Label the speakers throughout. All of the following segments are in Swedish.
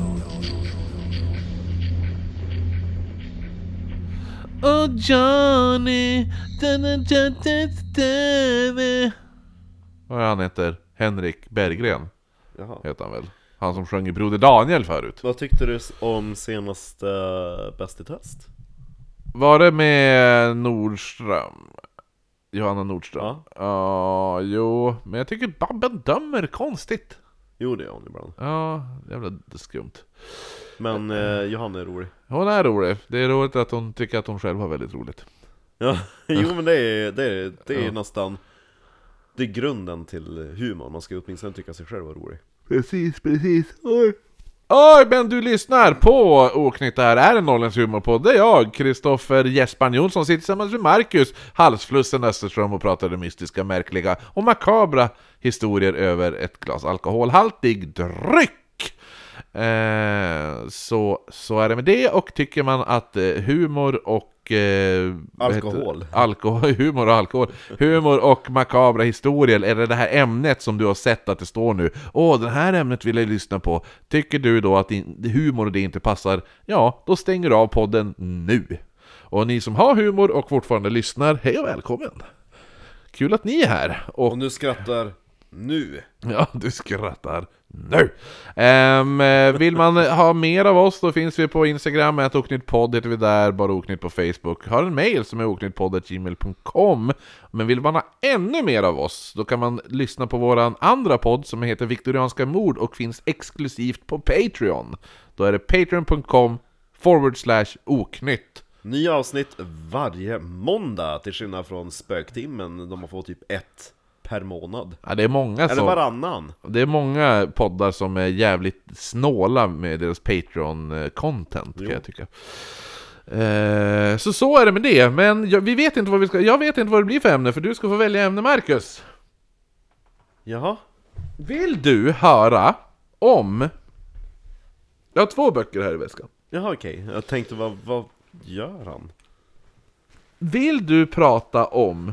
Speaker 1: och Oh, Johnny. Da, da, da, da, da, da. Vad är han heter? Henrik Berggren
Speaker 2: Jaha.
Speaker 1: heter han väl? Han som sjöng i Broder Daniel förut.
Speaker 2: Vad tyckte du om senaste eh, Bäst i test?
Speaker 1: Var det med Nordström? Johanna Nordström?
Speaker 2: Ja.
Speaker 1: Ja, jo, men jag tycker Babben dömer konstigt.
Speaker 2: Jo det är hon ibland,
Speaker 1: Ja, jävla skumt.
Speaker 2: men eh, Johanna är rolig
Speaker 1: Hon är rolig. Det är roligt att hon tycker att hon själv har väldigt roligt.
Speaker 2: Ja, jo men det är, det är, det är
Speaker 1: Ja.
Speaker 2: nästan Det är grunden till humor, man ska åtminstone tycka sig själv vara rolig
Speaker 1: Precis, precis. Oj. Oj, men du lyssnar på Oknytt. Det här är en Norrländsk humorpodd. Det är jag, Kristoffer Jespan Jonsson, sitter tillsammans med Marcus, halsflussen Österström och pratar om mystiska, märkliga och makabra historier över ett glas alkoholhaltig dryck. Eh, så, så är det med det, och tycker man att eh, humor och... Eh, vad heter-
Speaker 2: Alkohol.
Speaker 1: alkohol, humor och alkohol. Humor och makabra historier, eller det här ämnet som du har sett att det står nu. Åh, det här ämnet vill jag lyssna på. Tycker du då att din, humor och det inte passar? Ja, då stänger du av podden nu. Och ni som har humor och fortfarande lyssnar, hej och välkommen! Kul att ni är här! Och
Speaker 2: Och nu skrattar nu!
Speaker 1: Ja, du skrattar nu! Ehm, eh, vill man ha mer av oss då finns vi på Instagram, att oknyttpodd heter vi där, bara oknytt på Facebook. Har en mail som är oknyttpodd.gmail.com Men vill man ha ännu mer av oss, då kan man lyssna på våran andra podd som heter Viktorianska mord och finns exklusivt på Patreon. Då är det patreon.com forward slash oknytt.
Speaker 2: Nya avsnitt varje måndag till skillnad från spöktimmen, de har fått typ ett per månad
Speaker 1: Ja, det är många
Speaker 2: Eller
Speaker 1: som...
Speaker 2: varannan!
Speaker 1: Det är många poddar som är jävligt snåla med deras Patreon-content kan
Speaker 2: Jo.
Speaker 1: jag tycka. Eh, Så så är det med det, men jag, vi vet inte vad vi ska, jag vet inte vad det blir för ämne för du ska få välja ämne Marcus.
Speaker 2: Jaha?
Speaker 1: Vill du höra om... Jag har två böcker här i väskan.
Speaker 2: Jaha okej, jag tänkte vad, vad gör han?
Speaker 1: Vill du prata om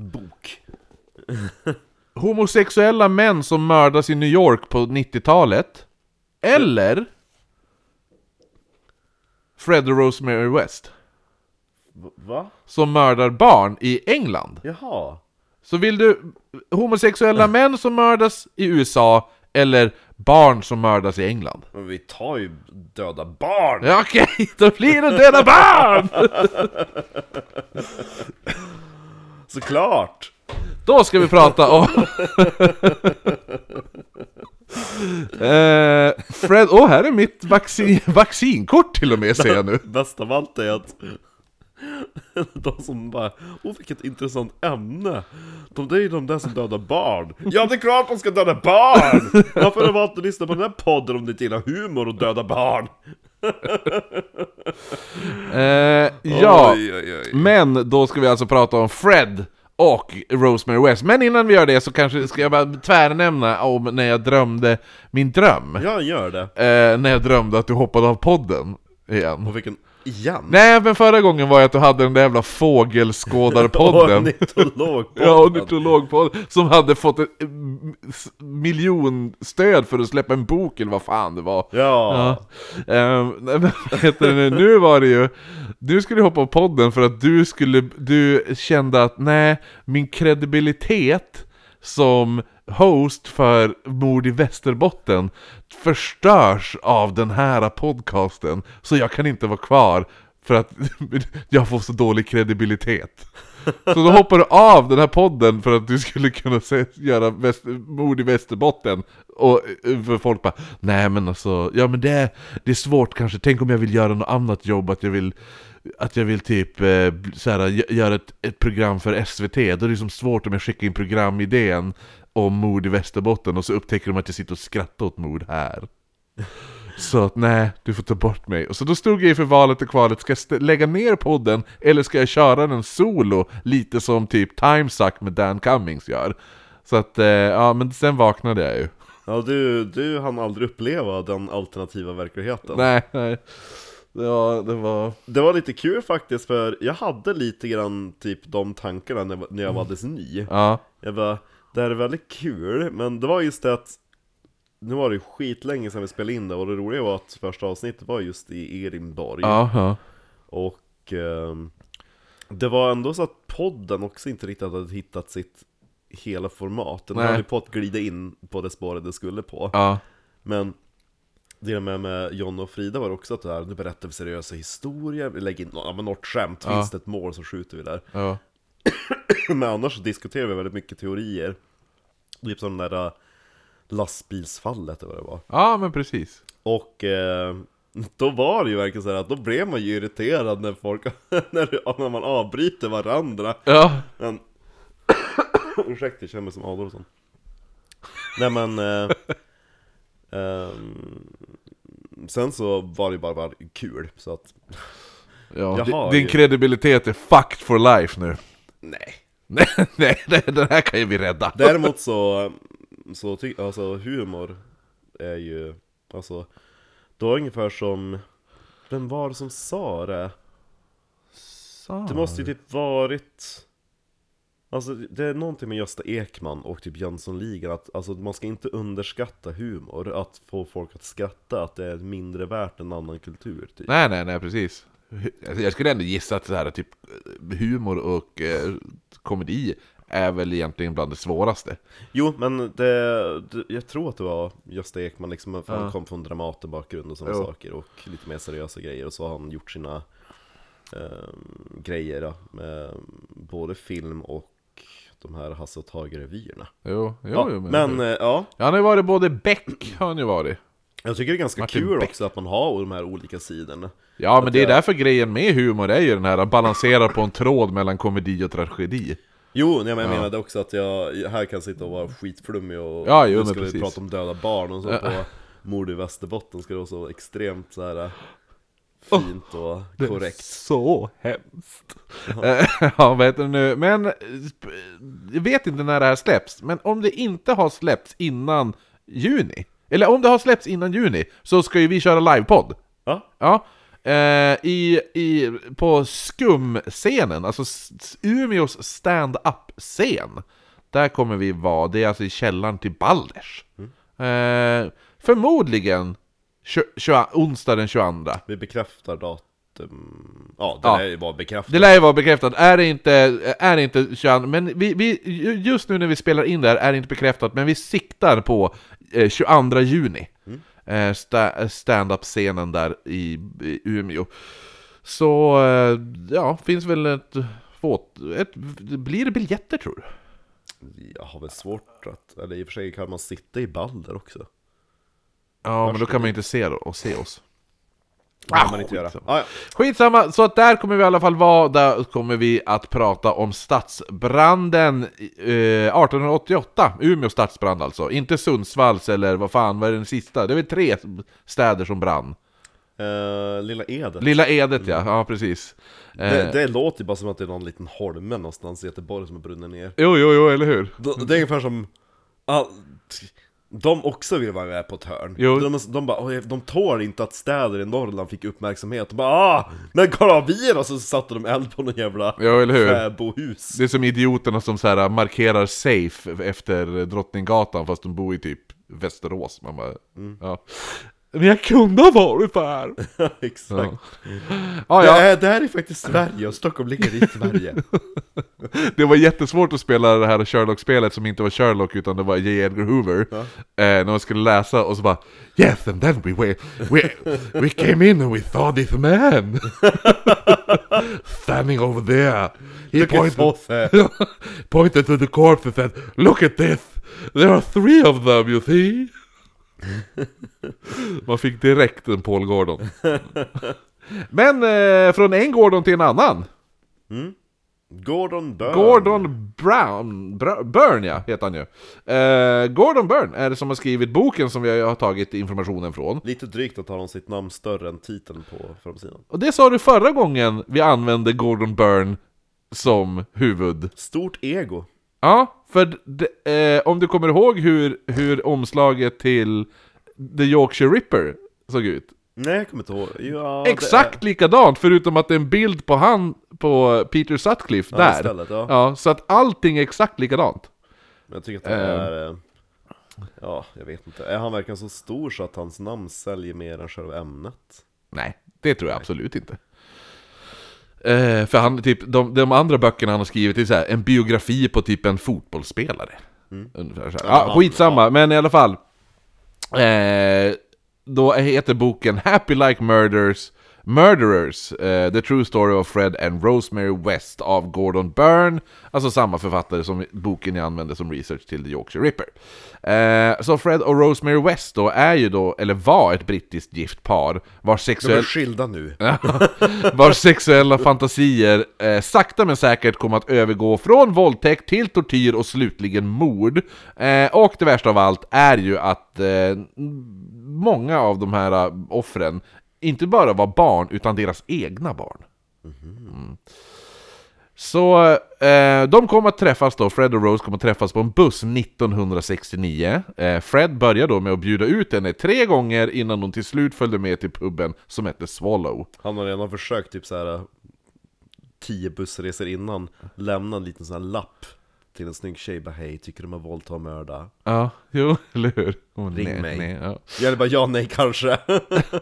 Speaker 2: Bok
Speaker 1: homosexuella män som mördas i New York på 90-talet? Eller... Fred och Rosemary West?
Speaker 2: V- Va?
Speaker 1: som mördar barn i England.
Speaker 2: Jaha?
Speaker 1: Så vill du homosexuella män som mördas i USA eller barn som mördas i England?
Speaker 2: Men vi tar ju döda barn!
Speaker 1: Ja, Okej, då blir det döda barn!
Speaker 2: Såklart!
Speaker 1: Då ska vi prata om... Eh, Fred, åh här är mitt vaccin, vaccinkort till och med ser jag nu.
Speaker 2: Bäst av allt är att de som bara Åh vilket intressant ämne! De det är ju de där som dödar barn! Ja det är klart de ska döda barn! Varför har du valt att lyssna på den här podden om du inte gillar humor och döda barn?
Speaker 1: Eh, ja,
Speaker 2: Oj, oj, oj.
Speaker 1: men då ska vi alltså prata om Fred och Rosemary West. Men innan vi gör det så kanske ska jag bara tvärnämna om när jag drömde min dröm.
Speaker 2: Ja gör det!
Speaker 1: Eh, när jag drömde att du hoppade av podden igen.
Speaker 2: Och vilken... Igen?
Speaker 1: Nej, men förra gången var jag att du hade den där jävla
Speaker 2: Podden!
Speaker 1: fågelskådarpodden. Ja,
Speaker 2: Ornitologpodden!
Speaker 1: ornitologpodden, som hade fått ett eh, m- s- miljonstöd för att släppa en bok eller vad fan det var.
Speaker 2: Ja!
Speaker 1: Ehm, nej, men vad heter det nu? nu var det ju, du skulle hoppa av podden för att du skulle, du kände att nej, min kredibilitet som host för Mord i Västerbotten förstörs av den här podcasten, så jag kan inte vara kvar för att jag får så dålig kredibilitet. Så då hoppar du av den här podden för att du skulle kunna se, göra väst, mord i Västerbotten Och eh, för folk bara Nej men alltså, ja men det, det är svårt kanske Tänk om jag vill göra något annat jobb Att jag vill, att jag vill typ eh, bl- så här, gö- göra ett, ett program för SVT Då är det liksom svårt om jag skickar in programidén Om mord i Västerbotten Och så upptäcker de att jag sitter och skrattar åt mord här så att nej, du får ta bort mig. Och så då stod jag inför valet och kvalet, ska jag st- lägga ner podden eller ska jag köra den solo? Lite som typ Timesuck med Dan Cummings gör. Så att, eh, ja men sen vaknade jag ju.
Speaker 2: Ja du, du hann aldrig uppleva den alternativa verkligheten
Speaker 1: Nej, nej. Ja, det var...
Speaker 2: Det var lite kul faktiskt för jag hade lite grann typ de tankarna när jag var- när
Speaker 1: Mm.
Speaker 2: jag var alldeles ny
Speaker 1: Ja.
Speaker 2: Jag bara, det här är väldigt kul, men det var just det att nu var det ju skitlänge sedan vi spelade in det och det roliga var att första avsnittet var just i Edinborg.
Speaker 1: Ja, ja.
Speaker 2: Och ehm, det var ändå så att podden också inte riktigt hade hittat sitt hela format. Den
Speaker 1: Nej.
Speaker 2: höll ju på att glida in på det spåret det skulle på.
Speaker 1: ja.
Speaker 2: Men det med, med John och Frida var också att det här, nu berättar vi seriösa historier, vi lägger in nå- ja, men något skämt,
Speaker 1: Ja.
Speaker 2: finns det ett mål så skjuter vi där.
Speaker 1: ja.
Speaker 2: Men annars så diskuterar vi väldigt mycket teorier. Typ som det där äh, lastbilsfallet eller vad det var.
Speaker 1: Ja, men precis.
Speaker 2: Och eh, då var det ju verkligen så här att då blev man ju irriterad när folk, när, när man avbryter varandra.
Speaker 1: Ja,
Speaker 2: Men, ursäkta, jag känner mig som Adolfsson. Nej men, eh, ehm, sen så var det ju bara, bara kul, så att,
Speaker 1: ja.
Speaker 2: Jag har
Speaker 1: Din
Speaker 2: ju-
Speaker 1: kredibilitet är fucked for life nu.
Speaker 2: nej.
Speaker 1: Nej, nej, nej, den här kan ju vi rädda.
Speaker 2: Däremot så, så ty, alltså humor är ju, alltså, det var ungefär som, vem var det som sa det? Det måste ju typ varit Alltså det är någonting med Gösta Ekman och typ Jönssonligan att alltså, man ska inte underskatta humor, att få folk att skratta, att det är mindre värt än annan kultur typ.
Speaker 1: Nej, nej, nej, precis. Alltså, Jag skulle ändå gissa att så här, typ, humor och eh, komedi är väl egentligen bland det svåraste.
Speaker 2: Jo, men det, det, jag tror att det var Gösta Ekman liksom, för
Speaker 1: Ja.
Speaker 2: han kom från Dramatenbakgrund och sådana
Speaker 1: Jo.
Speaker 2: saker och lite mer seriösa grejer och så har han gjort sina ehm, grejer, ja, med både film och de här Hasse och Tage-revyerna.
Speaker 1: Jo, jo,
Speaker 2: Ja,
Speaker 1: jo,
Speaker 2: men eh, ja,
Speaker 1: Ja, han har ju varit både Beck, har han ju varit.
Speaker 2: Jag tycker det är ganska
Speaker 1: Martin
Speaker 2: kul
Speaker 1: Beck.
Speaker 2: också att man har de här olika sidorna.
Speaker 1: Ja, men det är
Speaker 2: jag-
Speaker 1: därför grejen med humor är ju den här att balansera på en tråd mellan komedi och tragedi.
Speaker 2: Jo, nej, men jag menade också att jag här kan sitta och vara skitflummig och
Speaker 1: Ja, jo,
Speaker 2: nu
Speaker 1: men
Speaker 2: ska vi
Speaker 1: precis.
Speaker 2: prata om döda barn och så på mord i Västerbotten ska det vara så extremt så här fint och korrekt.
Speaker 1: Så hemskt. Ja, vad heter det nu? Men eh, sp- jag vet inte när det här släpps, men om det inte har släppts innan juni, eller om det har släppts innan juni, så ska ju vi köra livepodd.
Speaker 2: Ja,
Speaker 1: Ja. Eh, i, i, på skumscenen, alltså s- s- Umeås stand-up-scen. Där kommer vi vara, det är alltså i källaren till Balders. Eh, förmodligen tjo- tjoa- onsdag den 22.
Speaker 2: vi bekräftar datum. Ja, det
Speaker 1: Ja.
Speaker 2: är ju bara bekräftat.
Speaker 1: Det lär ju vara bekräftat, är det inte, är det inte 21, men vi, vi, ju- just nu när vi spelar in där är det inte bekräftat, men vi siktar på eh, 22 juni. Eh, sta- eh, Stand-up-scenen där i, i Umeå. Så, eh, ja, finns väl ett, fåt, ett, blir det biljetter tror du?
Speaker 2: Jag har väl svårt att, eller i och för sig kan man sitta i Balder också.
Speaker 1: Ja, men då kan man ju inte se och se oss.
Speaker 2: Det kan man inte göra.
Speaker 1: skitsamma.
Speaker 2: Ah, ja.
Speaker 1: Skitsamma, så att där kommer vi i alla fall vara, där kommer vi att prata om stadsbranden eh, 1888, Umeå stadsbrand alltså, inte Sundsvalls eller vad fan, vad är den sista? Det är väl tre städer som brann?
Speaker 2: Eh, Lilla Eder.
Speaker 1: Lilla Edet ja, ja precis. Eh,
Speaker 2: det, det låter ju bara som att det är någon liten holme någonstans i Göteborg som har brunnit ner.
Speaker 1: Jo, jo, jo, eller hur?
Speaker 2: De- Det är ungefär som... all- De också vill vara med på ett hörn.
Speaker 1: Jo.
Speaker 2: De, de, bara, "Oj, de tål inte att städer i Norrland fick uppmärksamhet. De bara ah, men kolla vi då! Så satte de eld på någon jävla
Speaker 1: Ja, eller hur?
Speaker 2: fäbohus.
Speaker 1: Det är som idioterna som så här markerar safe efter Drottninggatan fast de bor i typ Västerås. Man bara, ja. Men jag kunde ha varit där!
Speaker 2: Exakt.
Speaker 1: Ja,
Speaker 2: Det,
Speaker 1: ja.
Speaker 2: är, det här är faktiskt Sverige och Stockholm ligger i Sverige.
Speaker 1: Det var jättesvårt att spela det här Sherlock-spelet som inte var Sherlock utan det var J. Edgar Hoover. Eh, när man skulle läsa och så bara Yes and then we were, we, we came in and we saw this man standing over there. He
Speaker 2: Look at
Speaker 1: pointed,
Speaker 2: Sosse.
Speaker 1: pointed to the corpse and said Look at this! There are three of them you see! Man fick direkt en Paul Gordon. Men eh, från en Gordon till en annan.
Speaker 2: Gordon Byrne.
Speaker 1: Gordon Brown, Bra- Byrne ja, heter han ju. Eh, Gordon Byrne är det som har skrivit boken som jag har tagit informationen från.
Speaker 2: Lite drygt att ha dem sitt namn större än titeln på framsidan.
Speaker 1: Och det sa du förra gången vi använde Gordon Byrne som huvud.
Speaker 2: Stort ego.
Speaker 1: Ja, för det, eh, om du kommer ihåg hur, hur omslaget till The Yorkshire Ripper såg ut.
Speaker 2: Nej, jag kommer inte ihåg. Ja, det är-
Speaker 1: Exakt likadant, förutom att det är en bild på han, på Peter Sutcliffe
Speaker 2: Ja,
Speaker 1: där.
Speaker 2: istället, ja.
Speaker 1: ja, så att allting är exakt likadant.
Speaker 2: Men jag tycker att det är... eh, Ja, jag vet inte. Är han verkligen så stor så att hans namn säljer mer än själva ämnet?
Speaker 1: Nej, det tror jag absolut inte. Eh, för han, typ, de, de andra böckerna han har skrivit är så här, en biografi på typ en fotbollsspelare. Ungefär så här.
Speaker 2: Ja,
Speaker 1: Mm. Ja, skitsamma, men i alla fall. Eh, då heter boken Happy Like Murders, Murderers, eh, The True Story of Fred and Rosemary West av Gordon Byrne. Alltså samma författare som boken jag använde som research till The Yorkshire Ripper. Eh, så Fred och Rosemary West då är ju då, eller var ett brittiskt gift par vars
Speaker 2: De är
Speaker 1: sexuell...
Speaker 2: skilda nu.
Speaker 1: Vars sexuella fantasier eh, sakta men säkert kom att övergå från våldtäkt till tortyr och slutligen mord. Eh, och det värsta av allt är ju att eh, många av de här eh, offren inte bara var barn, utan deras egna barn. Mm. Så eh, de kom att träffas då, Fred och Rose kom att träffas på en buss 1969 eh, Fred började då med att bjuda ut henne tre gånger innan hon till slut följde med till puben som hette Swallow
Speaker 2: Han har redan försökt typ så här tio bussresor innan lämna en liten sån här lapp till en snygg tjej bara hej, tycker du om att våldta och mörda?
Speaker 1: Ja, jo, eller hur? Hon,
Speaker 2: Ring mig.
Speaker 1: Nej, ja.
Speaker 2: Jag bara ja, nej, kanske.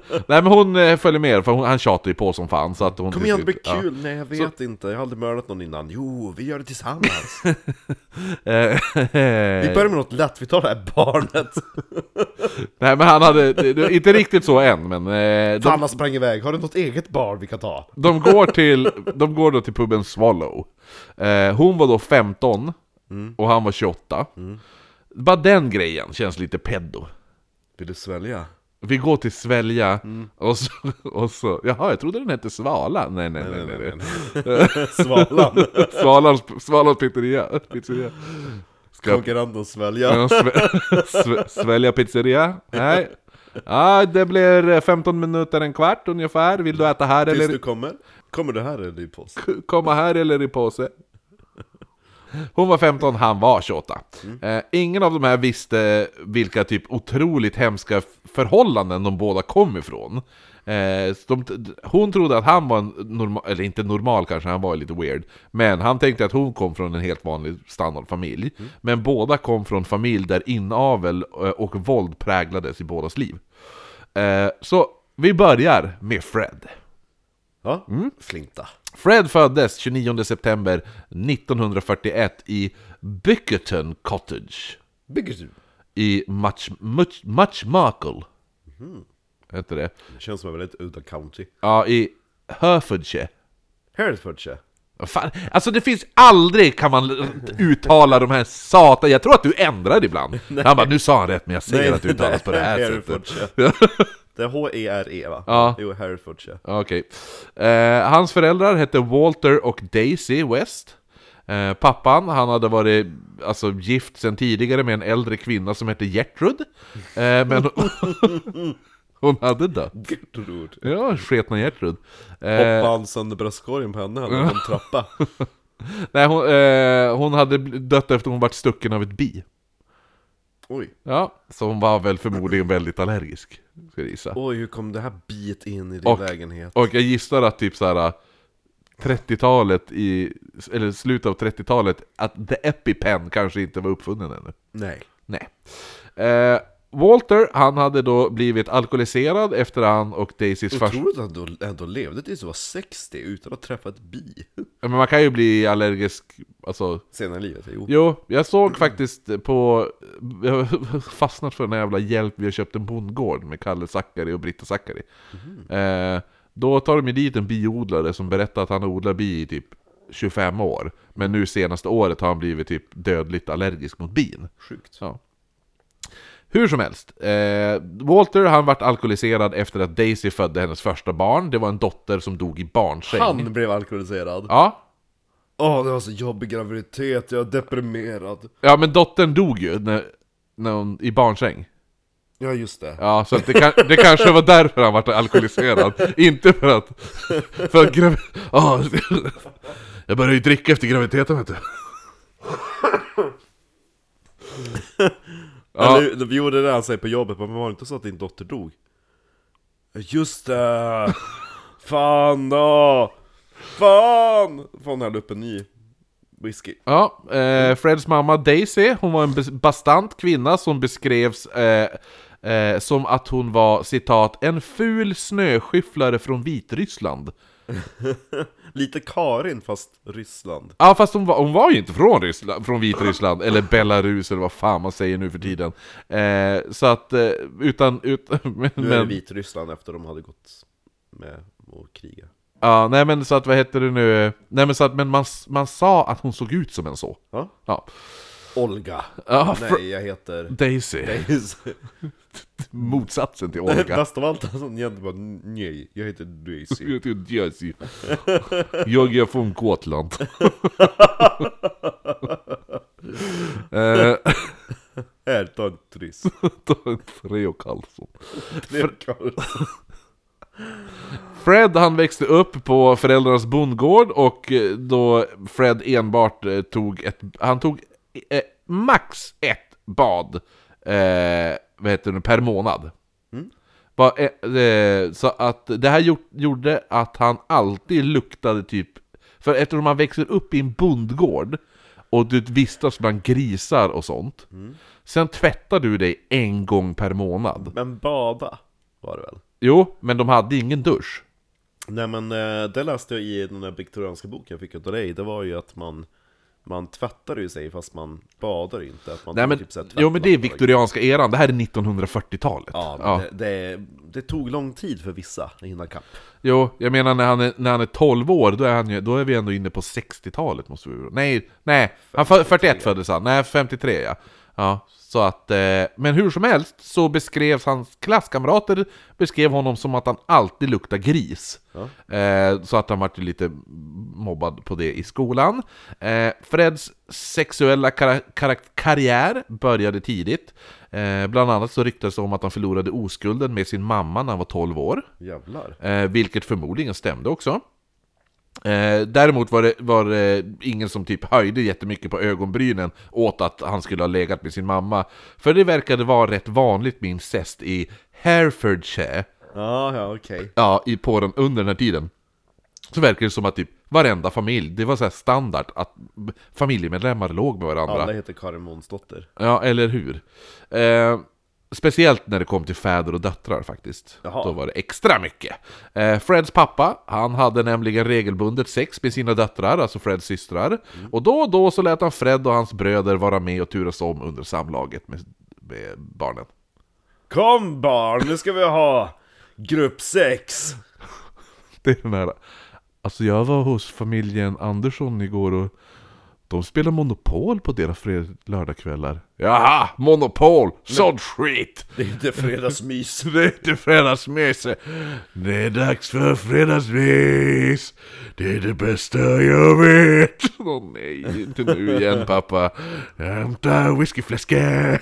Speaker 1: nej men hon eh, följer med, för hon, han tjatar ju på som fan så att hon
Speaker 2: Kom
Speaker 1: till
Speaker 2: igen, det blir
Speaker 1: slut- ja.
Speaker 2: kul. Nej, jag vet inte. Jag har aldrig mördat någon innan. Jo, vi gör det tillsammans. Vi
Speaker 1: Eh,
Speaker 2: börjar med något lätt. Vi tar det här barnet.
Speaker 1: Nej men han hade, det, det, inte riktigt så än men eh, de,
Speaker 2: Anna sprang iväg. Har du något eget barn vi kan ta?
Speaker 1: de, går till, de går då till puben Swallow eh, Hon var då 15
Speaker 2: Mm.
Speaker 1: och han var 28 Bara den grejen känns lite peddo
Speaker 2: Vill du svälja?
Speaker 1: Vi går till svälja
Speaker 2: Mm.
Speaker 1: och, så, och så, jaha jag trodde den hette svala, nej nej nej, nej, nej.
Speaker 2: Svalan.
Speaker 1: Svalans, Svalans pizzeria, pizzeria. Ska
Speaker 2: Konkurrenten svälja.
Speaker 1: Ja, sve- sve- Svälja pizzeria? Nej. Ja, det blir 15 minuter, en kvart ungefär. Vill du äta här
Speaker 2: Tills
Speaker 1: eller
Speaker 2: du kommer. Kommer du här eller i post?
Speaker 1: komma här eller i påse? Hon var 15, han var 28. Eh, ingen av de här visste vilka typ otroligt hemska förhållanden de båda kom ifrån. Eh, så de, hon trodde att han var en normal, eller inte normal kanske, han var lite weird. Men han tänkte att hon kom från en helt vanlig standardfamilj. Men båda kom från familj där inavel eh, och våld präglades i bådas liv. Eh, så vi börjar med Fred.
Speaker 2: Ja,
Speaker 1: Mm.
Speaker 2: flinta.
Speaker 1: Fred föddes 29 september 1941 i Bickerton Cottage
Speaker 2: Bygger du?
Speaker 1: i Much, Much, Muchmarkle. Hette det?
Speaker 2: Det känns som en väldigt udda county.
Speaker 1: Ja, i Herefordshire.
Speaker 2: Herefordshire.
Speaker 1: Vad Fan, alltså det finns aldrig kan man l- uttala de här satan... Jag tror att du ändrar ibland. Han bara, nu sa han rätt men jag säger att det uttalas på det här sättet.
Speaker 2: sättet. Det är H-E-R-E E, va?
Speaker 1: Ja.
Speaker 2: Jo, Herefordshire.
Speaker 1: Ja, Okej. Eh, hans föräldrar hette Walter och Daisy West. Eh, pappan, han hade varit alltså, gift sedan tidigare med en äldre kvinna som hette Gertrud. Eh, men hon hade dött.
Speaker 2: Gertrud.
Speaker 1: Ja, sketna Gertrud. Eh,
Speaker 2: Hoppade han sönder bröstkorgen på henne eller på en trappa?
Speaker 1: nej, hon, eh, hon hade bl- dött efter hon varit stucken av ett bi.
Speaker 2: Oj.
Speaker 1: Ja, så hon var väl förmodligen väldigt allergisk, ska jag gissa.
Speaker 2: Oj, hur kom det här biet in i din
Speaker 1: Och-
Speaker 2: lägenhet?
Speaker 1: Och jag gissar att typ såhär 30-talet i, eller slutet av 30-talet, att the EpiPen kanske inte var uppfunnen ännu.
Speaker 2: Nej.
Speaker 1: Nej. Eh, Walter, han hade då blivit alkoholiserad efter han och Daisys första...
Speaker 2: Otroligt att han ändå, ändå levde tills du var 60 utan att träffa ett bi.
Speaker 1: Men man kan ju bli allergisk, alltså...
Speaker 2: Senare i livet, jo.
Speaker 1: Jo, jag såg faktiskt på... Jag har fastnat för den här jävla Hjälp, vi har köpt en bondgård med Kalle Zackari och Britta Zackari. Eh, då tar de ju dit en biodlare som berättar att han odlar bi i typ 25 år. Men nu senaste året har han blivit typ dödligt allergisk mot bin.
Speaker 2: Sjukt.
Speaker 1: Ja. Hur som helst, eh, Walter han vart alkoholiserad efter att Daisy födde hennes första barn. Det var en dotter som dog i barnsäng.
Speaker 2: Han blev alkoholiserad.
Speaker 1: Ja,
Speaker 2: Åh, det var så jobbig graviditet, jag är deprimerad.
Speaker 1: ja men dottern dog ju när, när hon, i barnsäng.
Speaker 2: Ja, just det.
Speaker 1: Ja, så att det, kan, det kanske var därför han vart alkoholiserad. Inte för att... För att gravi... Ja, jag började ju dricka efter graviditeten vet du. Ja.
Speaker 2: Eller, vi gjorde det han säger på jobbet, men var det inte så att din dotter dog? Just det! Fan då! Fan! Fan, hällde upp en ny whisky.
Speaker 1: Ja, eh, Freds mamma Daisy, hon var en bes- bastant kvinna som beskrevs eh, eh, som att hon var citat ”en ful snöskyfflare från Vitryssland”.
Speaker 2: Lite Karin fast Ryssland.
Speaker 1: Ja, fast hon var, hon var ju inte från, Ryssland, från Vitryssland, eller Belarus eller vad fan man säger nu för tiden. Eh, så att, eh, utan... Ut, men,
Speaker 2: Nu är det
Speaker 1: men,
Speaker 2: Vitryssland efter de hade gått med och kriga.
Speaker 1: ja, nej men så att, vad heter det nu? Nej men så att, men man, man sa att hon såg ut som en så.
Speaker 2: Ja?
Speaker 1: Ja,
Speaker 2: Olga.
Speaker 1: ja Fr-
Speaker 2: Nej, jag heter...
Speaker 1: Daisy,
Speaker 2: Daisy.
Speaker 1: motsatsen till Olga.
Speaker 2: Bäst av allt är att hon egentligen Alltså, bara nej, jag heter Daisy.
Speaker 1: Jag heter Daisy. Jag är från Gotland. Eh,
Speaker 2: Här, ta en tryss.
Speaker 1: ta en tre och Karlsson.
Speaker 2: Det är Karin.
Speaker 1: Fred han växte upp på föräldrarnas bondgård och eh, då Fred enbart eh, tog ett, han tog eh, max ett bad eh, vad heter det, per månad. Var, eh, eh, så att det här gjort, gjorde att han alltid luktade typ, för eftersom man växer upp i en bondgård och du vistas bland grisar och sånt. Sen tvättar du dig en gång per månad.
Speaker 2: Men bada var det väl?
Speaker 1: Jo, men de hade ingen dusch.
Speaker 2: Nej men eh, det läste jag i den där viktorianska boken jag fick av dig, det var ju att man man tvättar ju sig fast man badar ju inte. Att man
Speaker 1: Nej
Speaker 2: tar
Speaker 1: men,
Speaker 2: typ så här
Speaker 1: jo men det är
Speaker 2: tvättlappar.
Speaker 1: viktorianska eran, det här är 1940-talet.
Speaker 2: Ja, men
Speaker 1: Ja.
Speaker 2: Det, det, det tog lång tid för vissa att hinna kapp.
Speaker 1: Jo, jag menar när han är, när han är 12 år, då är, han, ju- då är vi ändå inne på 60-talet måste vi Nej, nej, han fö- 41 föddes han, nej 53 ja. ja så att, eh, men hur som helst så beskrevs hans klasskamrater beskrev honom som att han alltid luktar gris. Eh, så att han vart ju lite mobbad på det i skolan. Eh, Freds sexuella kara- kara- karriär började tidigt. Eh, bland annat så ryktades det om att han förlorade oskulden med sin mamma när han var 12 år.
Speaker 2: Jävlar.
Speaker 1: Eh, vilket förmodligen stämde också. Eh, däremot var det, var det ingen som typ höjde jättemycket på ögonbrynen åt att han skulle ha legat med sin mamma. För det verkade vara rätt vanligt med incest i Herefordshire,
Speaker 2: Ja, ja okej.
Speaker 1: ja, i, på den, under den här tiden. Så verkar det som att typ varenda familj, det var så här standard att familjemedlemmar låg med varandra.
Speaker 2: Alla heter Karin Månsdotter.
Speaker 1: Ja, eller hur? Eh, speciellt när det kom till fäder och döttrar faktiskt.
Speaker 2: Jaha.
Speaker 1: Då var det extra mycket. Eh, Freds pappa, han hade nämligen regelbundet sex med sina döttrar, alltså Freds systrar. Och då och då så lät han Fred och hans bröder vara med och turas om under samlaget med, med barnen.
Speaker 2: Kom barn, nu ska vi ha grupp sex!
Speaker 1: Det är den här... Alltså jag var hos familjen Andersson igår och de spelar Monopol på deras fred- lördagskvällar. Jaha, Monopol! Sån skit!
Speaker 2: Det är inte fredagsmys.
Speaker 1: Det är inte fredagsmys. Det är dags för fredagsmys. Det är det bästa jag vet. Åh nej, inte nu igen pappa. Hämta whiskyflaskan.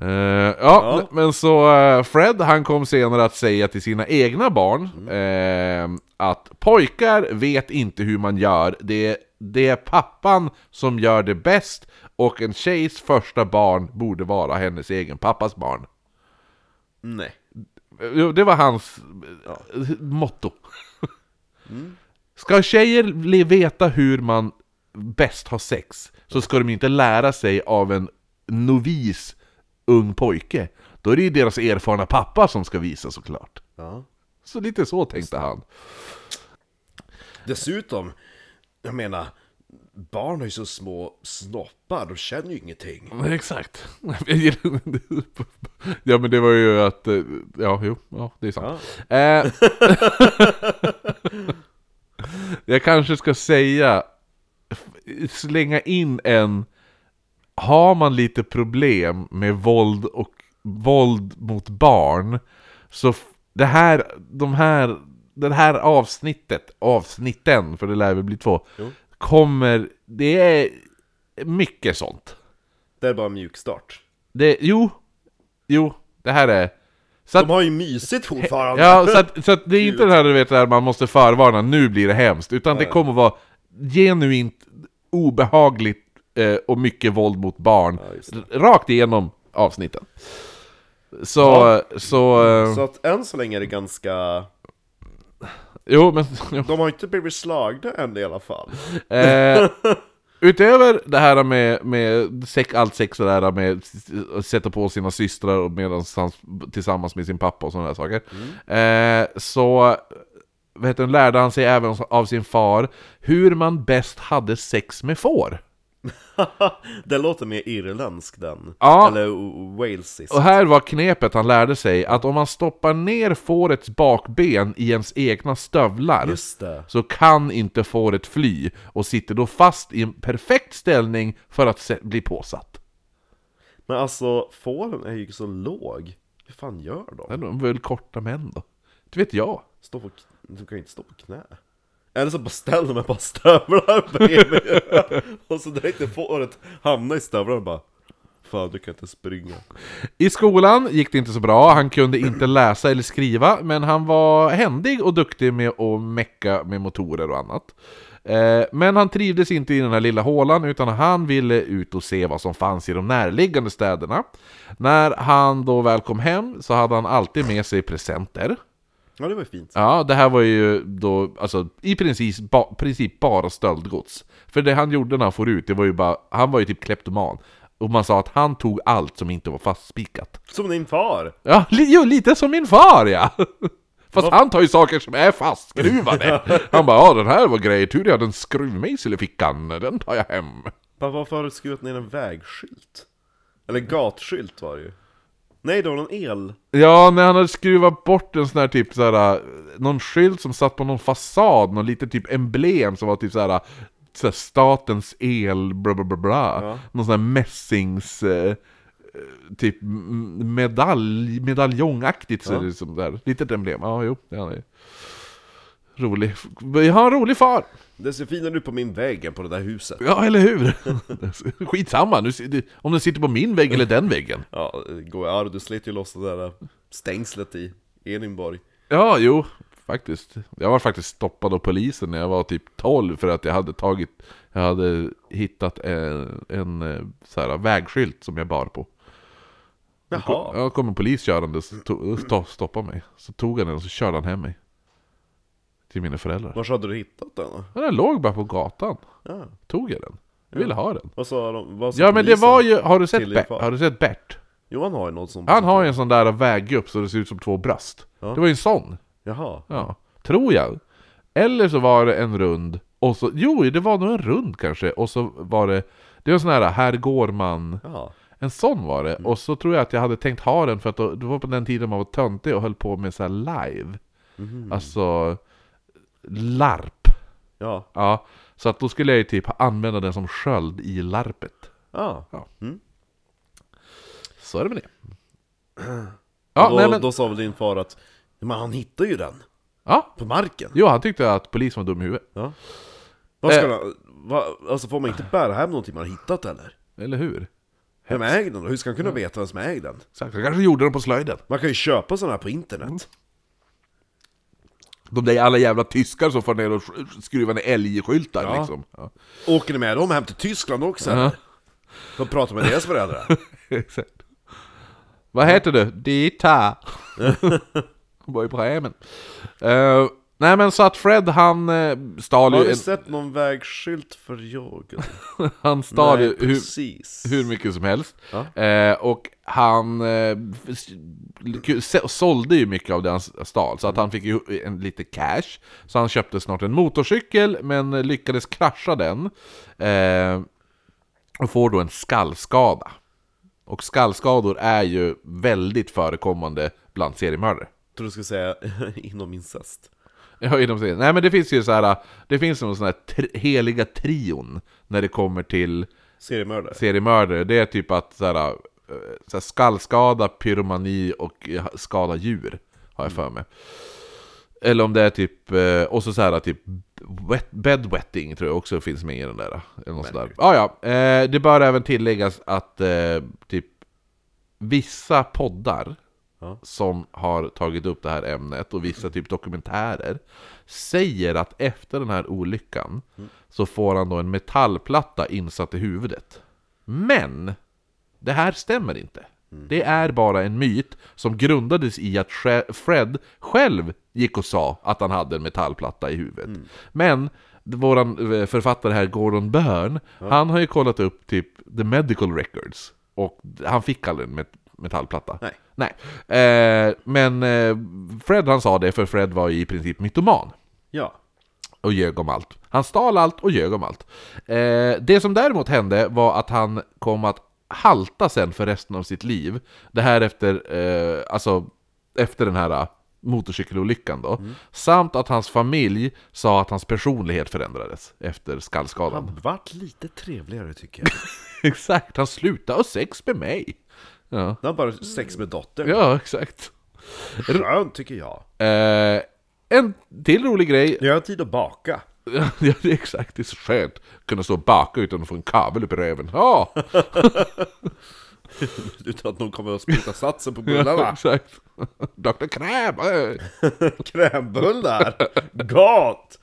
Speaker 1: Eh, ja,
Speaker 2: Ja.
Speaker 1: men så eh, Fred han kom senare att säga till sina egna barn eh, att pojkar vet inte hur man gör, det är, det är pappan som gör det bäst och en tjejs första barn borde vara hennes egen pappas barn.
Speaker 2: Nej.
Speaker 1: Jo, Det var hans ja. motto. Ska tjejer li- veta hur man bäst har sex, så ska de inte lära sig av en novis ung pojke. Då är det ju deras erfarna pappa som ska visa såklart.
Speaker 2: Ja.
Speaker 1: Så lite så tänkte han.
Speaker 2: Dessutom, jag menar, barn har ju så små snoppar, de känner ju ingenting.
Speaker 1: Exakt. ja men det var ju att, eh, ja jo, ja, det är sant. Eh, jag kanske ska säga, f- slänga in en, har man lite problem med våld och våld mot barn, så f- det här, de här, det här avsnittet, avsnitten, för det lär väl bli två, kommer, det är mycket sånt.
Speaker 2: Det är bara en mjukstart.
Speaker 1: Det, jo, jo, det här är... Så att,
Speaker 2: De har ju mysigt fortfarande.
Speaker 1: ja, så att, så att det är inte det här du vet, där man måste förvarna, nu blir det hemskt, utan det kommer vara genuint obehagligt eh, och mycket våld mot barn,
Speaker 2: just
Speaker 1: r- rakt igenom avsnitten. Så, så... eh,
Speaker 2: Så att än så länge är det ganska
Speaker 1: Jo, men... Jo.
Speaker 2: De har inte blivit slagna än i alla fall.
Speaker 1: Eh, utöver det här med, med sex, allt sex och det här med s- s- sätta på sina systrar och medans han, tillsammans med sin pappa och sådana där saker.
Speaker 2: Mm.
Speaker 1: Eh, så vet du, lärde han sig även av sin far hur man bäst hade sex med får.
Speaker 2: den låter mer irländsk den.
Speaker 1: Ja.
Speaker 2: Eller w- walesisk.
Speaker 1: Och här var knepet han lärde sig, att om man stoppar ner fårets bakben i ens egna stövlar
Speaker 2: Just det.
Speaker 1: så kan inte fåret fly och sitter då fast i en perfekt ställning för att se- bli påsatt.
Speaker 2: Men alltså, fåren är ju så låg. Hur fan gör de?
Speaker 1: Men de är väl korta män då? Det vet jag.
Speaker 2: Stå på, k- de kan ju inte stå på knä. Eller så bara ställer man bara stövlar bredvid. och så direkt fåret hamnar i stövlarna bara Fan du kan inte springa.
Speaker 1: I skolan gick det inte så bra, han kunde inte läsa eller skriva, men han var händig och duktig med att mecka med motorer och annat. Eh, Men han trivdes inte i den här lilla hålan, utan han ville ut och se vad som fanns i de närliggande städerna. När han då väl kom hem så hade han alltid med sig presenter.
Speaker 2: Ja det var ju fint.
Speaker 1: Ja, det här var ju då alltså, i princip, ba, princip bara stöldgods. För det han gjorde när han for ut, det var ju bara, han var ju typ kleptoman. Och man sa att han tog allt som inte var fastspikat.
Speaker 2: Som din far!
Speaker 1: Ja, li, jo, lite som min far ja! Fast han tar ju saker som är fastskruvade. Han bara ja den här var grej, tur jag hade en skruvmejsel i fickan, den tar jag hem.
Speaker 2: Bara, varför har du skurit ner en vägskylt? Eller gatskylt var det ju. Nej det var någon el.
Speaker 1: Ja, när han hade skruvat bort en sån här typ såhär, någon skylt som satt på någon fasad, någon liten typ emblem som var typ såhär, såhär statens el, bla bla bla bla. Någon sån här mässings, eh, eh, typ m- medalj, medaljongaktigt ser det ut som där. Litet emblem, ja jo, det är han ju. Rolig, vi har en rolig far!
Speaker 2: Det ser finare ut på min vägg än på det där huset.
Speaker 1: Ja, eller hur? Skitsamma, nu, ser det- om den sitter på min vägg eller den väggen.
Speaker 2: Ja, det går ja, du slet ju loss det där äh, stängslet i Edinborg.
Speaker 1: Ja, jo, faktiskt. Jag var faktiskt stoppad av polisen när jag var typ 12 för att jag hade tagit, jag hade hittat en, en eh, så här, vägskylt som jag bar på.
Speaker 2: Jaha.
Speaker 1: Jag kom en polis körandes, to- sto- stoppade mig. Så tog han den och så körde han hem mig. Till mina föräldrar.
Speaker 2: Var hade du hittat den då?
Speaker 1: Men den låg bara på gatan.
Speaker 2: Ja.
Speaker 1: Tog jag den. Jag ville ha den.
Speaker 2: Vad sa de? Vad sa
Speaker 1: Ja men det
Speaker 2: polisen?
Speaker 1: var ju, har du sett,
Speaker 2: Till din
Speaker 1: Bert,
Speaker 2: far.
Speaker 1: har du sett Bert?
Speaker 2: Jo han har ju något som...
Speaker 1: Han har ju en sån där väggupp så det ser ut som två bröst. Det var ju en sån.
Speaker 2: Jaha.
Speaker 1: Ja, tror jag. Eller så var det en rund, och så, jo det var nog en rund kanske, och så var det, det var en sån här, här går man,
Speaker 2: Jaha.
Speaker 1: en sån var det. Och så tror jag att jag hade tänkt ha den för att då, det var på den tiden man var töntig och höll på med så här live. Alltså, larp.
Speaker 2: Ja.
Speaker 1: Ja, så att då skulle jag ju typ använda den som sköld i larpet.
Speaker 2: Ja.
Speaker 1: Ja.
Speaker 2: Mm.
Speaker 1: Så är det med det. Ja,
Speaker 2: då,
Speaker 1: nej men,
Speaker 2: då sa väl din far att Men han hittar ju den!
Speaker 1: ja.
Speaker 2: På marken!
Speaker 1: Jo, han tyckte att polisen var dum i huvudet.
Speaker 2: Ja. Vad ska
Speaker 1: Eh.
Speaker 2: han... Va, alltså får man inte bära hem någonting man har hittat eller?
Speaker 1: Eller hur?
Speaker 2: Vem äger den då? Hur ska han kunna veta vem som äger den?
Speaker 1: Exakt, jag kanske gjorde den på slöjden.
Speaker 2: Man kan ju köpa sådana här på internet.
Speaker 1: Mm. De där alla jävla tyskar som får ner och skruvar ner älgskyltar
Speaker 2: Ja.
Speaker 1: liksom. Ja.
Speaker 2: Åker ni med dem hem till Tyskland också? De pratar med deras föräldrar.
Speaker 1: Exakt. Vad heter du? Dita. Var i Bremen. Eh, nej men så att Fred han eh, stal
Speaker 2: Har
Speaker 1: ju,
Speaker 2: du
Speaker 1: en,
Speaker 2: sett någon vägskylt för yoga?
Speaker 1: han stal ju hur,
Speaker 2: precis.
Speaker 1: hur mycket som helst. Eh, och han eh, s- k- s- sålde ju mycket av det han s- stal, så att han fick ju en, lite cash. Så han köpte snart en motorcykel, men eh, lyckades krascha den. Eh, och får då en skallskada. Och skallskador är ju väldigt förekommande bland seriemördare.
Speaker 2: Tror du skulle säga inom incest.
Speaker 1: Ja, inom serien. Nej men det finns ju så här, det finns någon sån här tri- heliga trion när det kommer till
Speaker 2: Seriemördare.
Speaker 1: seriemördare, det är typ att så här, eh, så här, skallskada, pyromani och eh, skada djur, har jag för mig. Eller om det är typ, eh, och så så här typ wet, bedwetting tror jag också finns med i den där. Eller något sådär. Ah, ja, eh, det bör även tilläggas att eh, typ vissa poddar
Speaker 2: Ja.
Speaker 1: som har tagit upp det här ämnet och vissa typ dokumentärer säger att efter den här olyckan så får han då en metallplatta insatt i huvudet. Men! Det här stämmer inte. Det är bara en myt som grundades i att Sche- Fred själv gick och sa att han hade en metallplatta i huvudet. Men våran eh, författare här, Gordon Byrne, han har ju kollat upp typ the medical records. Och han fick aldrig en met- metallplatta.
Speaker 2: Nej.
Speaker 1: Nej. Eh, men eh, Fred han sa det, för Fred var ju i princip mytoman
Speaker 2: Ja.
Speaker 1: och ljög om allt. Han stal allt och ljög om allt. Eh, det som däremot hände var att han kom att halta sen för resten av sitt liv. Det här efter, eh, alltså, efter den här eh, motorcykelolyckan då. Samt att hans familj sa att hans personlighet förändrades efter skallskadan.
Speaker 2: Han vart lite trevligare tycker jag.
Speaker 1: Exakt, han slutade ha sex med mig. Ja,
Speaker 2: Han bara sex med dottern.
Speaker 1: ja exakt.
Speaker 2: Skönt tycker jag.
Speaker 1: Eh, en till rolig grej
Speaker 2: Jag har tid att baka.
Speaker 1: Ja, det är exakt. Det är så skönt att kunna stå och baka utan att få en kabel upp i röven. Ja,
Speaker 2: Utan att någon kommer att spruta satsen på bullarna.
Speaker 1: exakt. Dr. Kräm! eh.
Speaker 2: Krämbullar! Gott!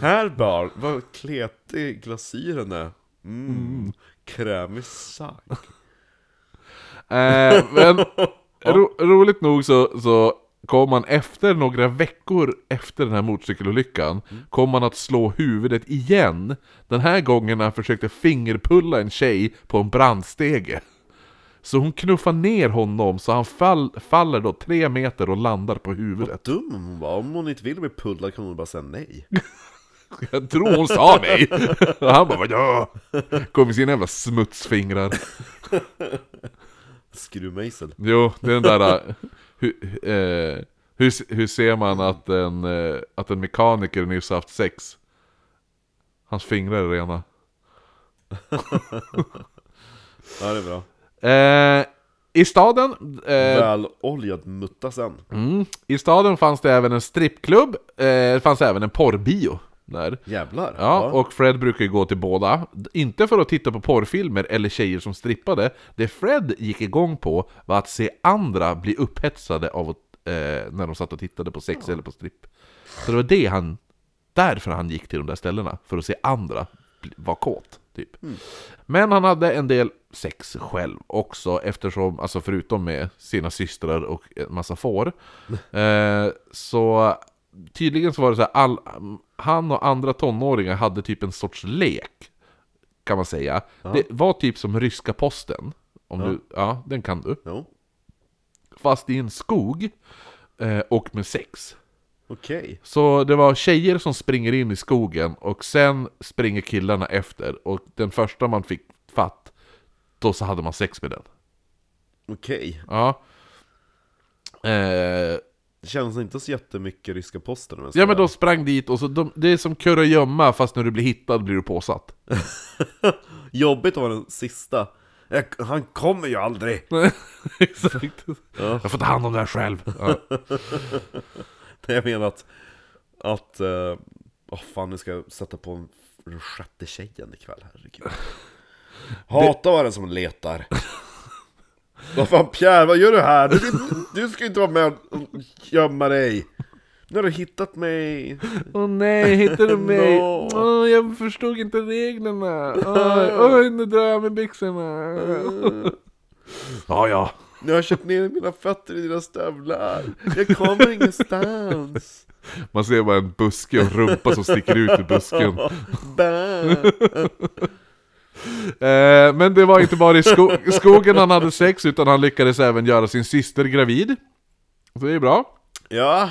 Speaker 2: Här barn, vad kletig glasyren är. Mm. Krämig sag.
Speaker 1: Eh, men ro, roligt nog så, så kom man efter några veckor efter den här motorcykelolyckan, kom man att slå huvudet igen. Den här gången när han försökte fingerpulla en tjej på en brandstege. Så hon knuffar ner honom så han fall, faller då tre meter och landar på huvudet.
Speaker 2: Vad dum hon var. Om hon inte vill bli pullad kan hon bara säga nej.
Speaker 1: Jag tror hon sa mig! Och han bara ja Kom med sina jävla smutsfingrar.
Speaker 2: Skruvmejsel.
Speaker 1: Jo, det är den där... äh, Hur, eh, hur, se- hur ser man att en, eh, att en mekaniker nyss haft sex? Hans fingrar är rena.
Speaker 2: Ja, det är bra.
Speaker 1: Eh, I staden... Eh,
Speaker 2: Väloljad mutta sen.
Speaker 1: mm, I staden fanns det även en strippklubb. Eh, det fanns även en porrbio. Där.
Speaker 2: Jävlar.
Speaker 1: Ja, och Fred brukar ju gå till båda. Inte för att titta på porrfilmer eller tjejer som strippade. Det Fred gick igång på var att se andra bli upphetsade av att, eh, när de satt och tittade på sex eller på stripp. Så det var det han, därför han gick till de där ställena. För att se andra bli- vara kåt, typ. Men han hade en del sex själv också, eftersom, alltså förutom med sina systrar och en massa får. Eh, så tydligen så var det så här, all, han och andra tonåringar hade typ en sorts lek, kan man säga. Det var typ som ryska posten. Om Du, ja, den kan du.
Speaker 2: Jo,
Speaker 1: Fast i en skog eh, och med sex.
Speaker 2: okej.
Speaker 1: Så det var tjejer som springer in i skogen och sen springer killarna efter och den första man fick fatt, då så hade man sex med den.
Speaker 2: Okej.
Speaker 1: Ja. Eh,
Speaker 2: Det känns inte så jättemycket ryska posten om jag ska
Speaker 1: ja men
Speaker 2: vara
Speaker 1: de sprang dit och så, de, det är som kurragömma fast när du blir hittad blir du påsatt.
Speaker 2: ärlig. Jobbigt att vara den sista. Jag, han kommer ju aldrig!
Speaker 1: Exakt.
Speaker 2: Ja.
Speaker 1: Jag får ta hand om det här själv. Ja.
Speaker 2: Nej, Jag menar att... Att... eh, Åh fan, nu ska jag sätta på en, den sjätte tjejen ikväll, herregud. Hatar vara den som letar. Vad fan Pierre, vad gör du här? Du, du ska ju inte vara med och gömma dig. Nu har du hittat mig.
Speaker 1: Åh nej, hittar du mig?
Speaker 2: No.
Speaker 1: Åh, jag förstod inte reglerna. Oj, oj, nu drar jag med byxorna. ja, ja.
Speaker 2: Nu har jag köpt ner mina fötter i dina stövlar. Jag kommer ingenstans.
Speaker 1: Man ser bara en buske och rumpa som sticker ut ur busken.
Speaker 2: Bä.
Speaker 1: Eh, men det var inte bara i sko- skogen han hade sex, utan han lyckades även göra sin syster gravid. Så det är bra.
Speaker 2: Ja,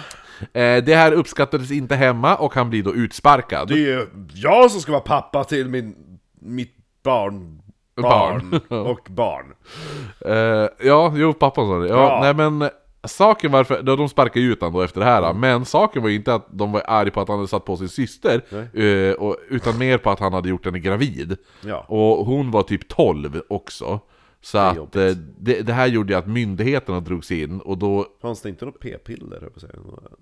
Speaker 1: Eh, det här uppskattades inte hemma och han blir då utsparkad.
Speaker 2: det är ju jag som ska vara pappa till min, mitt barn, barn och barn.
Speaker 1: Eh, ja, jo pappan sa det. Ja,
Speaker 2: Ja.
Speaker 1: Nej men saken varför, då de sparkade ju ut honom då efter det här. då. Men saken var ju inte att de var arga på att han hade satt på sin syster, eh, och, utan mer på att han hade gjort henne gravid.
Speaker 2: Ja.
Speaker 1: Och hon var typ 12 också. Så att eh, det, det här gjorde ju att myndigheterna drogs in och då...
Speaker 2: Fanns det inte något p-piller? höll jag på att säga? Nå-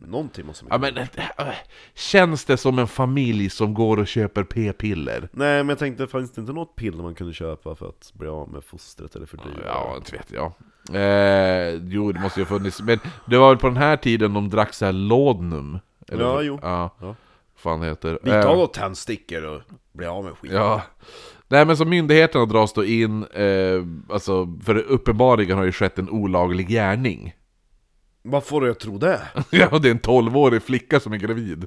Speaker 2: Någonting måste man
Speaker 1: Ja men, äh, känns det som en familj som går och köper p-piller?
Speaker 2: Nej men jag tänkte, fanns det inte något piller man kunde köpa för att bli av med fostret eller fördriva?
Speaker 1: Ja, inte vet jag. Eh, jo, det måste ju ha funnits. Men det var väl på den här tiden de drack så här laudanum?
Speaker 2: Ja, jo.
Speaker 1: Ja.
Speaker 2: Ja.
Speaker 1: fan heter. Eh,
Speaker 2: Vi tar några tändstickor och blir av med skit.
Speaker 1: Ja. Nej men så myndigheterna dras då in, eh, alltså, för uppenbarligen har ju skett en olaglig gärning.
Speaker 2: Vad får du att tro det?
Speaker 1: Ja, och det är en 12-årig flicka som är gravid.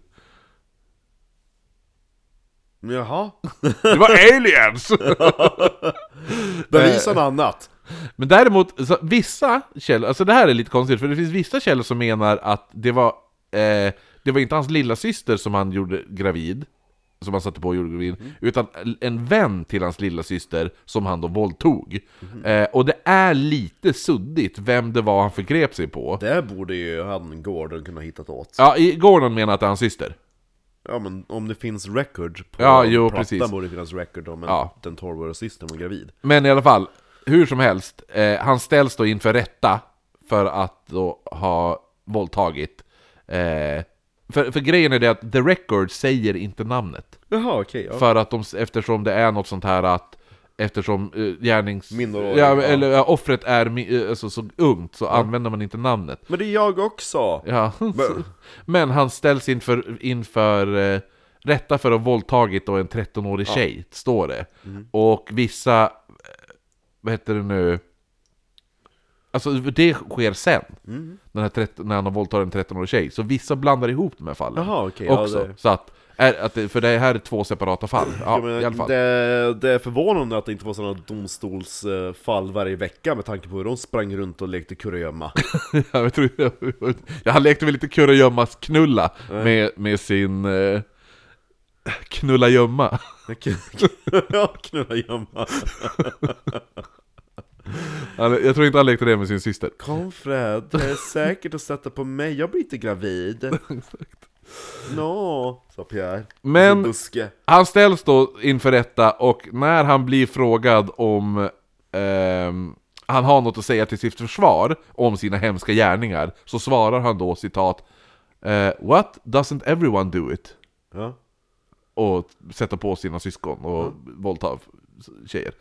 Speaker 2: Jaha?
Speaker 1: Det var aliens!
Speaker 2: Bevisa något annat.
Speaker 1: Men däremot, så, vissa källor, alltså det här är lite konstigt, för det finns vissa källor som menar att det var, eh, det var inte hans lilla syster som han gjorde gravid, som han satte på och gjorde gravid, utan en vän till hans lilla syster som han då våldtog. Eh, och det är lite suddigt vem det var han förgrep sig på.
Speaker 2: Det borde ju han Gordon kunna hittat åt.
Speaker 1: Ja, i Gordon menar att det är hans syster.
Speaker 2: Ja men om det finns record på
Speaker 1: Ja, jo,
Speaker 2: plattan
Speaker 1: precis.
Speaker 2: borde det finnas record om en,
Speaker 1: Ja.
Speaker 2: den 12-åriga systern var gravid.
Speaker 1: Men i alla fall, hur som helst, eh, han ställs då inför rätta för att då ha våldtagit. Eh, för, för grejen är det att The Record säger inte namnet.
Speaker 2: Jaha okej, ja.
Speaker 1: För att de, eftersom det är något sånt här att Eftersom eh, gärnings...
Speaker 2: Minderårig,
Speaker 1: ja,
Speaker 2: ja.
Speaker 1: eller ja, offret är mi- eh, alltså, så ungt så använder man inte namnet.
Speaker 2: Men det är jag också!
Speaker 1: Ja. Men han ställs inför, inför eh, rätta för att ha våldtagit då en 13-årig tjej, står det.
Speaker 2: Mm.
Speaker 1: Och vissa, eh, vad heter det nu, alltså det sker sen.
Speaker 2: Mm.
Speaker 1: Den här 13, när han har våldtagit en 13-årig tjej. Så vissa blandar ihop de här fallen
Speaker 2: Jaha, okej, ja,
Speaker 1: också.
Speaker 2: det-
Speaker 1: Så att, är, att, det- för det här är två separata fall. Ja,
Speaker 2: Ja, men
Speaker 1: i alla fall.
Speaker 2: Det, det är förvånande att det inte var sådana domstolsfall varje vecka med tanke på hur de sprang runt och lekte kurragömma.
Speaker 1: jag, tror, jag, jag, han lekte väl lite kurragömma-knulla med, med sin eh, knulla-gömma.
Speaker 2: ja, kurragömma.
Speaker 1: Han- Jag tror inte han lekte det med sin syster.
Speaker 2: Kom Fred, det är säkert att sätta på mig, jag blir inte gravid. Nå, sa Pierre.
Speaker 1: Men-
Speaker 2: Buske.
Speaker 1: Han ställs då inför rätta och när han blir frågad om ehm, han har något att säga till sitt försvar om sina hemska gärningar så svarar han då citat eh, What doesn't everyone do it?
Speaker 2: Ja.
Speaker 1: Och sätter på sina syskon och våldtar tjejer.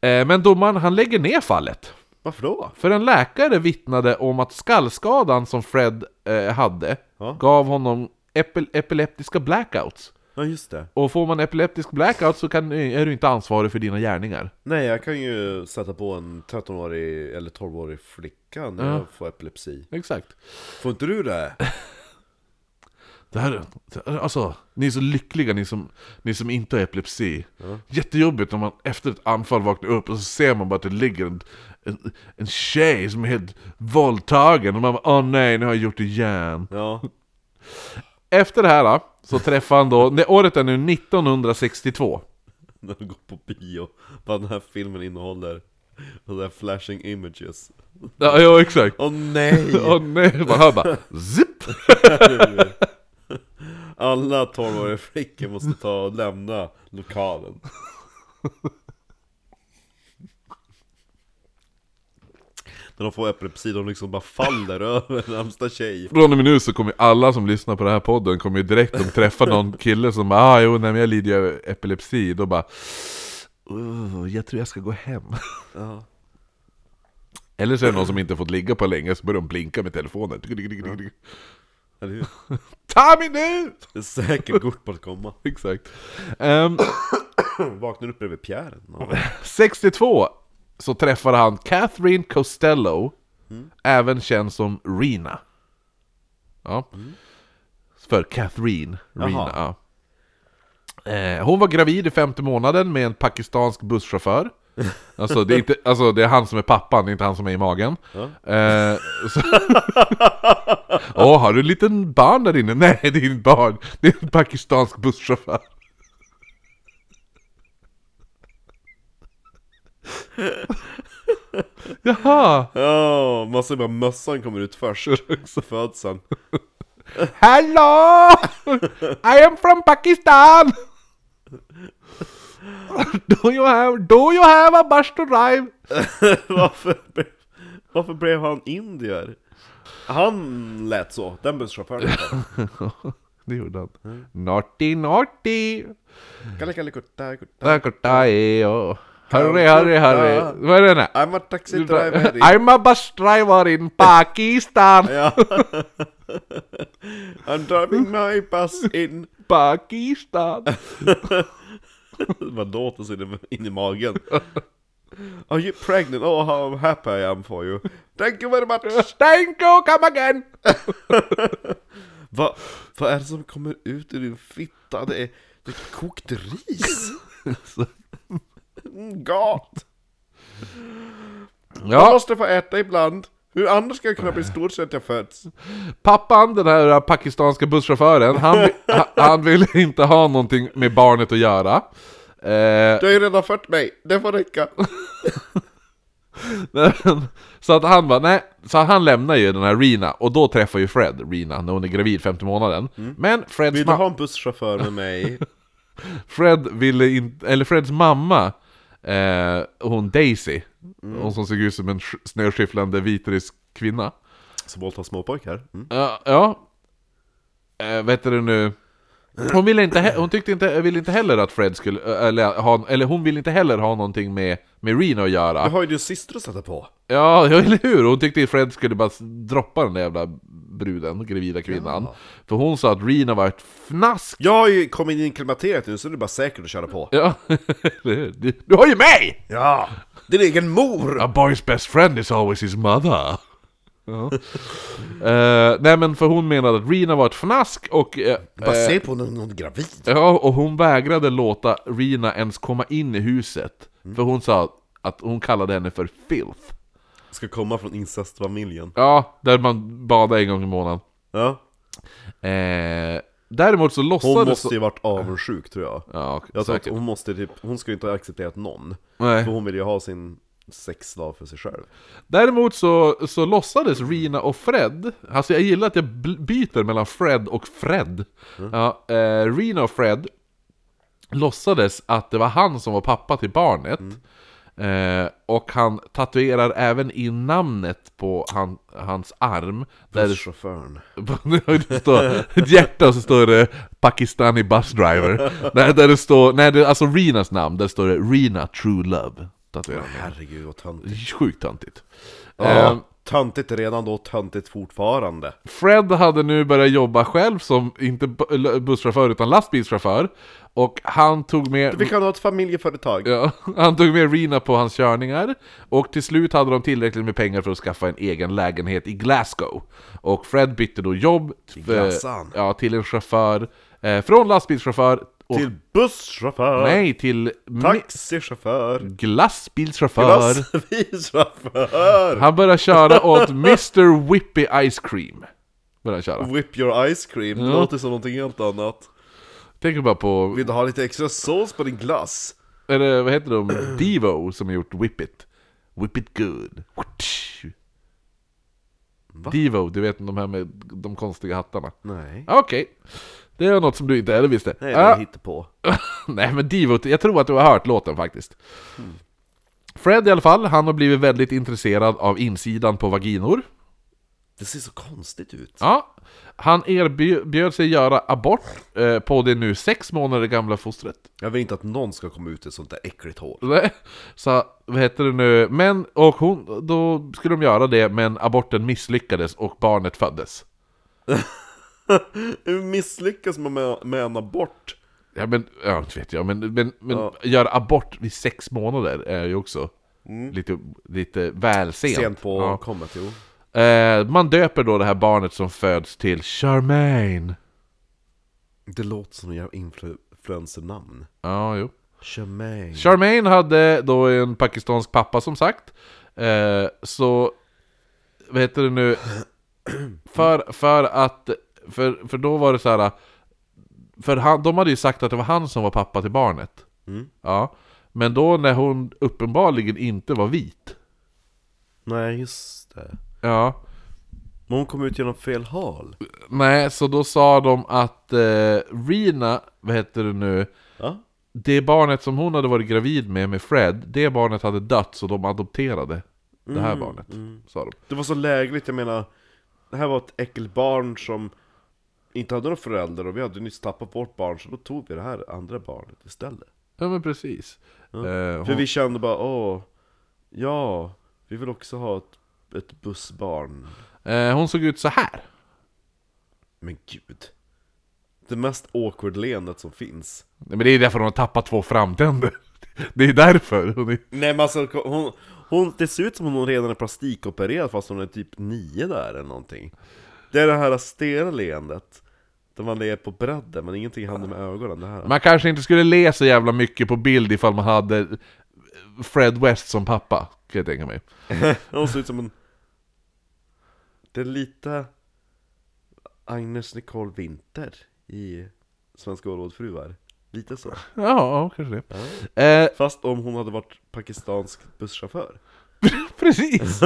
Speaker 1: Eh, men domaren han lägger ner fallet.
Speaker 2: Varför då?
Speaker 1: För en läkare vittnade om att skallskadan som Fred eh, hade
Speaker 2: Ja.
Speaker 1: gav honom epil- epileptiska blackouts.
Speaker 2: Ja just det.
Speaker 1: Och får man epileptisk blackout så kan, är du inte ansvarig för dina gärningar.
Speaker 2: Nej jag kan ju sätta på en 13-årig eller 12-årig flicka när jag får epilepsi.
Speaker 1: Exakt.
Speaker 2: Får inte du det?
Speaker 1: Det här, det här- alltså, ni är så lyckliga ni som, ni som inte har epilepsi. Jättejobbigt när man efter ett anfall vaknar upp och så ser man bara att det ligger en, en, en tjej som är helt våldtagen och man bara åh nej, nu har jag gjort det igen.
Speaker 2: Ja.
Speaker 1: Efter det här då, så träffar han då, det, året är nu 1962.
Speaker 2: när du går på bio. Vad den här filmen innehåller. Och det här flashing images.
Speaker 1: Ja, ja exakt.
Speaker 2: Åh nej!
Speaker 1: Åh nej, man hör bara zipp!
Speaker 2: Alla 12-åriga flickor måste ta och lämna lokalen. När de får epilepsi, de liksom bara faller över närmsta tjej.
Speaker 1: Från och med nu så kommer alla som lyssnar på den här podden kommer ju direkt de träffar någon kille som bara ah, jo, nej, men jag lider ju av epilepsi, då bara "Ugh, jag tror jag ska gå hem.
Speaker 2: Ja.
Speaker 1: Eller så är det någon som inte fått ligga på länge så börjar de blinka med telefonen.
Speaker 2: Eller hur?
Speaker 1: Ta mig nu!
Speaker 2: Det är säkert kort på att komma.
Speaker 1: Exakt. Ehm,
Speaker 2: Vaknar upp bredvid Pierre. Ja.
Speaker 1: 62 så träffar han Catherine Costello, även känd som Rena. Ja. För Catherine, Rena. Ja. Eh, hon var gravid i femte månaden med en pakistansk busschaufför. Alltså det, är inte, alltså det är han som är pappan, det är inte han som är i magen. Eh, så- Åh, har du en liten barn där inne? Nej, det är inte barn. Det är en pakistansk busschaufför. Jaha!
Speaker 2: Ja, man ser bara mössan kommer ut först. Föds han.
Speaker 1: Hello! I am from Pakistan! Do you have, do you have a bus to drive?
Speaker 2: Varför, blev- varför blev han indier? Han lät så, den busschauffören.
Speaker 1: Det gjorde han. Naughty, naughty!
Speaker 2: Kalle, kalle, kutta, kutta.
Speaker 1: Takataeo. oh." Hurry, hurry, hurry. Vad är den här?
Speaker 2: I'm a taxi driver.
Speaker 1: I'm a bus driver in Pakistan!
Speaker 2: Ja. I'm driving my bus in
Speaker 1: Pakistan!
Speaker 2: Man låter sig in i- in i magen. Are you pregnant? Oh how happy I am for you. Thank you very much!
Speaker 1: Stenko come again!
Speaker 2: Va, vad är det som kommer ut ur din fitta? Det är, det är kokt ris! Mm, Gott! Jag
Speaker 1: Ja,
Speaker 2: måste få äta ibland. Hur annars ska jag kunna bli stor så att jag föds?
Speaker 1: pappan, den här pakistanska busschauffören, han, vi- ha- han ville inte ha någonting med barnet att göra. Eh,
Speaker 2: Du har ju redan fött mig, det får räcka.
Speaker 1: så att han bara, nej, så han lämnar ju den här Rina, och då träffar ju Fred Rina när hon är gravid femte månaden. Men Freds
Speaker 2: Mm. Vill du
Speaker 1: ma-
Speaker 2: ha en busschaufför med mig?
Speaker 1: Fred ville inte, eller Freds mamma, eh, hon Daisy,
Speaker 2: Mm.
Speaker 1: hon som såg ut som en sk- snöskyfflande vitrysk kvinna.
Speaker 2: Som våldtar småpojkar. Mm.
Speaker 1: Ja, ja. Eh, vet du nu? Hon ville inte, he- hon tyckte inte, ville inte heller att Fred skulle, eh, eller, ha, eller hon ville inte heller ha någonting med, med Reno att
Speaker 2: Jag
Speaker 1: göra.
Speaker 2: har ju din syster att sätta på.
Speaker 1: Ja, ja, eller hur? Hon tyckte att Fred skulle bara s- droppa den där jävla bruden, gravida kvinnan. För hon sa att Reno var ett fnask.
Speaker 2: Jag har ju kommit in i klimakteriet nu så det är bara säkert att köra på.
Speaker 1: Ja, eller hur? Du, du har ju mig!
Speaker 2: Ja! Din egen mor!
Speaker 1: A boy's best friend is always his mother. Eh, nej men för hon menade att Rina var ett fnask och... eh,
Speaker 2: Bara se på när någon är gravid.
Speaker 1: Ja, och hon vägrade låta Rina ens komma in i huset.
Speaker 2: Mm.
Speaker 1: För hon sa att hon kallade henne för filth.
Speaker 2: Ska komma från incestfamiljen.
Speaker 1: Ja, där man badar en gång i månaden.
Speaker 2: Ja.
Speaker 1: Eh, däremot så låtsades...
Speaker 2: Hon måste ju varit avundsjuk tror jag.
Speaker 1: Ja,
Speaker 2: Jag tror att
Speaker 1: säkert.
Speaker 2: hon måste typ, hon ska ju inte ha accepterat någon.
Speaker 1: Nej.
Speaker 2: För hon vill ju ha sin sexdag för sig själv.
Speaker 1: Däremot så, så låtsades Rina och Fred, alltså jag gillar att jag bl- byter mellan Fred och Fred. Ja, eh, Rina och Fred låtsades att det var han som var pappa till barnet. Eh, och han tatuerar även in namnet på han, hans arm. Där det,
Speaker 2: Busschauffören.
Speaker 1: det står ett hjärta och så står det Pakistani bus driver. där, där det står, nej det är alltså Rinas namn, där står det Rina True Love. Tatuerar han.
Speaker 2: Herregud vad töntigt.
Speaker 1: Sjukt töntigt.
Speaker 2: Ja,
Speaker 1: Eh,
Speaker 2: töntigt redan då, töntigt fortfarande.
Speaker 1: Fred hade nu börjat jobba själv som, inte bu- busschaufför utan lastbilschaufför Och han tog
Speaker 2: Vi
Speaker 1: med,
Speaker 2: kan ha ett familjeföretag.
Speaker 1: ja, han tog med Rina på hans körningar Och till slut hade de tillräckligt med pengar för att skaffa en egen lägenhet i Glasgow Och Fred bytte då jobb för,
Speaker 2: Glassan.
Speaker 1: ja, till en chaufför eh, Från lastbilschaufför och,
Speaker 2: Till busschaufför.
Speaker 1: Nej, till mi-
Speaker 2: Taxichaufför.
Speaker 1: glassbilschaufför
Speaker 2: Lastbilschaufför.
Speaker 1: Han började köra åt Mr. Whippy Ice Cream Började han köra.
Speaker 2: Whip your ice cream. Det låter som någonting helt annat.
Speaker 1: Tänker bara på
Speaker 2: Vill du ha lite extra sås på din glass?
Speaker 1: Eller vad heter de? Devo som har gjort Whip It. Whip It Good. Devo, du vet de här med de konstiga hattarna.
Speaker 2: Nej.
Speaker 1: Ah, Okej. Det är något som du inte heller visste.
Speaker 2: Nej, det
Speaker 1: Ah,
Speaker 2: är hittepå.
Speaker 1: nej men Devo, jag tror att du har hört låten faktiskt.
Speaker 2: Mm.
Speaker 1: Fred i alla fall, han har blivit väldigt intresserad av insidan på vaginor.
Speaker 2: Det ser så konstigt ut.
Speaker 1: Ja. Han erbjöd sig göra abort eh, på det nu sex månader gamla fostret.
Speaker 2: Jag vill inte att någon ska komma ut i ett sånt där äckligt hål.
Speaker 1: Nej. Så, vad heter det nu? Men, och hon, då skulle de göra det, men aborten misslyckades och barnet föddes.
Speaker 2: Hur misslyckas man med, med en abort?
Speaker 1: Ja men, ja inte vet jag, men, men, men göra abort vid sex månader är ju också lite, lite väl sent.
Speaker 2: Mm. Sent på
Speaker 1: Ja.
Speaker 2: kommet, jo.
Speaker 1: Eh, man döper då det här barnet som föds till Charmaine.
Speaker 2: Det låter som en jävla influencer-namn.
Speaker 1: Ja, jo.
Speaker 2: Charmaine.
Speaker 1: Charmaine hade då en pakistansk pappa som sagt. Eh, så, vad heter det nu? För, för att, för, för då var det så här. För han, de hade ju sagt att det var han som var pappa till barnet. Ja. Men då när hon uppenbarligen inte var vit.
Speaker 2: Nej, just det.
Speaker 1: Ja.
Speaker 2: Men hon kom ut genom fel hål.
Speaker 1: Nej, så då sa de att eh, Rina, vad heter det nu?
Speaker 2: Ja.
Speaker 1: Det barnet som hon hade varit gravid med, med Fred, det barnet hade dött så de adopterade det
Speaker 2: Mm,
Speaker 1: här barnet. Sa de.
Speaker 2: Det var så lägligt, jag menar. Det här var ett äckelbarn som inte hade några föräldrar och vi hade nyss tappat vårt barn så då tog vi det här andra barnet istället.
Speaker 1: Ja men precis. Eh, hon,
Speaker 2: För vi kände bara åh, ja, vi vill också ha ett, ett bussbarn.
Speaker 1: eh, hon såg ut så här.
Speaker 2: Men gud. Det mest awkward leendet som finns.
Speaker 1: Nej, Men det är därför hon har tappat två framtänder. Det är därför. Hon är...
Speaker 2: Nej men alltså, hon, hon, det ser ut som om hon redan är plastikopererad fast hon är typ nio där eller någonting. Det är det här stela leendet. Där man ler på bredden men ingenting händer med ögonen. Det här.
Speaker 1: Man kanske inte skulle le så jävla mycket på bild ifall man hade eh, Fred West som pappa, kan jag tänka mig.
Speaker 2: Hon ser ut som en... Det är lite Agnes Nicole Winter i Svenska Ålrådfruar. Lite så.
Speaker 1: Ja, kanske det. Eh,
Speaker 2: Fast om hon hade varit pakistansk busschaufför.
Speaker 1: precis!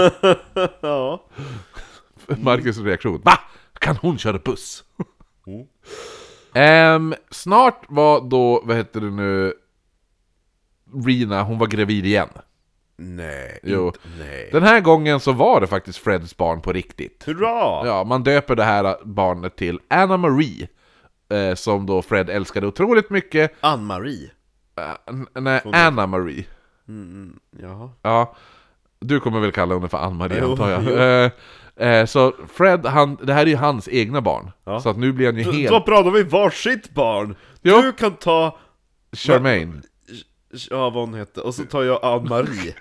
Speaker 2: ja.
Speaker 1: Marcus reaktion. Va? Kan hon köra buss?
Speaker 2: Mm.
Speaker 1: Ehm, snart var då, vad heter det nu, Rina, hon var gravid igen.
Speaker 2: Nej.
Speaker 1: Jo.
Speaker 2: Inte, nej.
Speaker 1: Den här gången så var det faktiskt Freds barn på riktigt.
Speaker 2: Hurra!
Speaker 1: Ja, man döper det här barnet till Anna Marie. eh, Som då Fred älskade otroligt mycket.
Speaker 2: Ann-Marie.
Speaker 1: Eh, n- nej, Anna Marie.
Speaker 2: Mm, jaha.
Speaker 1: Ja, du kommer väl kalla henne för Ann-Marie
Speaker 2: Jo,
Speaker 1: antar jag.
Speaker 2: jo.
Speaker 1: Eh, eh, så Fred, han, det här är ju hans egna barn.
Speaker 2: Ja.
Speaker 1: Så att nu blir han ju
Speaker 2: D-
Speaker 1: helt...
Speaker 2: Då pratar vi varsitt barn!
Speaker 1: Jo.
Speaker 2: Du kan ta,
Speaker 1: Charmaine.
Speaker 2: ja vad hon hette, och så tar jag Ann-Marie.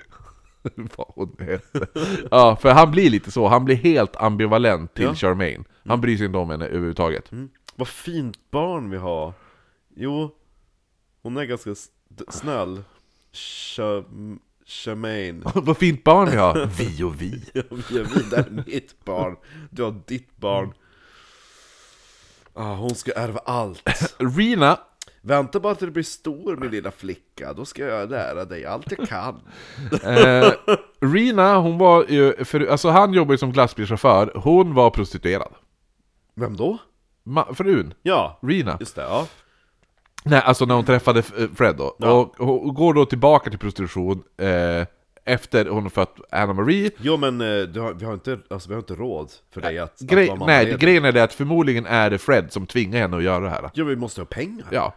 Speaker 1: Vad hon heter. Ja, för han blir lite så. Han blir helt ambivalent till
Speaker 2: Ja.
Speaker 1: Charmaine. Han bryr sig inte om henne överhuvudtaget.
Speaker 2: Mm. Vad fint barn vi har. Jo, hon är ganska s- d- snäll. Cham- Charmaine.
Speaker 1: Vad fint barn vi har! Vi och vi.
Speaker 2: Ja, vi är vi, det här är mitt barn. Du har ditt barn. Ah, hon ska ärva allt.
Speaker 1: Rina,
Speaker 2: Vänta bara till du blir stor min lilla flicka, då ska jag lära dig allt jag kan.
Speaker 1: eh, Rina, hon var ju, för, alltså han jobbar ju som glassbilschaufför, hon var prostituerad.
Speaker 2: Vem då?
Speaker 1: Ma, frun,
Speaker 2: Ja,
Speaker 1: Rina.
Speaker 2: just det, ja.
Speaker 1: Nej, alltså när hon träffade F- eh, Fred då.
Speaker 2: Ja.
Speaker 1: Och hon går då tillbaka till prostitution eh, efter hon har fött Anna Marie.
Speaker 2: Jo men eh, du har, vi, har inte, alltså, vi har inte råd för dig att, att
Speaker 1: Grej,
Speaker 2: vara
Speaker 1: nej,
Speaker 2: mammaledig.
Speaker 1: grejen är det att förmodligen är det Fred som tvingar henne att göra det här.
Speaker 2: Jo vi måste ha pengar.
Speaker 1: Ja.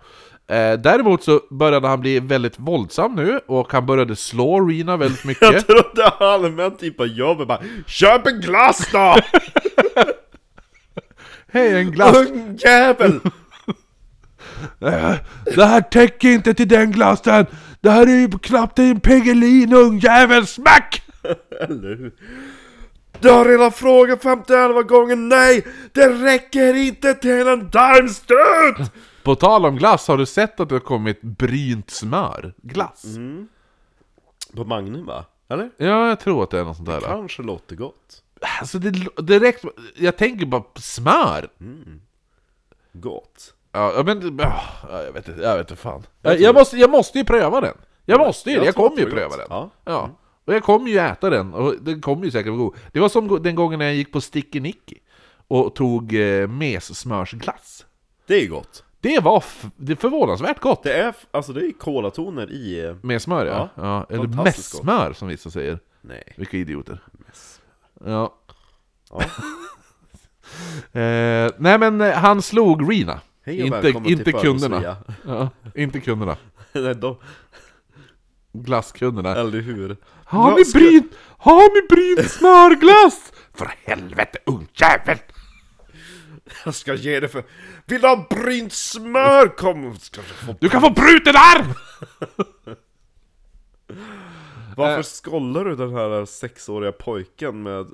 Speaker 1: Eh, däremot så började han bli väldigt våldsam nu, och han började slå Rina väldigt mycket.
Speaker 2: Jag trodde allmänt typ av jobbet bara Köp en glass då!
Speaker 1: Hej, en glass!
Speaker 2: Ungjävel!
Speaker 1: Äh, Det här täcker inte till den glassen! Det här är ju knappt en Piggelin, ungjävel! Smack!
Speaker 2: Eller hur? Du har redan frågat 51 gånger nej! Det räcker inte till en darmstrut!
Speaker 1: På tal om glass, har du sett att det har kommit brynt smör? Glass?
Speaker 2: På Magnum va? Eller?
Speaker 1: Ja, jag tror att det är något sånt där.
Speaker 2: Kanske låter gott.
Speaker 1: Alltså det lo- direkt, jag tänker bara på smör!
Speaker 2: Gott.
Speaker 1: Ja ja, men, ah, ja, jag vet inte, jag vet inte fan. Jag, jag, måste, jag måste ju pröva den! Jag måste ju,
Speaker 2: jag
Speaker 1: jag,
Speaker 2: tror
Speaker 1: kommer ju
Speaker 2: att det är
Speaker 1: pröva
Speaker 2: gott.
Speaker 1: den!
Speaker 2: Ja.
Speaker 1: Och jag kommer ju äta den, och den kommer ju säkert vara god. Det var som go- den gången när jag gick på Stickenicki och tog eh, messmörsglass.
Speaker 2: Det är gott.
Speaker 1: Det var f- det är förvånansvärt gott!
Speaker 2: Det är, f- alltså det är kolatoner i... eh,
Speaker 1: Med smör ja.
Speaker 2: Ja,
Speaker 1: ja eller
Speaker 2: fantastiskt gott.
Speaker 1: messmör som vissa säger.
Speaker 2: Nej.
Speaker 1: Vilka idioter. Ja.
Speaker 2: Ja.
Speaker 1: eh, nej men eh, han slog Rina.
Speaker 2: Hej och
Speaker 1: inte
Speaker 2: välkommen
Speaker 1: inte
Speaker 2: till
Speaker 1: kunderna.
Speaker 2: Fördomsfria.
Speaker 1: Ja, inte kunderna.
Speaker 2: Nej, de,
Speaker 1: Glasskunderna.
Speaker 2: eller hur?
Speaker 1: Har
Speaker 2: Eh, Vad
Speaker 1: ni
Speaker 2: ska-
Speaker 1: brynt, har ni brynt smörglass? För helvete ungjävel!
Speaker 2: Jag ska ge dig för... Vill du ha brynt smör? Kom! Ska du få...
Speaker 1: Du kan få bruten arm! Eh.
Speaker 2: Varför skollar du den här sexåriga pojken med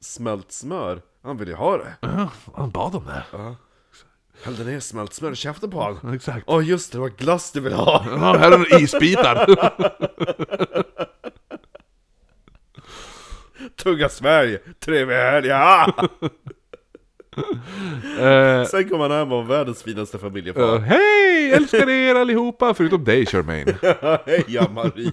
Speaker 2: smält smör? Han vill ju ha det.
Speaker 1: Ja, Han bad om det.
Speaker 2: Hällde ner smält smör i käften på honom.
Speaker 1: Exakt.
Speaker 2: Åh just det, det var glass du ville ha!
Speaker 1: Ja, här har du isbitar.
Speaker 2: Tugga Sverige! Trevlig helg! Ja!
Speaker 1: Eh,
Speaker 2: Sen kom han hem och var världens finaste familjefar.
Speaker 1: eh, Hej! Älskar er allihopa, förutom dig Charmaine.
Speaker 2: Heja Marie!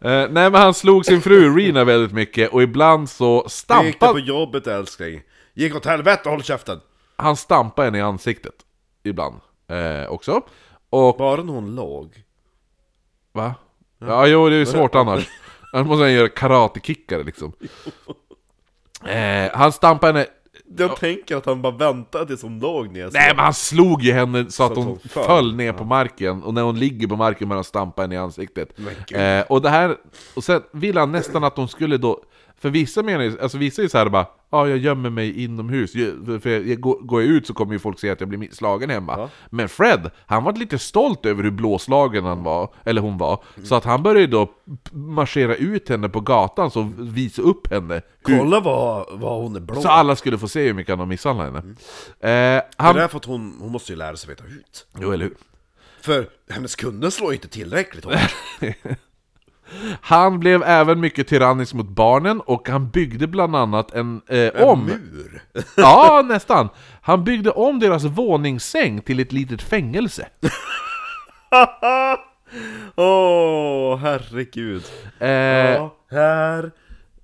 Speaker 1: Eh, nej men han slog sin fru Rina väldigt mycket och ibland så
Speaker 2: Hur gick det
Speaker 1: stampade
Speaker 2: på jobbet älskling? Gick åt helvete, håll käften!
Speaker 1: han stampade henne i ansiktet. Ibland. Eh, också. Och...
Speaker 2: Bara när hon låg.
Speaker 1: Va? Ja jo det är ju svårt annars. Annars måste han göra karatekickar liksom. Eh, han stampade henne...
Speaker 2: Jag tänker att han bara väntade tills hon låg ner. så-
Speaker 1: Nej men han slog ju henne så att
Speaker 2: att
Speaker 1: hon
Speaker 2: hon föll.
Speaker 1: föll ner på marken. Och när hon ligger på marken börjar han stampa henne i ansiktet.
Speaker 2: Men gud.
Speaker 1: Eh, och det här... Och sen ville han nästan att hon skulle då... För vissa menar ju... Alltså vissa är ju såhär bara... ja, jag gömmer mig inomhus. Ju- För jag, jag, går- går jag ut så kommer ju folk se att jag blir slagen hemma.
Speaker 2: Ja.
Speaker 1: Men Fred, han var lite stolt över hur blåslagen han var, eller hon var.
Speaker 2: Mm.
Speaker 1: Så att han började då p- marschera ut henne på gatan så visa upp henne.
Speaker 2: Kolla vad, vad hon är blå.
Speaker 1: Så alla skulle få se hur mycket han har misshandlat henne. Eh, han...
Speaker 2: Det är därför att hon, hon måste ju lära sig veta ut.
Speaker 1: Jo, eller hur?
Speaker 2: För hennes kunder slår ju inte tillräckligt hårt.
Speaker 1: Han blev även mycket tyrannisk mot barnen och han byggde bland annat en eh, om...
Speaker 2: Mur.
Speaker 1: Ja, nästan! Han byggde om deras våningssäng till ett litet fängelse.
Speaker 2: Åh, herregud.
Speaker 1: Eh,
Speaker 2: Ja, här,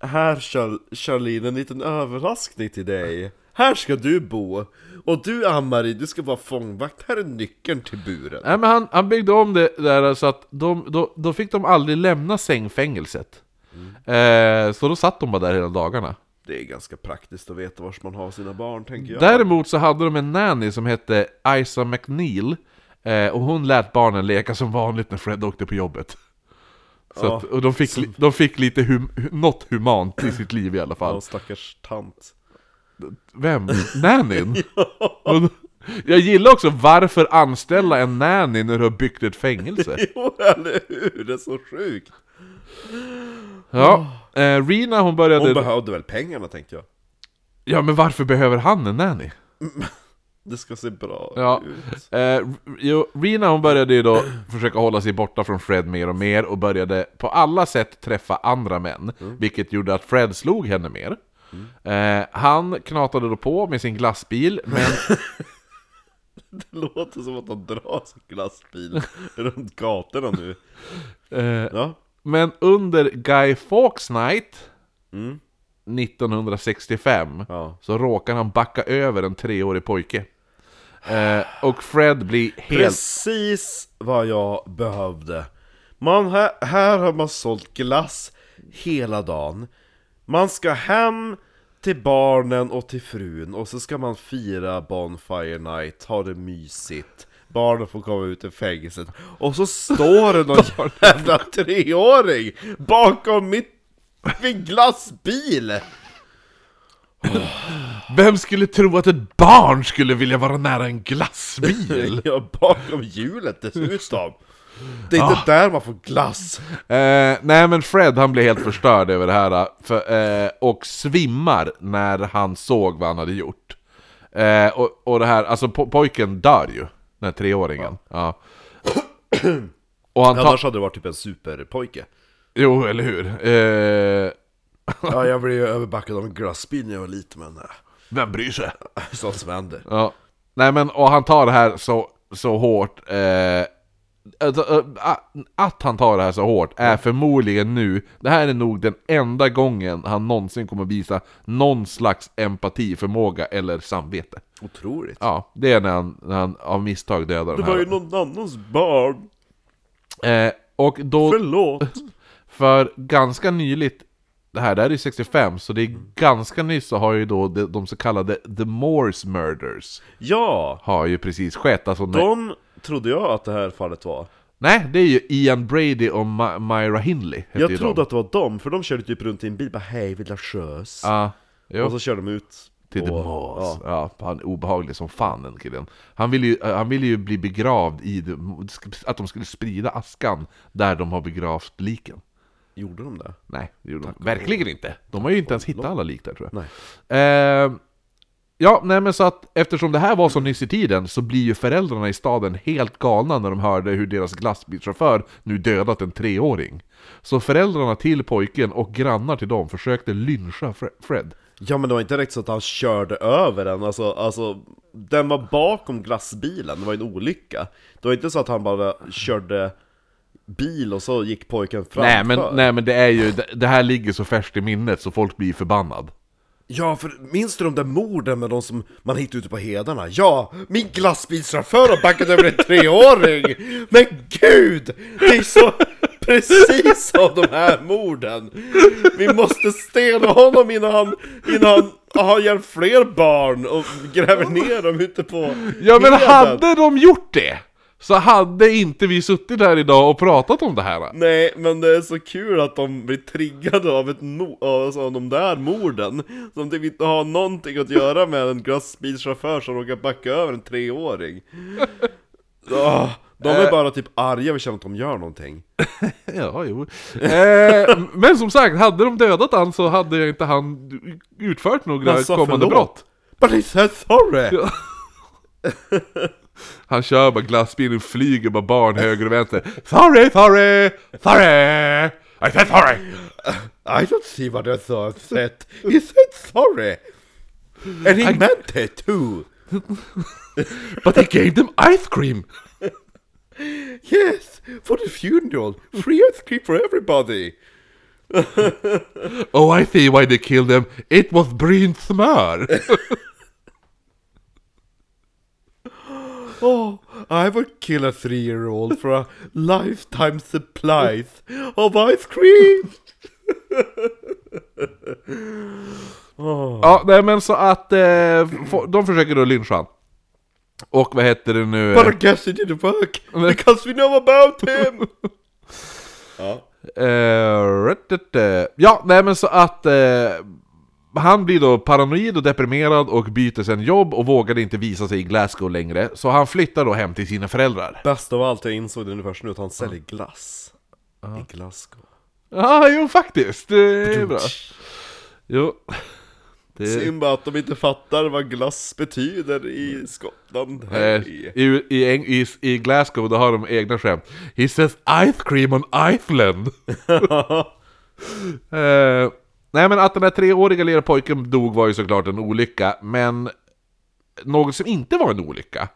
Speaker 2: här Charl- Charlene, en liten överraskning till dig. Här ska du bo. Och du Ann-Marie, du ska vara fångvakt. Här är nyckeln till buren.
Speaker 1: nej, men han, han byggde om det där så att de, då, då fick de aldrig lämna sängfängelset. Eh, så då satt de bara där hela dagarna.
Speaker 2: Det är ganska praktiskt att veta vars man har sina barn, tänker jag.
Speaker 1: Däremot så hade de en nanny som hette Isa McNeil eh, Och hon lät barnen leka som vanligt när Fred åkte på jobbet så
Speaker 2: Ja,
Speaker 1: att, och de fick, li- de fick lite hum, hu- något humant i sitt liv i alla fall.
Speaker 2: Ja, stackars tant.
Speaker 1: Vem? Nannyn? Och då- Jag gillar också varför anställa en nanny när du har byggt ett fängelse?
Speaker 2: Jo, eller hur? Det är så sjukt.
Speaker 1: Ja, eh, Rina hon började...
Speaker 2: Hon behövde väl pengarna, tänkte jag.
Speaker 1: ja men varför behöver han en nanny?
Speaker 2: Det ska se bra
Speaker 1: Ja.
Speaker 2: ut.
Speaker 1: Eh, R- jo, Rina hon började ju då försöka hålla sig borta från Fred mer och mer och började på alla sätt träffa andra män,
Speaker 2: Mm.
Speaker 1: vilket gjorde att Fred slog henne mer. Eh, han knatade då på med sin glassbil, men
Speaker 2: Det låter som att han drar sin glassbil runt gatorna nu.
Speaker 1: eh,
Speaker 2: Ja.
Speaker 1: Men under Guy Fawkes Night
Speaker 2: Mm.
Speaker 1: 1965
Speaker 2: ja.
Speaker 1: så råkar han backa över en treårig pojke. Eh, och Fred blir helt...
Speaker 2: Precis vad jag behövde. Man, här, här har man sålt glass hela dagen. Man ska hem till barnen och till frun och så ska man fira Bonfire Night, ha det mysigt. Barnen får komma ut ur fängelset. Och så står det någon jävla treåring bakom mitt, min glassbil!
Speaker 1: Vem skulle tro att ett barn skulle vilja vara nära en glassbil?
Speaker 2: Ja, bakom hjulet dessutom! Det är inte där man får glass!
Speaker 1: Eh, nej men Fred han blev helt förstörd över det här för, eh, och svimmar när han såg vad han hade gjort. Eh, och, och det här, alltså po- pojken dör ju, den här treåringen. Ja. Och han tar...
Speaker 2: Annars hade det varit typ en superpojke.
Speaker 1: Jo, eller hur? Eh,
Speaker 2: Ja, jag blev ju överbackad av en glassbil när jag var liten, men nej.
Speaker 1: vem bryr sig?
Speaker 2: Sånt som händer.
Speaker 1: Ja. Nej men, och han tar det här så, så hårt. Eh, att, att- att han tar det här så hårt är förmodligen nu, det här är nog den enda gången han någonsin kommer visa någon slags empatiförmåga eller samvete.
Speaker 2: Otroligt.
Speaker 1: Ja, det är när han, när han av misstag dödar
Speaker 2: Det
Speaker 1: den
Speaker 2: var ju
Speaker 1: här.
Speaker 2: någon annans barn.
Speaker 1: Eh, och då...
Speaker 2: Förlåt.
Speaker 1: För ganska nyligt, det här, det här är ju 65, så det är
Speaker 2: Mm.
Speaker 1: ganska nyss så har ju då de, de så kallade The Morse Murders
Speaker 2: Ja,
Speaker 1: har ju precis skett. Alltså, nej,
Speaker 2: de trodde jag att det här fallet var.
Speaker 1: nej, det är ju Ian Brady och Ma- Myra Hindley. heter ju
Speaker 2: Jag trodde
Speaker 1: de.
Speaker 2: att det var dem, för de körde typ runt i en bil bara hej, vill du sjös?
Speaker 1: Ja, jo.
Speaker 2: Och så körde de ut.
Speaker 1: Till The
Speaker 2: på-
Speaker 1: Morse.
Speaker 2: Ja.
Speaker 1: Ja. han är obehaglig som fan den killen. Han ville ju, eh, han ville ju bli begravd i, The- att de skulle sprida askan där de har begravt liken.
Speaker 2: Gjorde de det?
Speaker 1: Nej, det gjorde de verkligen inte. De har ju inte ens hittat alla lik där tror jag.
Speaker 2: Nej.
Speaker 1: Eh, ja, nej men så att eftersom det här var så nyss i tiden så blir ju föräldrarna i staden helt galna när de hörde hur deras glassbilschaufför nu dödat en treåring. Så föräldrarna till pojken och grannar till dem försökte lyncha Fre- Fred.
Speaker 2: Ja men det var inte direkt så att han körde över den, alltså, alltså den var bakom glassbilen, det var en olycka. Det var inte så att han bara körde bil och så gick pojken framför.
Speaker 1: Nej men, nej men det är ju, det- det här ligger så färskt i minnet så folk blir förbannad.
Speaker 2: Ja, för minns du de där morden med de som man hittade ute på hedarna? Ja, min glassbilschaufför har backat över en treåring! Men gud! Det är så precis som de här morden! Vi måste stena honom innan han, innan han har ihjäl fler barn och gräver ner dem ute på
Speaker 1: Ja men
Speaker 2: heden.
Speaker 1: hade de gjort det? så hade inte vi suttit här idag och pratat om det här.
Speaker 2: Nej, men det är så kul att de blir triggade av, ett mo- alltså, av de där morden Som typ inte har någonting att göra med en glassbilschaufför som råkar backa över en treåring Åh, De är
Speaker 1: Eh.
Speaker 2: bara typ arga och känner att de gör någonting
Speaker 1: Ja, jo. Eh, men som sagt, hade de dödat han så hade jag inte han utfört några
Speaker 2: Men sa
Speaker 1: kommande
Speaker 2: förlåt.
Speaker 1: brott.
Speaker 2: But he said sorry!
Speaker 1: Ja. Han kör bara glassbilen, flyger bara barn höger och vänster. Sorry, sorry, sorry! I said sorry!
Speaker 2: I don't see what I saw said He said sorry! And he meant it too!
Speaker 1: But I gave them ice cream!
Speaker 2: Yes! For the funeral! Free ice cream for everybody!
Speaker 1: Oh I see why they killed them, it was brynt smör!
Speaker 2: Oh, I would kill a three-year-old for a lifetime supplies of ice cream!
Speaker 1: ja, nej men så att eh, fo- de försöker då lyncha han. Och vad heter det nu?
Speaker 2: But I guess it didn't work, because we know about him! ja.
Speaker 1: Eh, rätt, rätt, eh. ja, nej men så att eh, han blir då paranoid och deprimerad och byter sen jobb och vågade inte visa sig i Glasgow längre. Så han flyttar då hem till sina föräldrar.
Speaker 2: Bäst av allt, jag insåg det nu först nu, att han säljer glass. I Glasgow.
Speaker 1: Ja, ah, jo faktiskt. Det är bra. Jo. Det,
Speaker 2: Synd bara att de inte fattar vad glass betyder i Skottland.
Speaker 1: eh,
Speaker 2: Hej.
Speaker 1: i, i, Eng- i, I Glasgow då har de egna skämt. He says ice cream on Iceland. Eh, nej men att den här treåriga lilla pojken dog var ju såklart en olycka, men något som inte var en olycka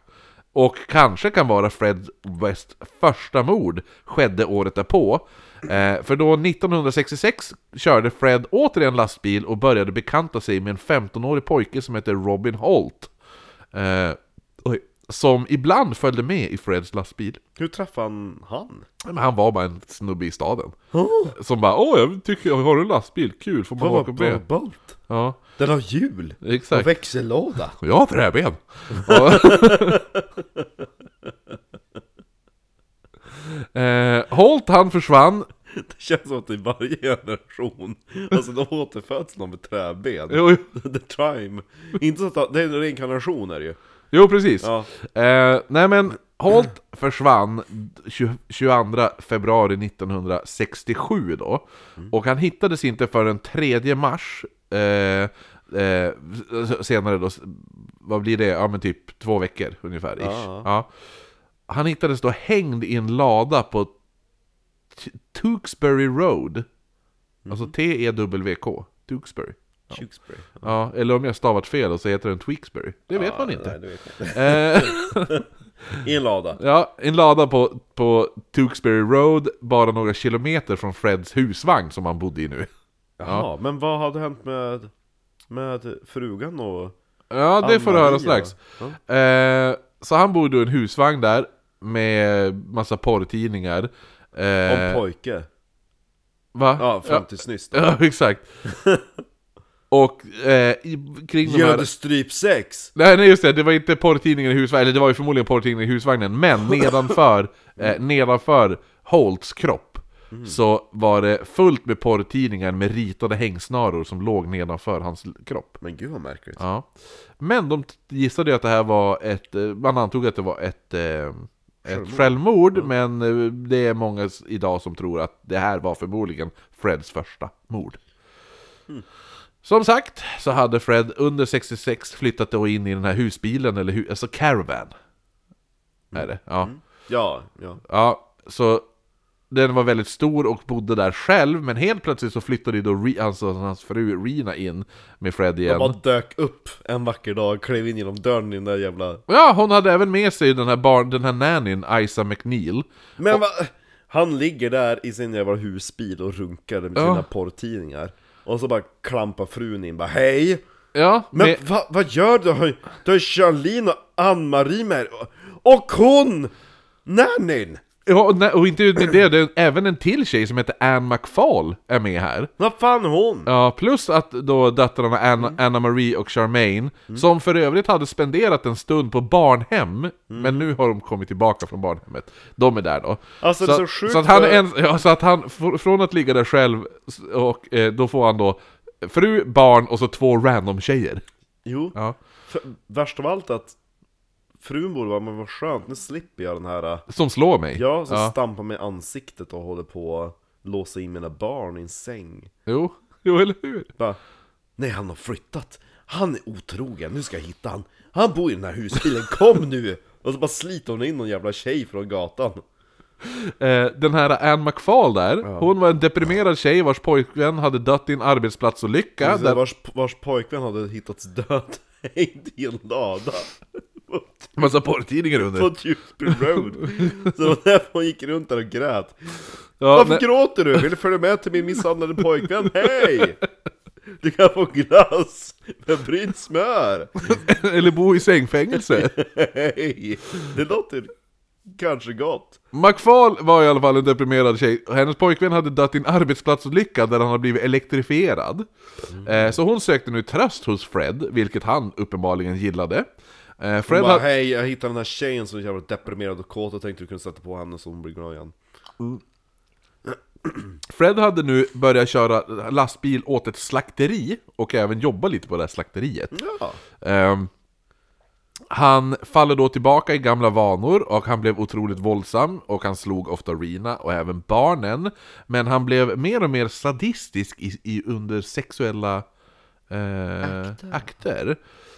Speaker 1: och kanske kan vara Fred Wests första mord skedde året därpå. Eh, för då 1966 körde Fred återigen lastbil och började bekanta sig med en 15-årig pojke som hette Robin Holt. Eh, oj, som ibland följde med i Freds lastbil.
Speaker 2: Hur träffade han han?
Speaker 1: Men han var bara en snubbe i staden. Som bara åh, jag tycker jag har en lastbil, kul, får man
Speaker 2: Vad
Speaker 1: åka
Speaker 2: var
Speaker 1: med?
Speaker 2: Bobolt?
Speaker 1: Ja,
Speaker 2: Den har hjul! Och
Speaker 1: exakt.
Speaker 2: växellåda!
Speaker 1: Och jag har träben. Och- eh, Holt han försvann,
Speaker 2: Det känns som att i varje generation, alltså då återföds någon med träben.
Speaker 1: jo, jo,
Speaker 2: The Trime. Inte så att han- det är en reinkarnation är det ju.
Speaker 1: jo precis.
Speaker 2: Ja.
Speaker 1: Eh, nej men Holt försvann 20, 22 februari 1967 då.
Speaker 2: Mm.
Speaker 1: Och han hittades inte förrän 3 mars. Eh, eh, s- senare då, s- vad blir det? Ja men typ två veckor ungefär. Ish.
Speaker 2: Ja.
Speaker 1: Ja. Han hittades då hängd i en lada på T- Tewksbury Road. Alltså
Speaker 2: Mm.
Speaker 1: T-E-W-K. Tewksbury.
Speaker 2: Tewksbury.
Speaker 1: Ja, eller om jag stavat fel så heter den Tewksbury. Det vet man inte.
Speaker 2: Nej, det vet jag.
Speaker 1: Eh,
Speaker 2: inte. I en lada.
Speaker 1: Ja, en lada på, på Tewksbury Road, bara några kilometer från Freds husvagn som han bodde i nu.
Speaker 2: Jaha, men vad hade hänt med, med frugan och
Speaker 1: Ja, det får du
Speaker 2: Ann-Maria?
Speaker 1: höra strax.
Speaker 2: Ja.
Speaker 1: Eh, så han bodde i en husvagn där, med massa porrtidningar. Eh,
Speaker 2: Om pojke?
Speaker 1: va?
Speaker 2: Ja, fram tills nyss då.
Speaker 1: ja, exakt. Och eh, i, kring de här...
Speaker 2: Gillade strypsex!
Speaker 1: Nej, nej just det, det var inte porrtidningen i husvagnen, eller det var ju förmodligen porrtidningen i husvagnen, men nedanför, eh, nedanför Holts kropp så var det fullt med porrtidningar med ritade hängsnaror som låg nedanför hans l- kropp.
Speaker 2: Men gud vad märkligt.
Speaker 1: Ja. Men de t- gissade ju att det här var ett, eh, man antog att det var ett, eh, ett självmord, men eh, det är många s- idag som tror att det här var förmodligen Freds första mord. Som sagt, så hade Fred under 66 flyttat då in i den här husbilen, eller hu- alltså caravan. Är det, ja.
Speaker 2: Ja, ja.
Speaker 1: Ja, så den var väldigt stor och bodde där själv, men helt plötsligt så flyttade ju då Re- alltså, hans fru Rina in med Fred igen.
Speaker 2: Bara dök upp en vacker dag, klev in genom dörren i den där jävla...
Speaker 1: Ja, hon hade även med sig den här, barn, den här nannyn, Isa McNeil.
Speaker 2: Men vad... Han ligger där i sin jävla husbil och runkar med sina porrtidningar. Och så bara klampar frun in bara hej!
Speaker 1: Ja,
Speaker 2: Men
Speaker 1: med,
Speaker 2: va, vad gör du? Har- Du har Charlene och Ann-Marie med dig. Och hon! Nannyn!
Speaker 1: Ja, och nej, och inte ut med det, det är även en till tjej som heter Anne McFall är med här.
Speaker 2: Vad fan är hon?
Speaker 1: Ja, plus att då döttrarna Anna, Anna Marie och Charmaine, som för övrigt hade spenderat en stund på barnhem, men nu har de kommit tillbaka från barnhemmet. De är där då.
Speaker 2: Alltså, det är så sjukt
Speaker 1: så att han, är
Speaker 2: för-
Speaker 1: en, ja, så att han fr- från att ligga där själv, s- och eh, då får han då fru, barn och så två random tjejer.
Speaker 2: Jo,
Speaker 1: Ja.
Speaker 2: för, värst av allt att frun borde vara, men vad skönt, nu slipper jag den här, äh,
Speaker 1: Som slår mig.
Speaker 2: jag som stampar mig i ansiktet och håller på att låsa in mina barn i en säng.
Speaker 1: Jo. jo, eller hur?
Speaker 2: Bara, nej han har flyttat, han är otrogen, nu ska jag hitta han. Han bor i den här husbilen, kom nu! Och så bara sliter hon in någon jävla tjej från gatan.
Speaker 1: Eh, den här Anne McFall där, hon var en deprimerad tjej vars pojkvän hade dött i en arbetsplatsolycka.
Speaker 2: Precis,
Speaker 1: Där,
Speaker 2: Vars, vars pojkvän hade hittats död hängd i en lada
Speaker 1: massa porrtidningar under.
Speaker 2: på Dewsby Road. Så det var därför hon gick runt där och grät.
Speaker 1: Ja,
Speaker 2: Varför
Speaker 1: nej,
Speaker 2: gråter du? Vill du följa med till min misshandlade pojkvän? Hej! Du kan få glass med brynt smör!
Speaker 1: eller bo i sängfängelse.
Speaker 2: Hej! Det låter kanske gott.
Speaker 1: McFall var i alla fall en deprimerad tjej, och hennes pojkvän hade dött i en arbetsplatsolycka där han hade blivit elektrifierad.
Speaker 2: Mm.
Speaker 1: Eh, så hon sökte nu tröst hos Fred, vilket han uppenbarligen gillade. Eh, Fred
Speaker 2: Hon bara,
Speaker 1: hade...
Speaker 2: hej, jag hittade den här tjejen som är jävla deprimerad och kåt och tänkte du kunde sätta på henne så hon blir glad igen.
Speaker 1: Fred hade nu börjat köra lastbil åt ett slakteri och även jobba lite på det här slakteriet.
Speaker 2: Ja.
Speaker 1: Ehm, han faller då tillbaka i gamla vanor och han blev otroligt våldsam och han slog ofta Rina och även barnen. Men han blev mer och mer sadistisk i, i, under sexuella eh, akter.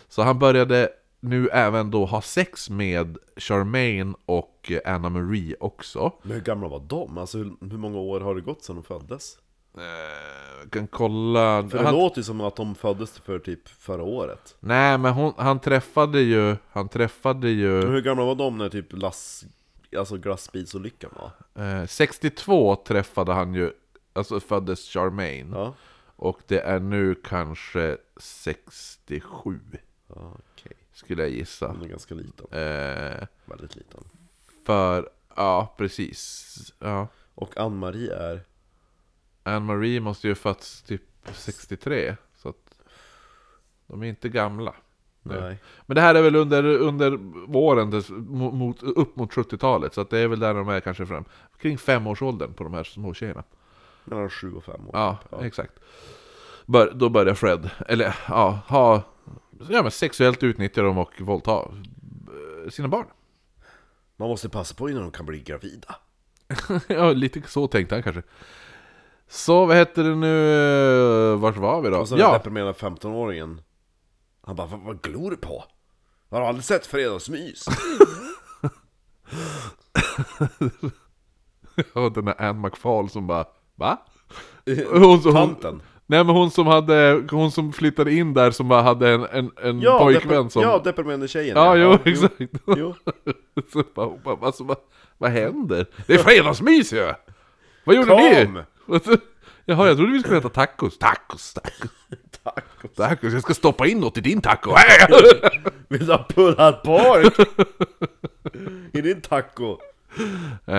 Speaker 1: Så han började nu även då ha sex med Charmaine och eh, Anna Marie också.
Speaker 2: Men hur gamla var de? Alltså hur, hur många år har det gått sedan de föddes?
Speaker 1: Eh, kan kolla...
Speaker 2: För det
Speaker 1: Han-
Speaker 2: låter ju som att de föddes för typ förra året.
Speaker 1: Nej men hon, han träffade ju, han träffade ju...
Speaker 2: Men hur gamla var de när typ lass... Alltså glassbilsolyckan var?
Speaker 1: Eh, 62 träffade han ju, alltså föddes Charmaine.
Speaker 2: Ja,
Speaker 1: Och det är nu kanske 67,
Speaker 2: ja okej.
Speaker 1: skulle jag gissa.
Speaker 2: Hon är ganska liten.
Speaker 1: Eh,
Speaker 2: Väldigt liten.
Speaker 1: för, ja precis. Ja.
Speaker 2: Och Ann-Marie är...
Speaker 1: Anne-Marie måste ju fötts typ 63, så att de är inte gamla. nu.
Speaker 2: Nej.
Speaker 1: Men det här är väl under, under våren, dess- mo- mot, upp mot 70-talet, så att det är väl där de är kanske fram. Kring femårsåldern på de här små tjejerna.
Speaker 2: Mellan 7 och 5 år.
Speaker 1: Ja, exakt. Bör, då börjar Fred, eller ja, ha ja, men sexuellt utnyttja dem och våldta eh, sina barn.
Speaker 2: Man måste passa på innan de kan bli gravida.
Speaker 1: ja, lite så tänkte han kanske. Så vad heter det nu, vart var vi då?
Speaker 2: Och sen Alltså, den
Speaker 1: Ja,
Speaker 2: deprimerade 15-åringen. Han bara, vad, vad glor du på? Har du aldrig sett Fredagsmys?
Speaker 1: och den där Anne McFall som bara Va?
Speaker 2: Eh,
Speaker 1: Hon, hon,
Speaker 2: Tanten.
Speaker 1: nej men hon som, hade, hon som flyttade in där som bara hade en, en, en pojkvän
Speaker 2: depre-
Speaker 1: som...
Speaker 2: Ja, deprimerade tjejen.
Speaker 1: ja, jo, exakt.
Speaker 2: Jo.
Speaker 1: Så bara, hon bara, alltså, vad, vad händer? Det är fredagsmys ju! Vad gjorde
Speaker 2: Kom!
Speaker 1: ni? Vad så- Jaha, jag trodde vi skulle äta tacos. Tacos, tacos,
Speaker 2: Tack.
Speaker 1: tacos. Jag ska stoppa in något i din taco. Hej!
Speaker 2: Vill du ha pullad pork? I din taco?
Speaker 1: Eh,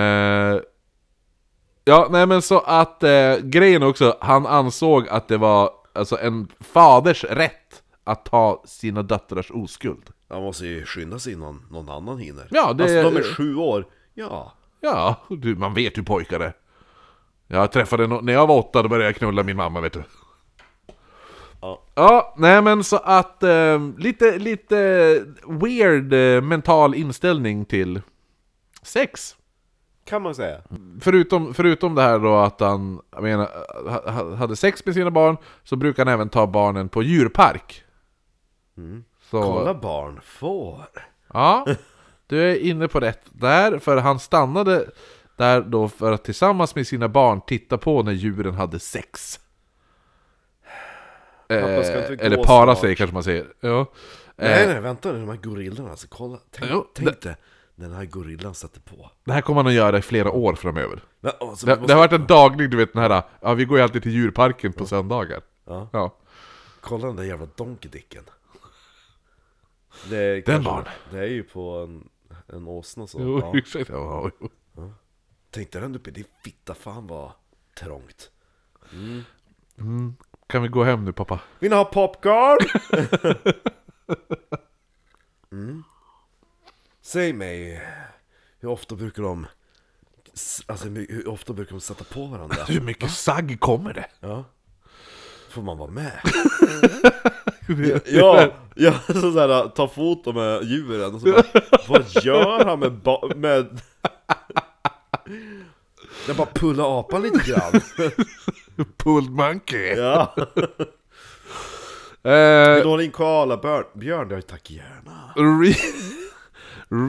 Speaker 1: ja, nej men så att eh, grejen också, han ansåg att det var alltså en faders rätt att ta sina döttrars oskuld.
Speaker 2: Han måste ju skynda sig innan någon annan hinner.
Speaker 1: Ja, det-
Speaker 2: Alltså de är sju år. Ja.
Speaker 1: Ja, du, man vet hur pojkar är. Jag träffade no- när jag var åtta, då började jag knulla min mamma vet du.
Speaker 2: Ja.
Speaker 1: Ja, nej men så att eh, lite, lite weird eh, mental inställning till sex.
Speaker 2: Kan man säga.
Speaker 1: Förutom, förutom det här då att han jag menar, eh, ha- ha- hade sex med sina barn, så brukar han även ta barnen på djurpark. Så,
Speaker 2: Mm. Kolla barn får.
Speaker 1: Eh. Ja, du är inne på rätt där, för han stannade där då för att tillsammans med sina barn titta på när djuren hade sex. Eh,
Speaker 2: Pappa ska inte gå
Speaker 1: Eller para
Speaker 2: snart.
Speaker 1: sig kanske man säger. Ja. Eh,
Speaker 2: Nej, nej, vänta nu. De här gorillorna alltså. Kolla. Tänk,
Speaker 1: Jo,
Speaker 2: tänk det. Den här gorillan satte på.
Speaker 1: Det här kommer han att göra i flera år framöver.
Speaker 2: Men, alltså,
Speaker 1: Det,
Speaker 2: man måste
Speaker 1: det har varit en daglig, du vet den här, ja vi går ju alltid till djurparken på söndagar.
Speaker 2: Ja.
Speaker 1: ja.
Speaker 2: Kolla den där jävla Donkey Dicken. Det är
Speaker 1: Den
Speaker 2: kanske-
Speaker 1: barn.
Speaker 2: Det är ju på en, en åsna så.
Speaker 1: Jo,
Speaker 2: Ja.
Speaker 1: exakt. Ja, jo.
Speaker 2: Tänkte den uppe, det fitta fan vad trångt.
Speaker 1: Kan vi gå hem nu pappa?
Speaker 2: Vill ni ha popcorn? mm. Säg mig, hur ofta brukar de... s- Alltså hur my- hur ofta brukar de sätta på varandra?
Speaker 1: Hur mycket sagg kommer det?
Speaker 2: Ja. Får man vara med?
Speaker 1: Det-
Speaker 2: Ja, ja så såhär, ta foto med djuren och så bara, Vad gör han med, ba- med... Jag bara pullar apan lite grann
Speaker 1: Pulled monkey!
Speaker 2: Ja,
Speaker 1: Eh,
Speaker 2: vill du ha din koalabjörn? Björn, ja tack gärna
Speaker 1: Re-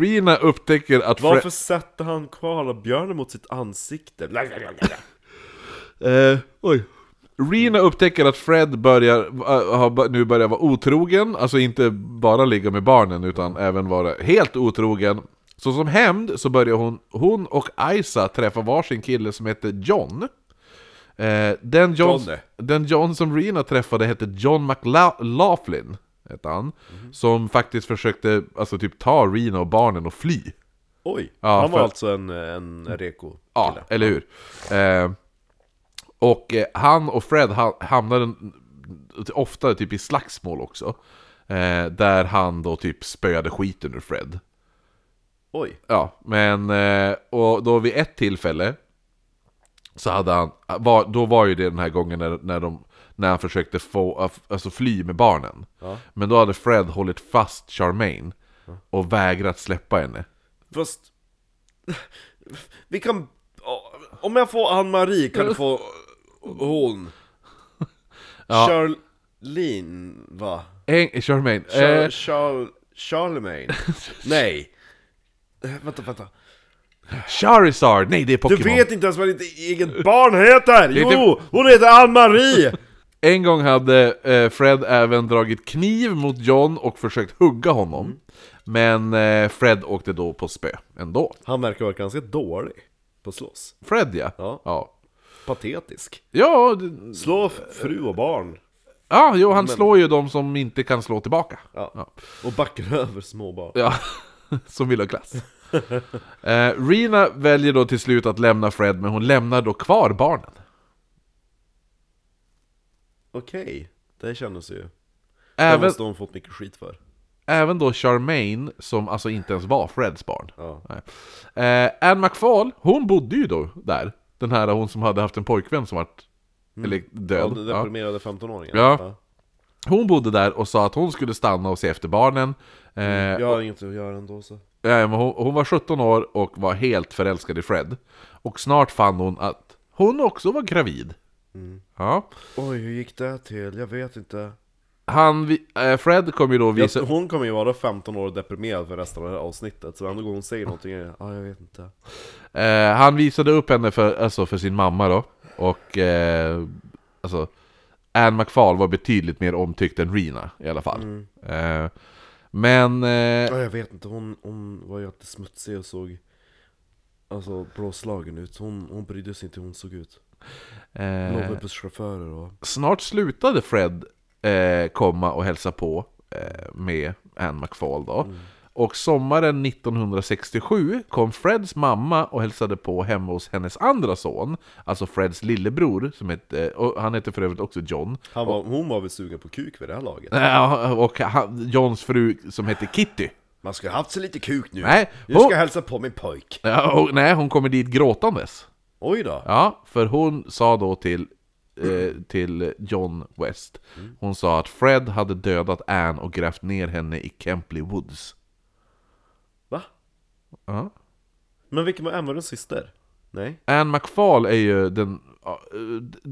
Speaker 1: Rina upptäcker att Fre-
Speaker 2: Varför sätter han koalabjörnen mot sitt ansikte?
Speaker 1: Eh, oj. Rina upptäcker att Fred börjar, äh, har bör- nu börjar vara otrogen, alltså inte bara ligga med barnen utan även vara helt otrogen. Så som hämnd så börjar hon, hon och Isa träffa varsin kille som heter John. Eh, den, John
Speaker 2: Johnny.
Speaker 1: den John som Rina träffade hette John McLaughlin, hette han. Som faktiskt försökte alltså, typ, ta Rina och barnen och fly.
Speaker 2: Oj,
Speaker 1: Ja,
Speaker 2: han
Speaker 1: för-
Speaker 2: var
Speaker 1: Mm.
Speaker 2: alltså en, en reko
Speaker 1: Ja, eller hur? Eh, och eh, han och Fred ha- hamnade n- ofta typ i slagsmål också. Eh, där han då typ spöade skiten ur Fred.
Speaker 2: Oj,
Speaker 1: Ja, men eh, och då vid ett tillfälle så hade han, var, då var ju det den här gången när, när, de, när han försökte få, alltså fly med barnen.
Speaker 2: Ja.
Speaker 1: Men då hade Fred hållit fast Charmaine och vägrat släppa henne.
Speaker 2: fast... Vi kan... Om jag får Ann-Marie kan du få hon
Speaker 1: Ja.
Speaker 2: Charlene, va?
Speaker 1: Eh, Charmaine,
Speaker 2: Char
Speaker 1: eh,
Speaker 2: Char Charlemagne? Nej! Eh, Vänta, vänta.
Speaker 1: eh, Charizard! Nej det är
Speaker 2: Du
Speaker 1: Pokémon!
Speaker 2: vet inte ens vad ditt eget barn heter!
Speaker 1: är typ- inte-
Speaker 2: Jo! Hon heter Ann-Marie!
Speaker 1: En gång hade eh, Fred även dragit kniv mot John och försökt hugga honom.
Speaker 2: Mm.
Speaker 1: Men eh, Fred åkte då på spö ändå.
Speaker 2: Han verkar vara ganska dålig på att slåss.
Speaker 1: Fred ja.
Speaker 2: Ja.
Speaker 1: Ja,
Speaker 2: Patetisk.
Speaker 1: ja, det-
Speaker 2: Slå f- fru och barn.
Speaker 1: ja jo, han slår ju de som inte kan slå tillbaka.
Speaker 2: Ja.
Speaker 1: Ja.
Speaker 2: Och backar över småbarn.
Speaker 1: Ja, som vill ha glass. Eh, Rina väljer då till slut att lämna Fred, men hon lämnar då kvar barnen.
Speaker 2: Okej, det kändes ju... Det
Speaker 1: Även,
Speaker 2: måste hon fått mycket skit för.
Speaker 1: även då Charmaine, som alltså inte ens var Freds barn.
Speaker 2: Ja.
Speaker 1: Nej. Eh, Anne McFall, hon bodde ju då där. Den här hon som hade haft en pojkvän som vart eller
Speaker 2: Mm. Ja,
Speaker 1: död.
Speaker 2: Den
Speaker 1: Ja.
Speaker 2: deprimerade 15-åringen.
Speaker 1: Ja. Hon bodde där och sa att hon skulle stanna och se efter barnen. Eh,
Speaker 2: Mm, Ja. Jag har inget att göra ändå så.
Speaker 1: nej, men hon, hon var 17 år och var helt förälskad i Fred. Och snart fann hon att hon också var gravid.
Speaker 2: Mm.
Speaker 1: Ja.
Speaker 2: Oj, hur gick det till? Jag vet inte.
Speaker 1: Han, vi- eh, Fred kom ju då
Speaker 2: Jag,
Speaker 1: visa...
Speaker 2: hon kommer ju vara 15 år och deprimerad för resten av det här avsnittet, så varenda gång hon säger någonting är det, ja jag vet inte.
Speaker 1: Eh, han visade upp henne för, alltså, för sin mamma då. Och eh, alltså, Anne McFall var betydligt mer omtyckt än Rina i alla fall. Eh, men eh,
Speaker 2: Ja jag vet inte, hon, hon var ju alltid smutsig och såg Alltså blåslagen ut, hon, hon brydde sig inte hur hon såg ut. Låg
Speaker 1: eh,
Speaker 2: med busschaufförer och...
Speaker 1: snart slutade Fred eh, komma och hälsa på eh, med Anne McFall då. Och sommaren 1967 kom Freds mamma och hälsade på hemma hos hennes andra son, alltså Freds lillebror, som hette, och han hette för övrigt också John.
Speaker 2: Han var, hon var väl sugen på kuk vid det här laget?
Speaker 1: Ja, och han, Johns fru som heter Kitty.
Speaker 2: Man ska ha haft sig lite kuk nu!
Speaker 1: Nej,
Speaker 2: Nu ska
Speaker 1: hon,
Speaker 2: jag hälsa på min pojk!
Speaker 1: ja, och, nej, hon kommer dit gråtandes.
Speaker 2: Oj då!
Speaker 1: Ja, för hon sa då till, eh, till John West, hon sa att Fred hade dödat Anne och grävt ner henne i Kempley Woods.
Speaker 2: Va?
Speaker 1: Ja.
Speaker 2: Men vilken var Emmerys syster? Nej?
Speaker 1: Anne McFall är ju den, ja,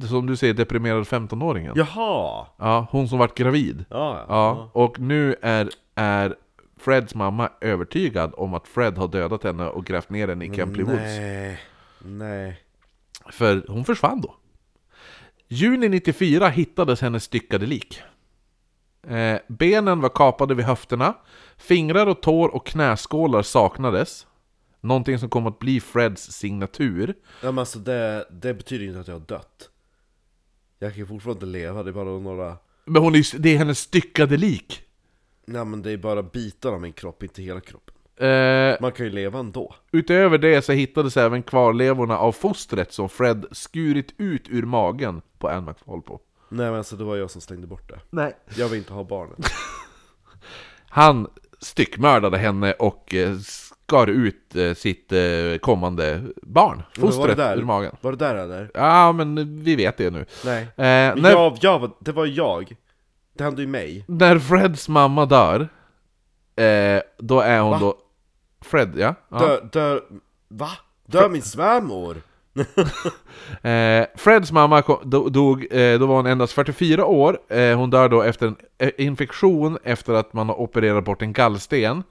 Speaker 1: eh, som du säger, deprimerade 15-åringen.
Speaker 2: Jaha!
Speaker 1: Ja, hon som vart gravid.
Speaker 2: Ja, ja.
Speaker 1: Ja, och nu är, är Freds mamma övertygad om att Fred har dödat henne och grävt ner henne i Kempley Woods.
Speaker 2: Nej, nej.
Speaker 1: För hon försvann då. Juni 94 hittades hennes styckade lik. Eh, benen var kapade vid höfterna. Fingrar och tår och knäskålar saknades. Någonting som kom att bli Freds signatur.
Speaker 2: Ja men alltså det, det betyder ju inte att jag har dött Jag kan fortfarande leva, det är bara några
Speaker 1: Men hon är, ju- det är hennes styckade lik.
Speaker 2: Nej men det är bara bitar av min kropp, inte hela kroppen
Speaker 1: Eh,
Speaker 2: Man kan ju leva ändå.
Speaker 1: utöver det så hittades även kvarlevorna av fostret som Fred skurit ut ur magen på Anne McFalpo.
Speaker 2: Nej men alltså det var jag som slängde bort det.
Speaker 1: Nej.
Speaker 2: Jag vill inte ha barnet.
Speaker 1: Han styckmördade henne och eh, skar ut eh, sitt eh, kommande barn,
Speaker 2: Men var det
Speaker 1: fostret,
Speaker 2: där?
Speaker 1: ur magen.
Speaker 2: Var det där eller?
Speaker 1: Ja, men vi vet det nu.
Speaker 2: Nej.
Speaker 1: Eh,
Speaker 2: Men
Speaker 1: när,
Speaker 2: jag, jag, var- det var jag. Det hände ju mig.
Speaker 1: när Freds mamma dör, eh, då är hon
Speaker 2: Va?
Speaker 1: då... Fred, ja. ja.
Speaker 2: Dör, dör, va? Dör min svärmor?
Speaker 1: Eh, Freds mamma kom, do, dog, eh, då var hon endast 44 år. Eh, hon dör då efter en eh, infektion efter att man har opererat bort en gallsten.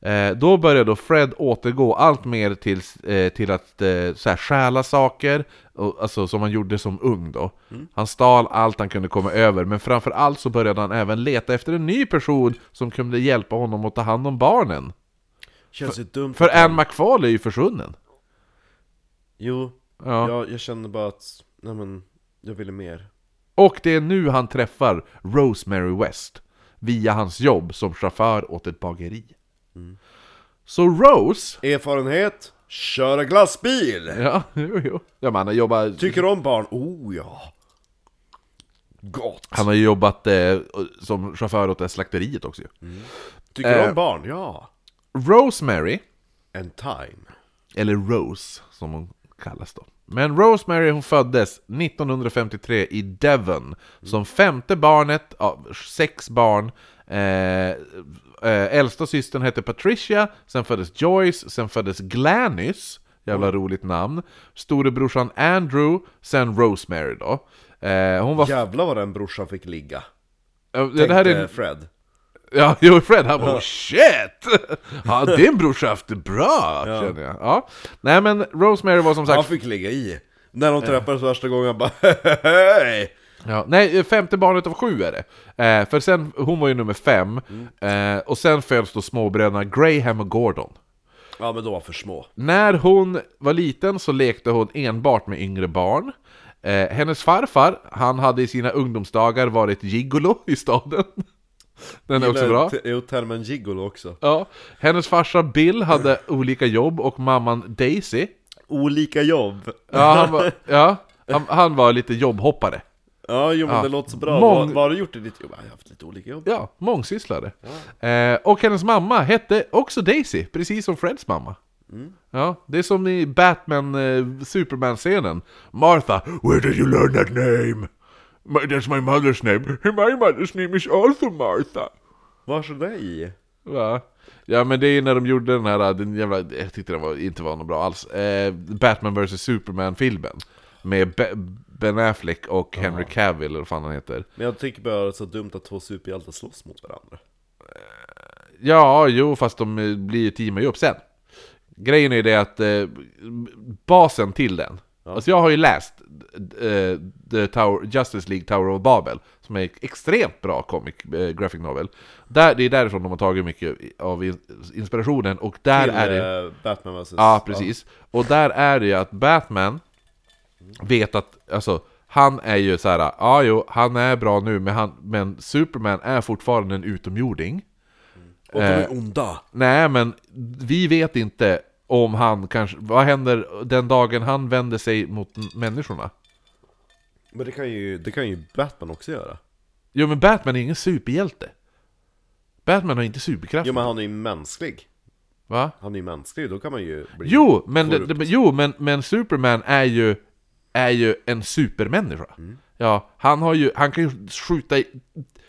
Speaker 1: Eh, då börjar då Fred återgå allt mer till, eh, till att eh, så här, stjäla saker, och, alltså som han gjorde som ung då. Han stal allt han kunde komma över, men framför allt så började han även leta efter en ny person som kunde hjälpa honom att ta hand om barnen.
Speaker 2: Känns ju dumt.
Speaker 1: För Anne McFall är ju försvunnen.
Speaker 2: Jo,
Speaker 1: Ja.
Speaker 2: jag, jag kände bara att, nej men, jag ville mer.
Speaker 1: Och det är nu han träffar Rosemary West via hans jobb som chaufför åt ett bageri. Så Rose...
Speaker 2: Erfarenhet? Köra glassbil!
Speaker 1: Ja, jo, jo. Ja, men han har jobbat...
Speaker 2: Tycker om barn? Oh ja! Gott!
Speaker 1: Han har ju jobbat eh, som chaufför åt det här slakteriet också ju.
Speaker 2: Tycker
Speaker 1: Eh.
Speaker 2: om barn? Ja!
Speaker 1: Rosemary,
Speaker 2: En time.
Speaker 1: eller Rose som hon kallas då. Men Rosemary hon föddes 1953 i Devon som femte barnet av sex barn. Eh, eh, äldsta systern hette Patricia, sen föddes Joyce, sen föddes Glanys, jävla roligt namn. Storebrorsan Andrew, sen Rosemary då. Eh, hon var...
Speaker 2: Jävlar vad den brorsan fick ligga.
Speaker 1: Ja, det här
Speaker 2: Tänkte
Speaker 1: är,
Speaker 2: Fred.
Speaker 1: ja, jo, Fred han bara oh, shit! Ja, din brorsa har haft det bra, känner jag. Ja. Nej men Rosemary var som sagt
Speaker 2: Han fick ligga i. När
Speaker 1: Eh.
Speaker 2: de träffades första gången, han bara hej!
Speaker 1: Ja, nej, eh, femte barnet av sju är det. Eh, för sen, hon var ju nummer fem, eh, och sen föds då småbröderna Graham och Gordon.
Speaker 2: Ja men de var för små.
Speaker 1: När hon var liten så lekte hon enbart med yngre barn. Eh, hennes farfar, han hade i sina ungdomsdagar varit gigolo i staden. Den är också
Speaker 2: Gillar
Speaker 1: bra.
Speaker 2: te- Jo, termen gigolo också.
Speaker 1: Ja. Hennes farsa Bill hade olika jobb och mamman Daisy,
Speaker 2: Olika jobb.
Speaker 1: ja, han, var, ja, han, han var lite jobbhoppare.
Speaker 2: Ja, jo men
Speaker 1: Ja.
Speaker 2: det låter så bra.
Speaker 1: Mång-
Speaker 2: Vad, vad har du gjort i ditt jobb? Jag har haft lite olika jobb.
Speaker 1: Ja, mångsysslare. Eh, och hennes mamma hette också Daisy, precis som Freds mamma. Ja, det är som i Batman, eh, Superman-scenen. Martha, where did you learn that name? My, that's my mother's name. My mother's name is also Martha.
Speaker 2: Vad så dig?
Speaker 1: Va? Ja men det är ju när de gjorde den här, eh, den jävla, jag tyckte den var, inte var något bra alls, eh, Batman vs Superman-filmen. Med Be- Ben Affleck och Henry Cavill, eller vad fan han heter.
Speaker 2: Men jag tycker bara det är så dumt att två superhjältar slåss mot varandra.
Speaker 1: Ja, jo, fast de eh, blir ju teamar ju upp sen. Grejen är det att eh, basen till den, alltså jag har ju läst eh, The Tower, Justice League Tower of Babel, som är extremt bra comic, eh, graphic novel. Där, det är därifrån de har tagit mycket av in- inspirationen, och där
Speaker 2: Till,
Speaker 1: är det...
Speaker 2: eh, Batman vs.
Speaker 1: Ja, precis. Och där är det ju att Batman vet att, alltså, han är ju så här, ja jo, han är bra nu, men, han, men Superman är fortfarande en utomjording.
Speaker 2: Och de är
Speaker 1: Eh.
Speaker 2: onda.
Speaker 1: Nej, men vi vet inte om han kanske... Vad händer den dagen han vänder sig mot m- människorna?
Speaker 2: Men det kan, ju, det kan ju Batman också göra.
Speaker 1: Jo, men Batman är ingen superhjälte. Batman har inte superkrafter,
Speaker 2: Jo men han är ju mänsklig.
Speaker 1: va?
Speaker 2: Han är ju mänsklig, då kan man ju bli...
Speaker 1: Jo, men, det,
Speaker 2: korrupt.
Speaker 1: det, jo, men, men Superman är ju, är ju en supermänniska.
Speaker 2: Mm.
Speaker 1: Ja, han, har ju, han kan ju skjuta i,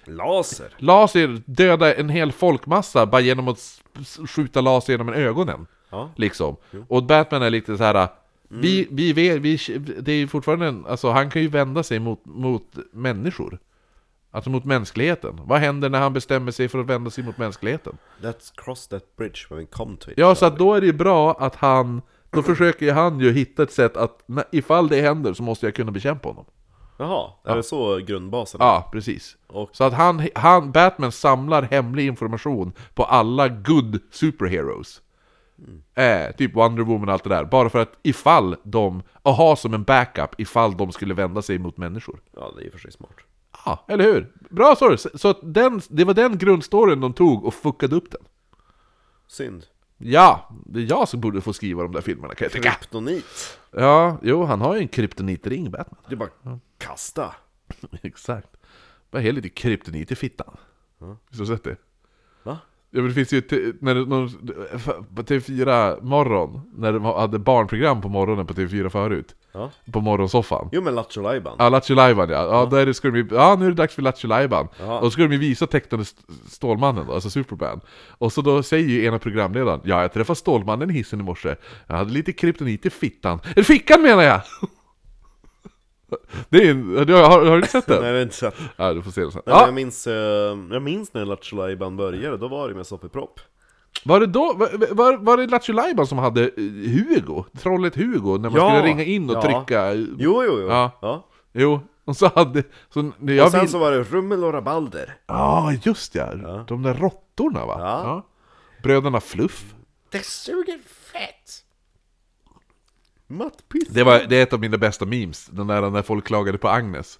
Speaker 2: Laser!
Speaker 1: laser, döda en hel folkmassa bara genom att s- s- skjuta laser genom ögonen.
Speaker 2: Ja.
Speaker 1: Liksom. Och Batman är lite så här. äh, Vi, vi, vi, vi, det är ju fortfarande en, alltså han kan ju vända sig mot, mot människor. Alltså mot mänskligheten. Vad händer när han bestämmer sig för att vända sig mot mänskligheten?
Speaker 2: Let's cross that bridge when we come to it.
Speaker 1: Ja, så att då är det ju bra att han, då försöker ju han ju hitta ett sätt att, när- ifall det händer så måste jag kunna bekämpa honom.
Speaker 2: Jaha, är det så grundbasen?
Speaker 1: Ja, precis.
Speaker 2: Och-
Speaker 1: Så att han, han, Batman samlar hemlig information på alla good superheroes. Eh, typ Wonder Woman och allt det där. Bara för att ifall de, och ha som en backup ifall de skulle vända sig mot människor.
Speaker 2: Ja, det är i och för sig smart.
Speaker 1: Ja, eller hur? Bra story! Så, så att den, det var den grundstoryn de tog och fuckade upp den.
Speaker 2: Synd.
Speaker 1: Ja, det är jag som borde få skriva de där filmerna kan jag tycka.
Speaker 2: Kryptonit.
Speaker 1: Ja, jo, han har ju en kryptonitring, Batman.
Speaker 2: Det är bara kasta.
Speaker 1: Exakt. Bara helt lite kryptonit i fittan. Visst har du sett det?
Speaker 2: Va?
Speaker 1: Ja men det finns ju, t- när det, någon, på TV4 morgon, när de hade barnprogram på morgonen på TV4 förut,
Speaker 2: Ja.
Speaker 1: på morgonsoffan.
Speaker 2: Jo men Lattjo Lajban.
Speaker 1: Ja, Lattjo Lajban ja. Ja, där ska de ju, ja, nu är det dags för Lattjo Lajban. Och då ska de ju visa tecknade st- Stålmannen då, alltså Superman. Och så då säger ju ena programledaren, ja jag träffade Stålmannen i hissen i morse. Jag hade lite kryptonit i fittan. Eller fickan menar jag! Det är en, du, har, har du inte sett
Speaker 2: Nej det
Speaker 1: den?
Speaker 2: har jag inte sett.
Speaker 1: Ja, du får se den sen.
Speaker 2: Nej, men
Speaker 1: Ja,
Speaker 2: jag, minns, eh, jag minns när Lattjo Lajban började, då var det med Soppepropp.
Speaker 1: var det då, var, var, var det Lattjo Lajban som hade eh, Hugo? Trollet Hugo, när man
Speaker 2: Ja,
Speaker 1: skulle ringa in och
Speaker 2: ja.
Speaker 1: trycka...
Speaker 2: Jo, jo, jo.
Speaker 1: Ja.
Speaker 2: Ja.
Speaker 1: Jo, och så hade... Så, jag
Speaker 2: Och sen
Speaker 1: minns-
Speaker 2: så var det Rummel och Rabalder.
Speaker 1: Ja, just ja. De där råttorna va?
Speaker 2: Ja.
Speaker 1: Bröderna Fluff.
Speaker 2: Det suger fett! Mattpiss.
Speaker 1: Det, var, det är ett av mina bästa memes, den där när folk klagade på Agnes.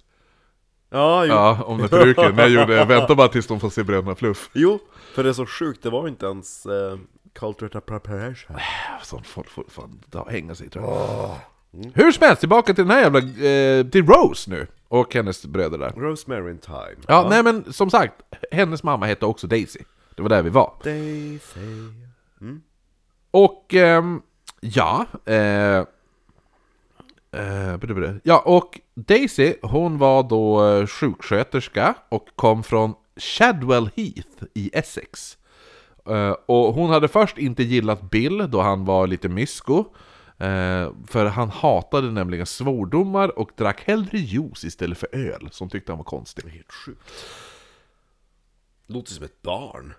Speaker 2: Ja, jo.
Speaker 1: Ja, om den peruken. När jag gjorde, vänta bara tills de får se Bröderna Fluff.
Speaker 2: jo, för det är så sjukt, det var inte ens eh, Culture Appropriation.
Speaker 1: Äh, Sånt folk får fan ta- hänga sig tror jag. Mm. Hur som helst, tillbaka till den här jävla, eh, till Rose nu. Och hennes bröder där.
Speaker 2: Rosemary in Time.
Speaker 1: Ja, nej men som sagt, hennes mamma hette också Daisy. Det var där vi var.
Speaker 2: They say...
Speaker 1: Och ehm, ja... Eh, eh, bada, bada. ja, och Daisy hon var då eh, sjuksköterska och kom från Shadwell Heath i Essex. Eh, och hon hade först inte gillat Bill då han var lite mysko. Eh, för han hatade nämligen svordomar och drack hellre juice istället för öl, som tyckte han var konstig.
Speaker 2: Helt sjukt. Låter som ett barn.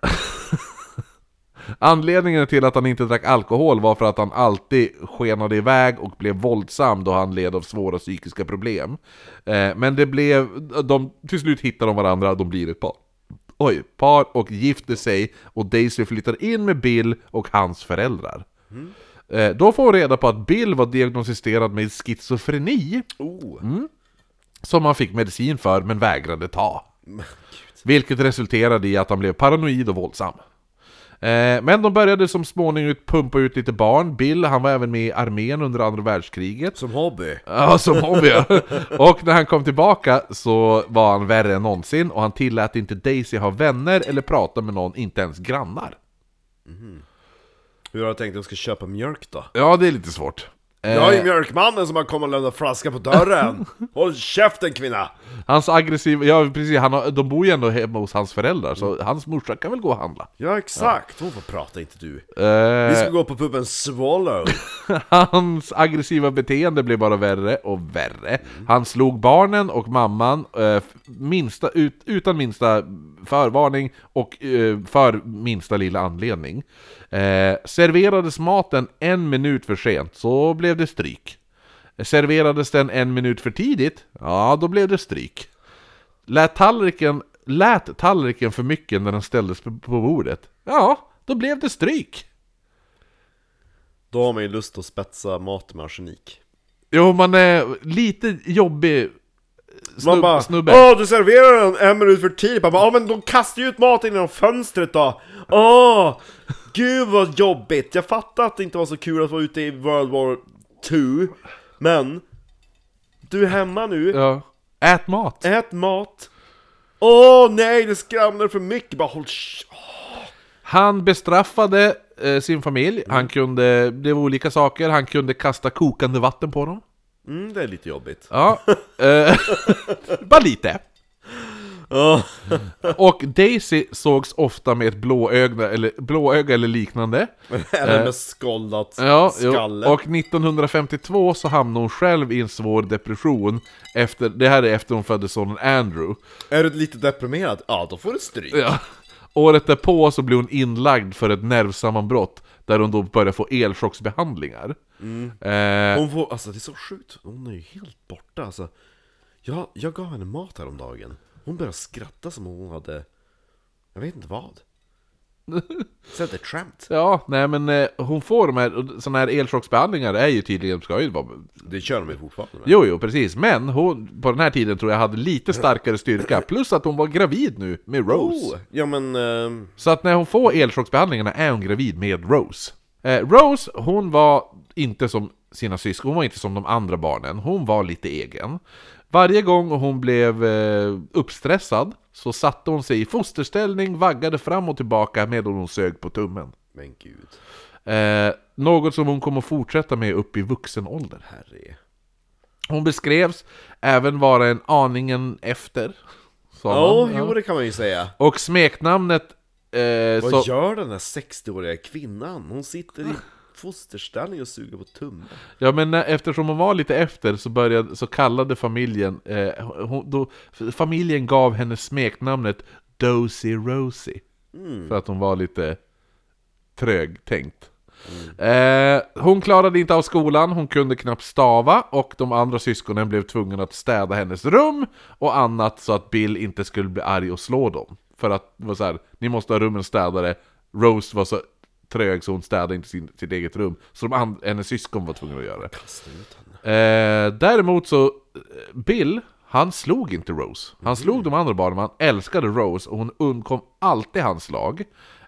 Speaker 1: Anledningen till att han inte drack alkohol var för att han alltid skenade iväg och blev våldsam då han led av svåra psykiska problem. Eh, men det blev, de, till slut hittar de varandra, de blir ett par. Oj, par och gifter sig och Daisy flyttar in med Bill och hans föräldrar. Eh, då får hon reda på att Bill var diagnostiserad med schizofreni,
Speaker 2: Oh.
Speaker 1: som han fick medicin för men vägrade ta.
Speaker 2: Men gud.
Speaker 1: Vilket resulterade i att han blev paranoid och våldsam. Eh, Men de började som småningom ut- pumpa ut lite barn. Bill, han var även med i armén under andra världskriget.
Speaker 2: Som hobby.
Speaker 1: Ja, som hobby ja. Och när han kom tillbaka så var han värre än någonsin och han tillät inte Daisy ha vänner eller prata med någon, inte ens grannar.
Speaker 2: Hur har jag tänkt att jag ska köpa mjölk då?
Speaker 1: Ja, det är lite svårt. Eh,
Speaker 2: Jag är ju mjölkmannen som har kommit och lämnat flaska på dörren! Håll käften kvinna!
Speaker 1: Hans aggressiva, ja precis, han har, de bor ju ändå hemma hos hans föräldrar så hans morsa kan väl gå och handla.
Speaker 2: Ja exakt, hon får prata inte du.
Speaker 1: Eh,
Speaker 2: Vi ska gå på puben Swallow.
Speaker 1: Hans aggressiva beteende blev bara värre och värre. Han slog barnen och mamman eh, f- minsta, ut, utan minsta förvarning och eh, för minsta lilla anledning. Eh, serverades maten en minut för sent, så blev det stryk. Serverades den en minut för tidigt, ja då blev det stryk. Lät tallriken, lät tallriken för mycket när den ställdes på på bordet, ja då blev det stryk.
Speaker 2: Då har man ju lust att spetsa mat med arsenik.
Speaker 1: Jo, man är lite jobbig
Speaker 2: Man
Speaker 1: snub-
Speaker 2: bara
Speaker 1: snubbe.
Speaker 2: Åh, du serverar den en minut för tidigt pappa. Ja men de kastar ju ut maten genom fönstret då. Åh! Gud vad jobbigt. Jag fattar att det inte var så kul att vara ute i World War 2. Men. Du är hemma nu.
Speaker 1: Ja. Ät mat!
Speaker 2: Ät mat. Åh nej, det skramlar för mycket. Bara håll sh-
Speaker 1: Han bestraffade eh, sin familj, han kunde, det var olika saker, han kunde kasta kokande vatten på dem.
Speaker 2: mm, det är lite jobbigt.
Speaker 1: Ja, eh, bara lite.
Speaker 2: Åh.
Speaker 1: Och Daisy sågs ofta med ett blåöga eller, blåöga eller liknande.
Speaker 2: Eller med skållat
Speaker 1: Ja, jo.
Speaker 2: skalle.
Speaker 1: och 1952 så hamnade hon själv i en svår depression. Efter, det här är efter hon födde sonen Andrew.
Speaker 2: Är du lite deprimerad? Ja, då får du stryk.
Speaker 1: Ja. Året därpå så blev hon inlagd för ett nervsammanbrott där hon då började få elchocksbehandlingar. Eh,
Speaker 2: Hon får, alltså det är så sjukt, hon är ju helt borta alltså. Jag, jag gav henne mat häromdagen. Hon började skratta som om hon hade, jag vet inte vad. Säg inte skämt.
Speaker 1: Ja, nej men eh, hon får de här, och såna här elchocksbehandlingar är ju tydligen, ska ju vara...
Speaker 2: Det kör de ju fortfarande med.
Speaker 1: Jo, jo, precis. Men hon, på den här tiden tror jag, hade lite starkare styrka. Plus att hon var gravid nu med Rose.
Speaker 2: Oh, ja men... ehm,
Speaker 1: Så att när hon får elchocksbehandlingarna är hon gravid med Rose. Eh, Rose, hon var inte som sina syskon, hon var inte som de andra barnen. Hon var lite egen. Varje gång hon blev eh, uppstressad så satte hon sig i fosterställning, vaggade fram och tillbaka medan hon sög på tummen.
Speaker 2: men gud.
Speaker 1: Eh, något som hon kommer att fortsätta med upp i vuxen ålder.
Speaker 2: Herre.
Speaker 1: Hon beskrevs även vara en aningen efter. sa
Speaker 2: Ja,
Speaker 1: man.
Speaker 2: jo det kan man ju säga.
Speaker 1: Och smeknamnet... Eh,
Speaker 2: Vad
Speaker 1: så,
Speaker 2: gör den här 60-åriga kvinnan? Hon sitter i fosterställning och suger på tummen.
Speaker 1: Ja men när, eftersom hon var lite efter så, började, så kallade familjen, eh, hon, då, familjen gav henne smeknamnet Dozy Rosie. För att hon var lite trögtänkt.
Speaker 2: Mm.
Speaker 1: Eh, hon klarade inte av skolan, hon kunde knappt stava och de andra syskonen blev tvungna att städa hennes rum och annat så att Bill inte skulle bli arg och slå dem. För att det var så här, ni måste ha rummen städade, Rose var så trög så hon städade inte sin, sitt eget rum. Så de and- hennes syskon var tvungna att göra det.
Speaker 2: Kasta ut henne.
Speaker 1: Eh, däremot så, eh, Bill, han slog inte Rose.
Speaker 2: Mm.
Speaker 1: Han slog de andra barnen, men han älskade Rose och hon undkom alltid hans slag.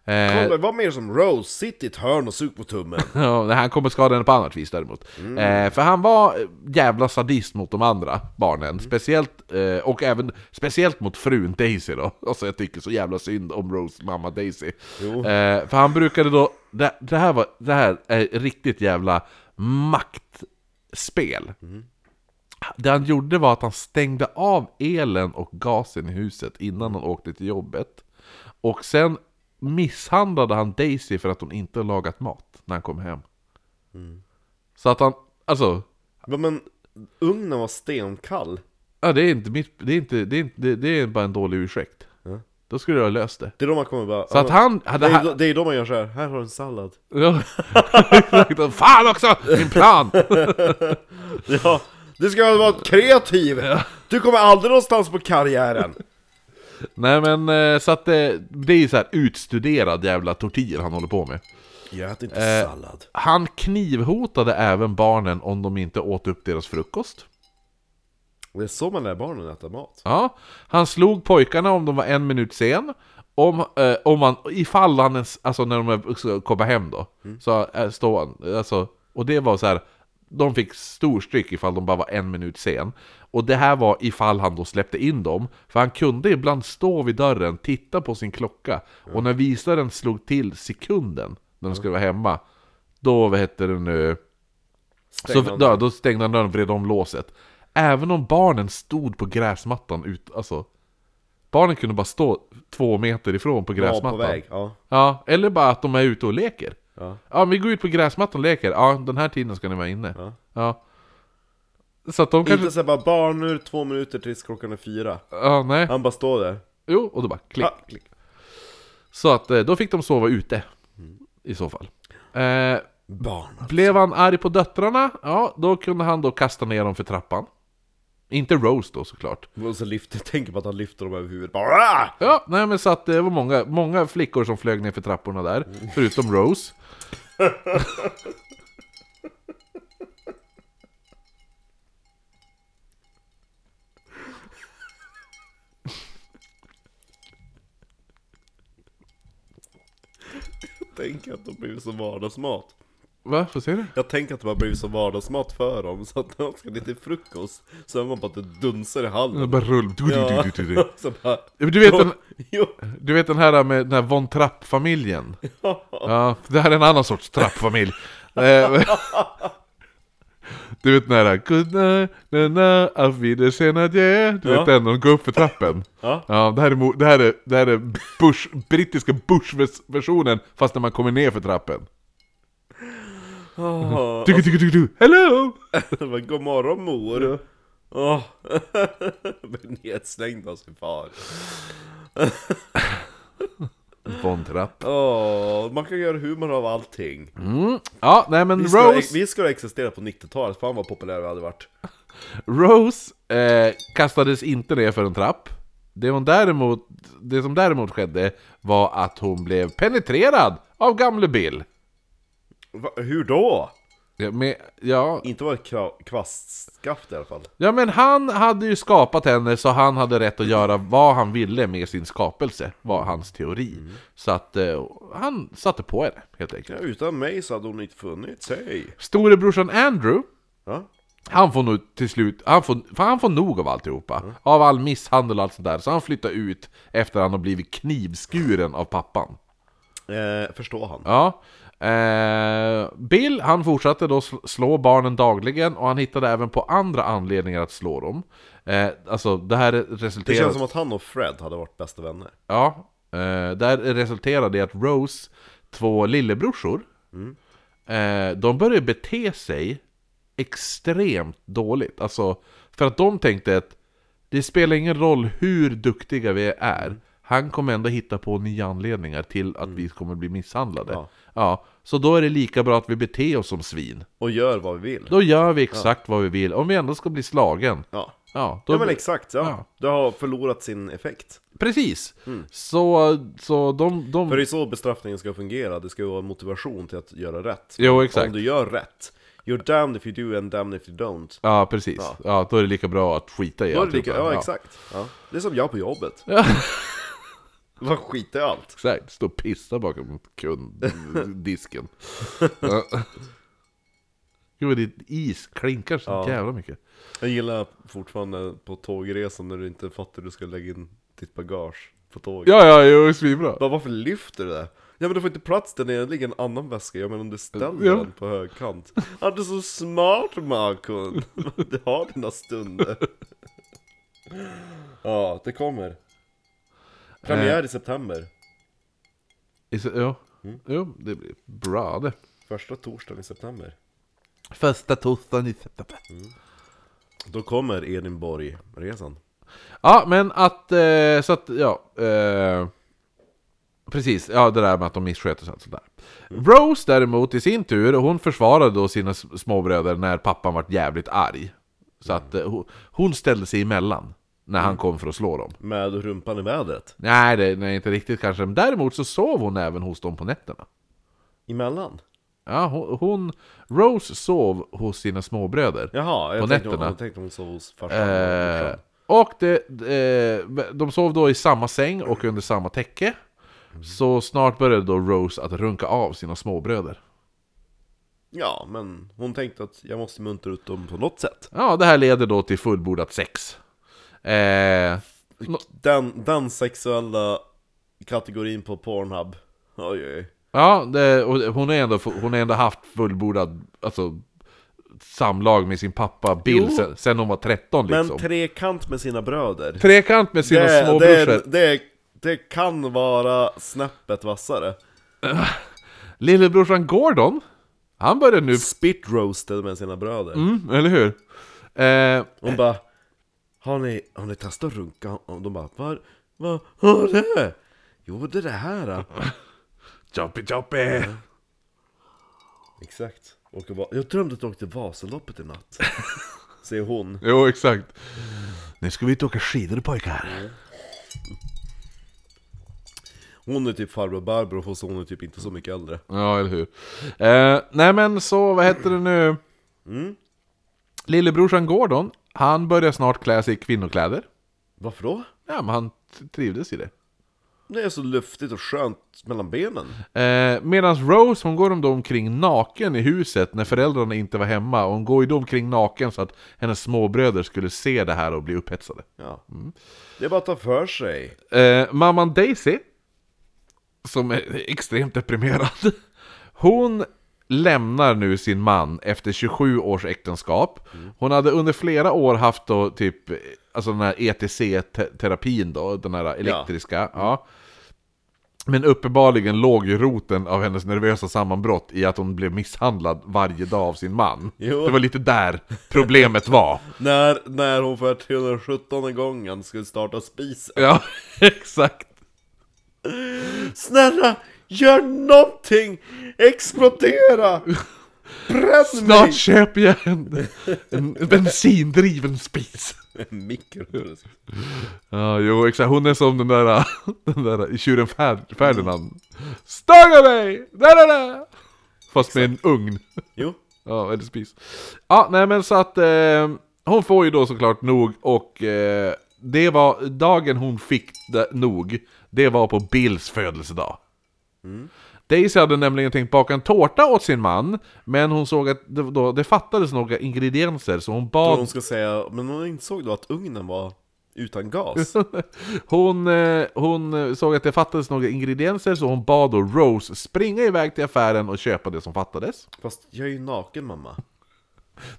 Speaker 1: Eh,
Speaker 2: Kommer, var mer som Rose, sitt i ett hörn och sug på tummen.
Speaker 1: Ja, nej, han kommer skada henne på annat vis däremot. Eh, för han var eh, jävla sadist mot de andra barnen. Speciellt, eh, och även speciellt mot frun Daisy då. Alltså jag tycker så jävla synd om Rose mamma Daisy.
Speaker 2: Jo.
Speaker 1: Eh, för han brukade då, det, det, här var, det här är riktigt jävla maktspel. Det han gjorde var att han stängde av elen och gasen i huset innan han åkte till jobbet. Och sen misshandlade han Daisy för att hon inte lagat mat när han kom hem.
Speaker 2: Mm.
Speaker 1: Så att han, alltså,
Speaker 2: Men, men ugnen var stenkall.
Speaker 1: ja, det är inte mitt, det är inte, det är, inte, det, det är bara en dålig ursäkt.
Speaker 2: Ja.
Speaker 1: Då skulle jag ha löst det.
Speaker 2: Det är då man kommer bara...
Speaker 1: Så att han, hade
Speaker 2: det, är,
Speaker 1: han,
Speaker 2: då- det är då man gör så här. här har du en sallad.
Speaker 1: ja, Exakt. fan också, min plan!
Speaker 2: Ja, du ska vara kreativ! Du kommer aldrig någonstans på karriären!
Speaker 1: Nej men eh, så att det, det är ju så här utstuderad jävla tortyr han håller på med.
Speaker 2: Jag äter inte
Speaker 1: Eh.
Speaker 2: sallad.
Speaker 1: Han knivhotade även barnen om de inte åt upp deras frukost.
Speaker 2: Och Det är så man lär barnen äta mat.
Speaker 1: Ja, han slog pojkarna om de var en minut sen. Om, eh, om han, ifall han ens, alltså när de är- ska komma hem då, så eh, står han, alltså, och det var så här. De fick storstryk ifall de bara var en minut sen. Och det här var ifall han då släppte in dem. För han kunde ibland stå vid dörren, titta på sin klocka. Och när visaren slog till sekunden när de skulle vara hemma. Då, vad hette det nu? Så
Speaker 2: Stäng
Speaker 1: då, då stängde han dörren och vred om låset. Även om barnen stod på gräsmattan ut, alltså. Barnen kunde bara stå två meter ifrån på
Speaker 2: Ja,
Speaker 1: gräsmattan.
Speaker 2: på väg. Ja.
Speaker 1: Ja, eller bara att de är ute och leker.
Speaker 2: Ja.
Speaker 1: Ja, vi går ut på gräsmattan och leker. Ja, den här tiden ska ni vara inne.
Speaker 2: Ja.
Speaker 1: Så att de kanske...
Speaker 2: Inte såhär bara barn, nu är det två minuter tills klockan är fyra.
Speaker 1: Ja, nej.
Speaker 2: Han bara står där.
Speaker 1: Jo, och då bara klick.
Speaker 2: Ah, klick.
Speaker 1: Så att eh, då fick de sova ute.
Speaker 2: Mm.
Speaker 1: I så fall. Eh,
Speaker 2: Barn.
Speaker 1: blev han arg på döttrarna? Ja, då kunde han då kasta ner dem för trappan. Inte Rose då såklart.
Speaker 2: Och så lyfter, tänker på att han lyfter dem över huvudet. Bara, "Ah!"
Speaker 1: Ja, nej men så att det var många, många flickor som flög ner för trapporna där, förutom Rose.
Speaker 2: Tänk att de blivit som vardagsmat.
Speaker 1: Va? Får se det?
Speaker 2: Jag tänker att de har blivit som vardagsmat för dem, så att när de ska ner till frukost så hör man bara att det dunsar i hallen.
Speaker 1: Bara rull. Du, du,
Speaker 2: Ja.
Speaker 1: du, du, du.
Speaker 2: Så bara,
Speaker 1: Du, vet den,
Speaker 2: jo,
Speaker 1: du vet den här med den här von Trapp-familjen? Ja, det här är en annan sorts Trapp-familj. Eh, Du vet den här Good night, na, na, auf wiedersehen adjö. Du
Speaker 2: Ja.
Speaker 1: vet den, de går upp för trappen.
Speaker 2: Ja.
Speaker 1: det här är, mo- det här är, det här är Bush, brittiska Bush-versionen fast när man kommer ner för trappen.
Speaker 2: Ah,
Speaker 1: Du, du, du, du, du. Hello!
Speaker 2: men, god morgon mor! Åh, Blev nedslängd av sin far.
Speaker 1: Von Trapp.
Speaker 2: Åh, man kan göra humor av allting.
Speaker 1: Ja, nej men
Speaker 2: Vi skulle,
Speaker 1: Rose,
Speaker 2: vi skulle ha existerat på 90-talet, fan vad populära vi hade varit.
Speaker 1: Rose eh, kastades inte ner för en trapp. Det, hon däremot, det som däremot skedde var att hon blev penetrerad av gamle Bill.
Speaker 2: Va, hur då?
Speaker 1: Ja, men, ja,
Speaker 2: Inte var det kra- kvastskaft i alla fall.
Speaker 1: ja, men han hade ju skapat henne så han hade rätt att göra vad han ville med sin skapelse, var hans teori. Så att eh, han satte på henne, helt enkelt.
Speaker 2: Ja, utan mig så hade hon inte funnits, hej!
Speaker 1: Storebrorsan Andrew
Speaker 2: Ja?
Speaker 1: Han får nog till slut, han får, för han får nog av alltihopa.
Speaker 2: Mm.
Speaker 1: Av all misshandel och allt sånt där. Så han flyttar ut efter han har blivit knivskuren av pappan.
Speaker 2: Eh, förstår han.
Speaker 1: Ja. Eh, Bill, han fortsatte då sl- slå barnen dagligen och han hittade även på andra anledningar att slå dem. Eh, alltså det här
Speaker 2: Det
Speaker 1: resulterade...
Speaker 2: känns som att han och Fred hade varit bästa vänner.
Speaker 1: Ja, eh, där resulterade i att Rose två lillebrorsor,
Speaker 2: Mm.
Speaker 1: eh, de började bete sig extremt dåligt. Alltså, för att de tänkte att det spelar ingen roll hur duktiga vi
Speaker 2: Mm.
Speaker 1: är, han kommer ändå hitta på nya anledningar till att vi kommer bli misshandlade. Ja.
Speaker 2: Ja.
Speaker 1: så då är det lika bra att vi beter oss som svin.
Speaker 2: Och gör vad vi vill.
Speaker 1: Då gör vi exakt vad vi vill, om vi ändå ska bli slagen.
Speaker 2: Ja.
Speaker 1: Ja, då
Speaker 2: Ja men exakt, ja.
Speaker 1: Ja.
Speaker 2: Det har förlorat sin effekt.
Speaker 1: Precis! Så, så de... de...
Speaker 2: Mm. För det är så bestraffningen ska fungera, det ska ju vara en motivation till att göra rätt.
Speaker 1: Jo, exakt.
Speaker 2: Om du gör rätt, you're damned if you do and damned if you don't.
Speaker 1: Ja, precis. Ja.
Speaker 2: Ja.
Speaker 1: då är det lika bra att skita i
Speaker 2: Då är det
Speaker 1: alltihopa.
Speaker 2: lika, ja exakt. Ja. Det är som jag på jobbet.
Speaker 1: Ja.
Speaker 2: Man skiter i allt.
Speaker 1: Exakt, stå och pissa bakom kunddisken. ja. Gud vad ditt is klinkar så
Speaker 2: Ja.
Speaker 1: jävla mycket.
Speaker 2: Jag gillar fortfarande på tågresan när du inte fattar hur du ska lägga in ditt bagage på tåget.
Speaker 1: Ja, ja, jo, svinbra.
Speaker 2: Bara, varför lyfter du det? Ja men du får inte plats där nere, det ligger en annan väska, jag menar om du ställer
Speaker 1: Ja.
Speaker 2: den på högkant. Ja du är så smart Markon! Du har dina stunder. Ja, det kommer. Premiär i september.
Speaker 1: Is- Ja.
Speaker 2: Mm.
Speaker 1: Jo, det blir bra det.
Speaker 2: Första torsdagen i september.
Speaker 1: Första torsdagen i september.
Speaker 2: Då kommer Edinborg-resan.
Speaker 1: Ja, men att... Eh, så att, ja... Eh, precis, ja det där med att de missköter sig och allt sånt där. Rose däremot i sin tur, hon försvarade då sina s- småbröder när pappan vart jävligt arg. Så att eh, ho- hon ställde sig emellan när han kom för att slå dem.
Speaker 2: Med rumpan i vädret.
Speaker 1: Nej, det, nej inte riktigt kanske. Men däremot så sov hon även hos dem på nätterna.
Speaker 2: Emellan.
Speaker 1: Ja, hon, hon, Rose sov hos sina småbröder.
Speaker 2: Jaha, jag
Speaker 1: På
Speaker 2: tänkte,
Speaker 1: nätterna.
Speaker 2: Hon, jag tänkte hon sov hos farsan.
Speaker 1: Eh, och det, eh, de sov då i samma säng och under samma täcke. Så snart började då Rose att runka av sina småbröder.
Speaker 2: Ja, men hon tänkte att jag måste muntra ut dem på något sätt.
Speaker 1: Ja, det här leder då till fullbordat sex. Eh,
Speaker 2: Den, den sexuella kategorin på Pornhub. Oj, oj.
Speaker 1: ja, det, och hon har ändå, hon har ändå haft fullbordad alltså, samlag med sin pappa Bill
Speaker 2: Jo.
Speaker 1: sen, sen hon var 13
Speaker 2: Men
Speaker 1: liksom.
Speaker 2: trekant med sina bröder.
Speaker 1: Trekant med sina
Speaker 2: Det, det,
Speaker 1: småbrorsor.
Speaker 2: det, det kan vara snäppet vassare.
Speaker 1: Lillebrorsan Gordon, han börjar nu...
Speaker 2: Spit roasted med sina bröder.
Speaker 1: Mm, eller hur? Eh,
Speaker 2: Hon bara har ni, har ni testat att runka? Och de bara Vad va, vad är det? Jo det är det här då.
Speaker 1: choppy choppy!
Speaker 2: Exakt och jag, bara, jag drömde att jag åkte Vasaloppet i natt Säger hon
Speaker 1: Jo, exakt. Nu ska vi ut och åka skidor pojkar.
Speaker 2: Hon är typ farbror Barbro fast hon är typ inte så mycket äldre
Speaker 1: Ja, eller hur. Eh, nej men så, vad heter det nu? Mm. Lillebrorsan Gordon, han började snart klä sig i kvinnokläder.
Speaker 2: Varför då?
Speaker 1: Ja, men han t- trivdes i det.
Speaker 2: Det är så luftigt och skönt mellan benen
Speaker 1: Eh, Medan Rose, hon går om- då omkring naken i huset när föräldrarna inte var hemma. Och hon går ju då omkring naken så att hennes småbröder skulle se det här och bli upphetsade.
Speaker 2: Ja Det är bara att ta för sig
Speaker 1: Eh, mamman Daisy, som är extremt deprimerad, hon lämnar nu sin man efter 27 års äktenskap. Hon hade under flera år haft då typ, eh, alltså den här ETC-terapin då, den här elektriska. Ja. Men uppenbarligen låg ju roten av hennes nervösa sammanbrott i att hon blev misshandlad varje dag av sin man.
Speaker 2: Jo.
Speaker 1: Det var lite där problemet var.
Speaker 2: När, när hon för 317 gången skulle starta spisen
Speaker 1: Ja, exakt.
Speaker 2: Snälla, gör någonting! Explodera! Bränn mig!
Speaker 1: Snart köper jag en, en bensindriven spis.
Speaker 2: Mikro. precis.
Speaker 1: Ja, jo exakt. Hon är som den där, den där tjuren Fer- Ferdinand. Stånga mig! Da, da, da. Fast med en ugn.
Speaker 2: Jo.
Speaker 1: Ja, eller spis. Ja, nej men så att eh, hon får ju då såklart nog och eh, det var dagen hon fick det, nog, det var på Bills födelsedag. Mm. Daisy hade nämligen tänkt baka en tårta åt sin man, men hon såg att det, då, det fattades några ingredienser så hon
Speaker 2: Och
Speaker 1: bad
Speaker 2: hon ska säga, men hon insåg då att ugnen var utan gas.
Speaker 1: Hon, eh, hon eh, såg att det fattades några ingredienser så hon bad då Rose springa iväg till affären och köpa det som fattades.
Speaker 2: Fast jag är ju naken mamma.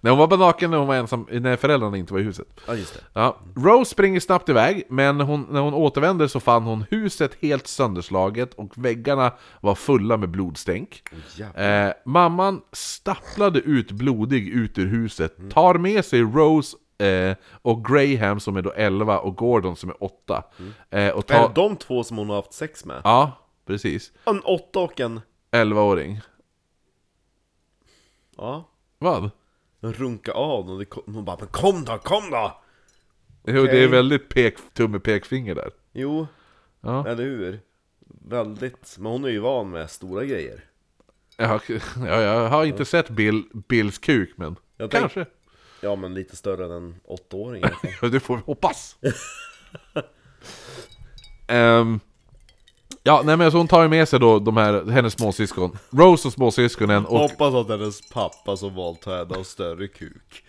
Speaker 1: När hon var bara naken när hon var ensam, när föräldrarna inte var i huset.
Speaker 2: Ja just det.
Speaker 1: Ja, Rose springer snabbt iväg, men hon, när hon återvänder så fann hon huset helt sönderslaget och väggarna var fulla med blodstänk.
Speaker 2: jävlar.
Speaker 1: Eh, mamman stapplade ut blodig ut ur huset,
Speaker 2: Mm.
Speaker 1: tar med sig Rose eh, och Graham som är då 11 och Gordon som är 8.
Speaker 2: Mm.
Speaker 1: Eh, och tar...
Speaker 2: Är det de två som hon har haft sex med?
Speaker 1: Ja, precis.
Speaker 2: En åtta och en...
Speaker 1: 11-åring.
Speaker 2: Ja.
Speaker 1: Vad?
Speaker 2: En runka av och det kom, hon bara 'Men kom då, kom då!'
Speaker 1: Jo, det är väldigt pek, tumme pekfinger där.
Speaker 2: Jo,
Speaker 1: Ja.
Speaker 2: eller hur? Väldigt, men hon är ju van med stora grejer.
Speaker 1: Jag, jag, jag har inte sett Bill, Bills kuk, men
Speaker 2: Jag tänk-
Speaker 1: kanske.
Speaker 2: Ja, men lite större än en åttaåring i alla fall.
Speaker 1: Ja, det får vi hoppas. Ehm, ja, nej men så hon tar ju med sig då de här, hennes småsyskon. Rose och småsyskonen och
Speaker 2: Hoppas att hennes pappa som valt henne har större kuk.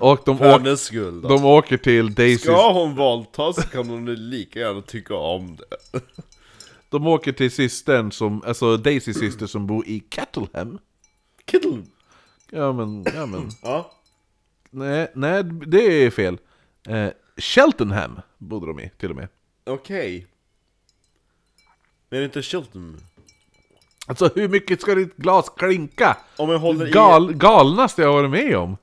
Speaker 1: Och de,
Speaker 2: För
Speaker 1: åk,
Speaker 2: hennes skull då.
Speaker 1: de åker till Daisys,
Speaker 2: Ska hon våldta så kan hon ju lika gärna tycka om det.
Speaker 1: de åker till systern som, alltså Daisys syster som bor i Cattleham.
Speaker 2: Kittle!
Speaker 1: Ja men, ja men.
Speaker 2: Ja.
Speaker 1: Nej, nej det är fel. Eh, Cheltenham bodde de i till och med.
Speaker 2: Okej. Men är det inte Chilton?
Speaker 1: Alltså hur mycket ska ditt glas klinka?
Speaker 2: Om jag håller i,
Speaker 1: Gal, galnaste jag har varit med om.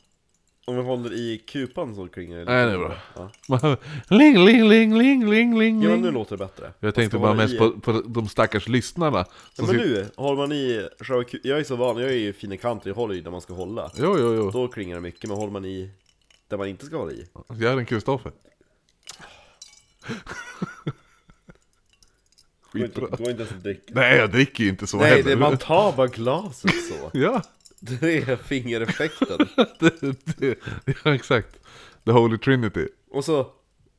Speaker 2: om jag håller i kupan så klingar det lite.
Speaker 1: Nej det är bra.
Speaker 2: Ja.
Speaker 1: Ling, ling, ling, ling, ling, ling,
Speaker 2: Ja, men nu
Speaker 1: ling.
Speaker 2: låter det bättre.
Speaker 1: Jag tänkte
Speaker 2: ska
Speaker 1: bara
Speaker 2: hålla
Speaker 1: mest
Speaker 2: i-
Speaker 1: på, på de stackars lyssnarna.
Speaker 2: Ja,
Speaker 1: Som
Speaker 2: men
Speaker 1: sit-
Speaker 2: nu, håller man i själva ku- Jag är så van, jag är ju finekanter, jag håller i där man ska hålla
Speaker 1: Jo, jo, jo.
Speaker 2: Då klingar det mycket, men håller man i där man inte ska hålla i
Speaker 1: Gör en Kristoffer.
Speaker 2: Det går inte, det går inte ens att dricka
Speaker 1: Nej, jag dricker ju inte så
Speaker 2: Nej,
Speaker 1: heller.
Speaker 2: det är man tar bara glaset så
Speaker 1: Ja,
Speaker 2: Det är fingereffekten
Speaker 1: det, det, ja, exakt. The Holy Trinity.
Speaker 2: Och så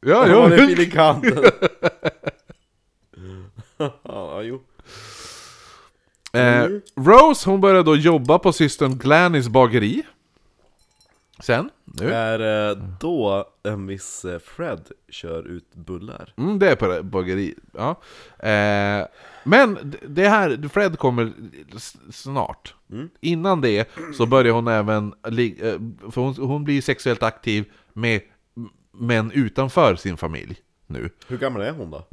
Speaker 1: Ja,
Speaker 2: håller man i
Speaker 1: jo.
Speaker 2: finekanten Ja, jo
Speaker 1: Eh, Rose, hon började då jobba på systern Glannys bageri. Sen, nu.
Speaker 2: Är eh, då en viss eh, Fred kör ut bullar
Speaker 1: Mm, det är på det, bageri. Ja. Eh, men d- det här, Fred kommer s- snart. Innan det så börjar hon även, li- eh, för hon, hon blir sexuellt aktiv med m- män utanför sin familj nu.
Speaker 2: Hur gammal är hon då?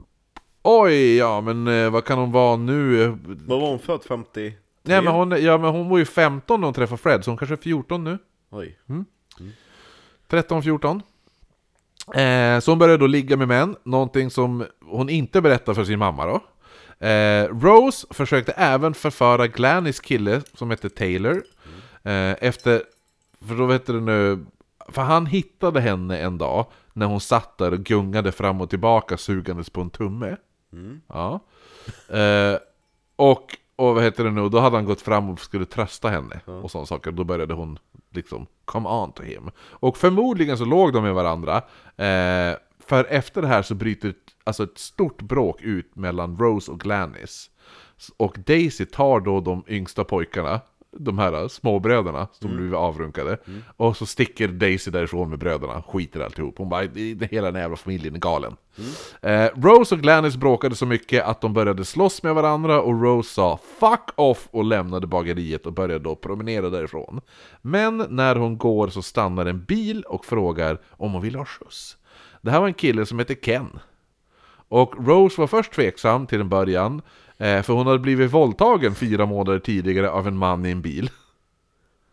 Speaker 1: Oj, ja men eh, vad kan hon vara nu?
Speaker 2: Vad var hon född? 50?
Speaker 1: Nej, men hon, ja, men hon var ju 15 när hon träffade Fred, så hon kanske är 14 nu.
Speaker 2: Oj
Speaker 1: 13, 14. Eh, så hon började då ligga med män, någonting som hon inte berättar för sin mamma då. Eh, Rose försökte även förföra Glannys kille, som hette Taylor, eh, efter... För då vet du nu... För han hittade henne en dag när hon satt där och gungade fram och tillbaka sugandes på en tumme. Ja. Eh, och, och vad heter det nu, då hade han gått fram och skulle trösta henne och sådana saker. Då började hon liksom, come on to him. Och förmodligen så låg de med varandra. Eh, för efter det här så bryter ett, alltså ett stort bråk ut mellan Rose och Glannis. S- Och Daisy tar då de yngsta pojkarna, de här småbröderna som blivit avrunkade. Och så sticker Daisy därifrån med bröderna, skiter i alltihop. Hon bara, "Det- hela den här jävla familjen är galen. Eh, Rose och Glannis bråkade så mycket att de började slåss med varandra och Rose sa 'fuck off' och lämnade bageriet och började då promenera därifrån. Men när hon går så stannar en bil och frågar om hon vill ha skjuts. Det här var en kille som hette Ken. Och Rose var först tveksam till en början, eh, för hon hade blivit våldtagen fyra månader tidigare av en man i en bil.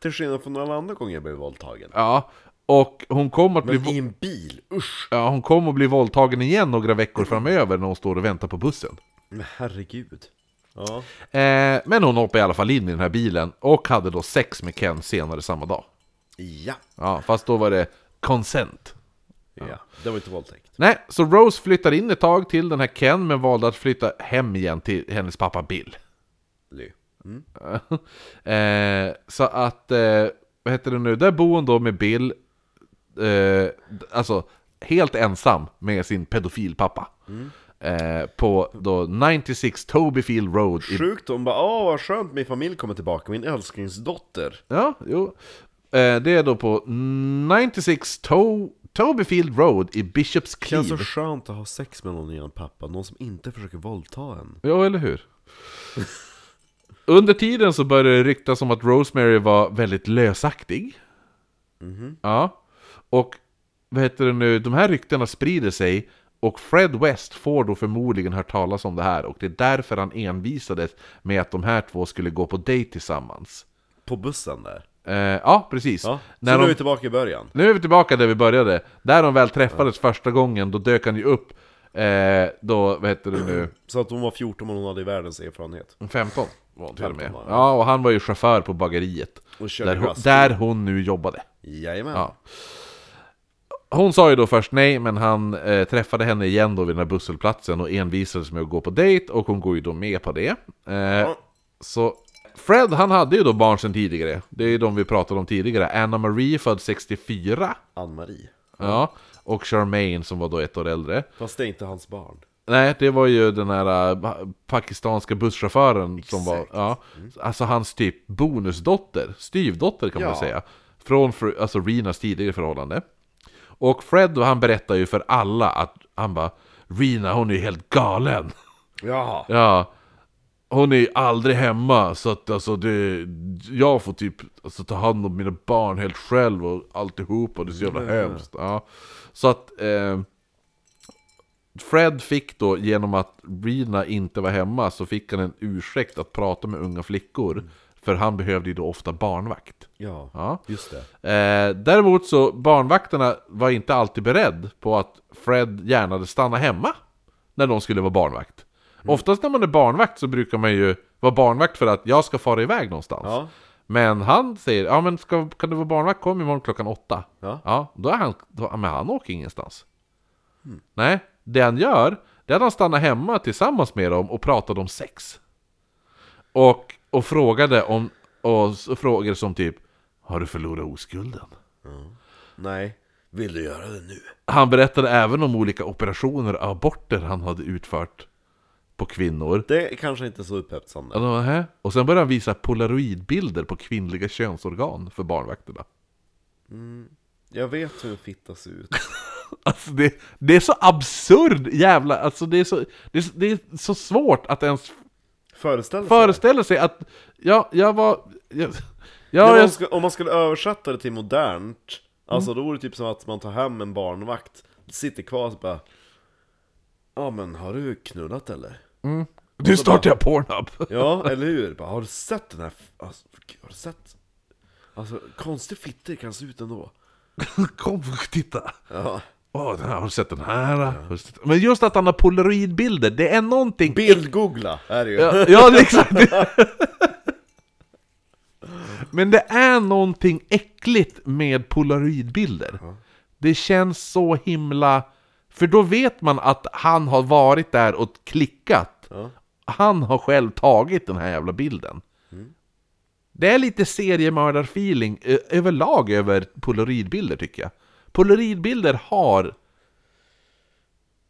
Speaker 2: Till skillnad från alla andra gånger jag blev våldtagen
Speaker 1: Ja, och hon kom att bli...
Speaker 2: Men
Speaker 1: vå-
Speaker 2: i en bil, usch!
Speaker 1: Ja, hon kom att bli våldtagen igen några veckor framöver när hon står och väntar på bussen.
Speaker 2: Men herregud Ja.
Speaker 1: Eh, men hon hoppade i alla fall in i den här bilen och hade då sex med Ken senare samma dag.
Speaker 2: Ja.
Speaker 1: Ja, fast då var det consent.
Speaker 2: ja. Det var inte våldtäkt.
Speaker 1: Nej, så Rose flyttar in ett tag till den här Ken men valde att flytta hem igen till hennes pappa Bill.
Speaker 2: Ly.
Speaker 1: eh, så att, eh, vad heter det nu, där bor hon då med Bill, eh, alltså helt ensam med sin pedofilpappa.
Speaker 2: Mm.
Speaker 1: Eh, på då 96 Tobyfield Road i
Speaker 2: Sjukt, hon bara åh vad skönt min familj kommer tillbaka, min älsklingsdotter.
Speaker 1: Ja, jo. Eh, Det är då på 96 to Tobyfield Road i Bishops
Speaker 2: Känns så
Speaker 1: Cleeve.
Speaker 2: skönt att ha sex med någon genom pappa, någon som inte försöker våldta en.
Speaker 1: Ja, eller hur? Under tiden så började det ryktas om att Rosemary var väldigt lösaktig.
Speaker 2: Mhm.
Speaker 1: Ja. Och vad heter det nu, de här ryktena sprider sig och Fred West får då förmodligen hört talas om det här och det är därför han envisades med att de här två skulle gå på dejt tillsammans.
Speaker 2: På bussen där.
Speaker 1: Eh, ja, precis.
Speaker 2: Ja. Så
Speaker 1: När
Speaker 2: nu
Speaker 1: de-
Speaker 2: är vi tillbaka i början.
Speaker 1: Nu är vi tillbaka där vi började. Där de väl träffades första gången, då dök han ju upp. Eh, då, vad heter det nu?
Speaker 2: Så att hon var 14 och hon hade världens erfarenhet.
Speaker 1: 15 var han till och med.
Speaker 2: 15 var han.
Speaker 1: Ja, och han var ju chaufför på bageriet.
Speaker 2: Och körde
Speaker 1: Där hon,
Speaker 2: lastbil.
Speaker 1: där hon nu jobbade.
Speaker 2: Jajamän.
Speaker 1: Ja. Hon sa ju då först nej, men han eh, träffade henne igen då vid den här busshållplatsen och envisades med att gå på dejt och hon går ju då med på det. Eh, Så Fred, han hade ju då barn sedan tidigare. Det är ju de vi pratade om tidigare. Anna Marie född 64.
Speaker 2: Ann-Marie.
Speaker 1: Ja, och Charmaine som var då ett år äldre.
Speaker 2: Fast det är inte hans barn.
Speaker 1: Nej, det var ju den här äh, pakistanska busschauffören som var...
Speaker 2: Exakt. Mm.
Speaker 1: Ja, alltså hans typ bonusdotter, styvdotter kan man
Speaker 2: Ja.
Speaker 1: säga. Från fru, alltså Rinas tidigare förhållande. Och Fred, då, han berättar ju för alla att han bara Rina hon är ju helt galen!
Speaker 2: Jaha.
Speaker 1: Ja, hon är ju aldrig hemma så att alltså det... Jag får typ alltså, ta hand om mina barn helt själv och alltihopa, det är så jävla hemskt. Ja. Så att... Eh, Fred fick då, genom att Rina inte var hemma, så fick han en ursäkt att prata med unga flickor. För han behövde ju då ofta barnvakt.
Speaker 2: Ja.
Speaker 1: Ja.
Speaker 2: Just det.
Speaker 1: Eh, däremot så, barnvakterna var inte alltid beredd på att Fred gärna hade stanna hemma när de skulle vara barnvakt.
Speaker 2: Mm.
Speaker 1: Oftast när man är barnvakt så brukar man ju vara barnvakt för att jag ska fara iväg någonstans.
Speaker 2: Ja.
Speaker 1: Men han säger, ja men ska, kan du vara barnvakt? Kom imorgon klockan åtta.
Speaker 2: Ja.
Speaker 1: då är han, då, ja, men han åker ingenstans.
Speaker 2: Mm.
Speaker 1: Nej, det han gör, det är att han stannar hemma tillsammans med dem och pratar om sex. Och, och frågade om, och, s- frågor som typ, har du förlorat oskulden?
Speaker 2: Nej. Vill du göra det nu?
Speaker 1: Han berättade även om olika operationer och aborter han hade utfört på kvinnor.
Speaker 2: Det är kanske inte så upphetsande.
Speaker 1: Ja, då, "Hä?" Och sen började han visa polaroidbilder på kvinnliga könsorgan för barnvakterna.
Speaker 2: Jag vet hur en fitta ser ut.
Speaker 1: Alltså det, det är så absurd jävla, alltså det är så, det är, så- det är så svårt att ens
Speaker 2: Föreställ dig.
Speaker 1: föreställa sig att, ja, jag var, jag,
Speaker 2: Men
Speaker 1: ja,
Speaker 2: om,
Speaker 1: jag,
Speaker 2: man skulle, om man skulle översätta det till modernt, alltså då vore det typ som att man tar hem en barnvakt, sitter kvar och så bara Ja men har du knullat eller?
Speaker 1: nu startar jag Pornhub!
Speaker 2: Ja, eller hur? Bara, har du sett den här? f- Alltså, gud, har du sett? Alltså konstig fitter kan se ut ändå
Speaker 1: Kom och titta!
Speaker 2: ja.
Speaker 1: Åh, den här, har du sett den här? Har du sett- Men just att han har polaroidbilder, det är någonting...
Speaker 2: Bildgoogla är det ju!
Speaker 1: Ja, ja det är exakt! Men det är någonting äckligt med polaroidbilder. Det känns så himla... För då vet man att han har varit där och klickat. Han har själv tagit den här jävla bilden. Det är lite seriemördarfeeling eh, överlag över polaroidbilder tycker jag. Polaroidbilder har...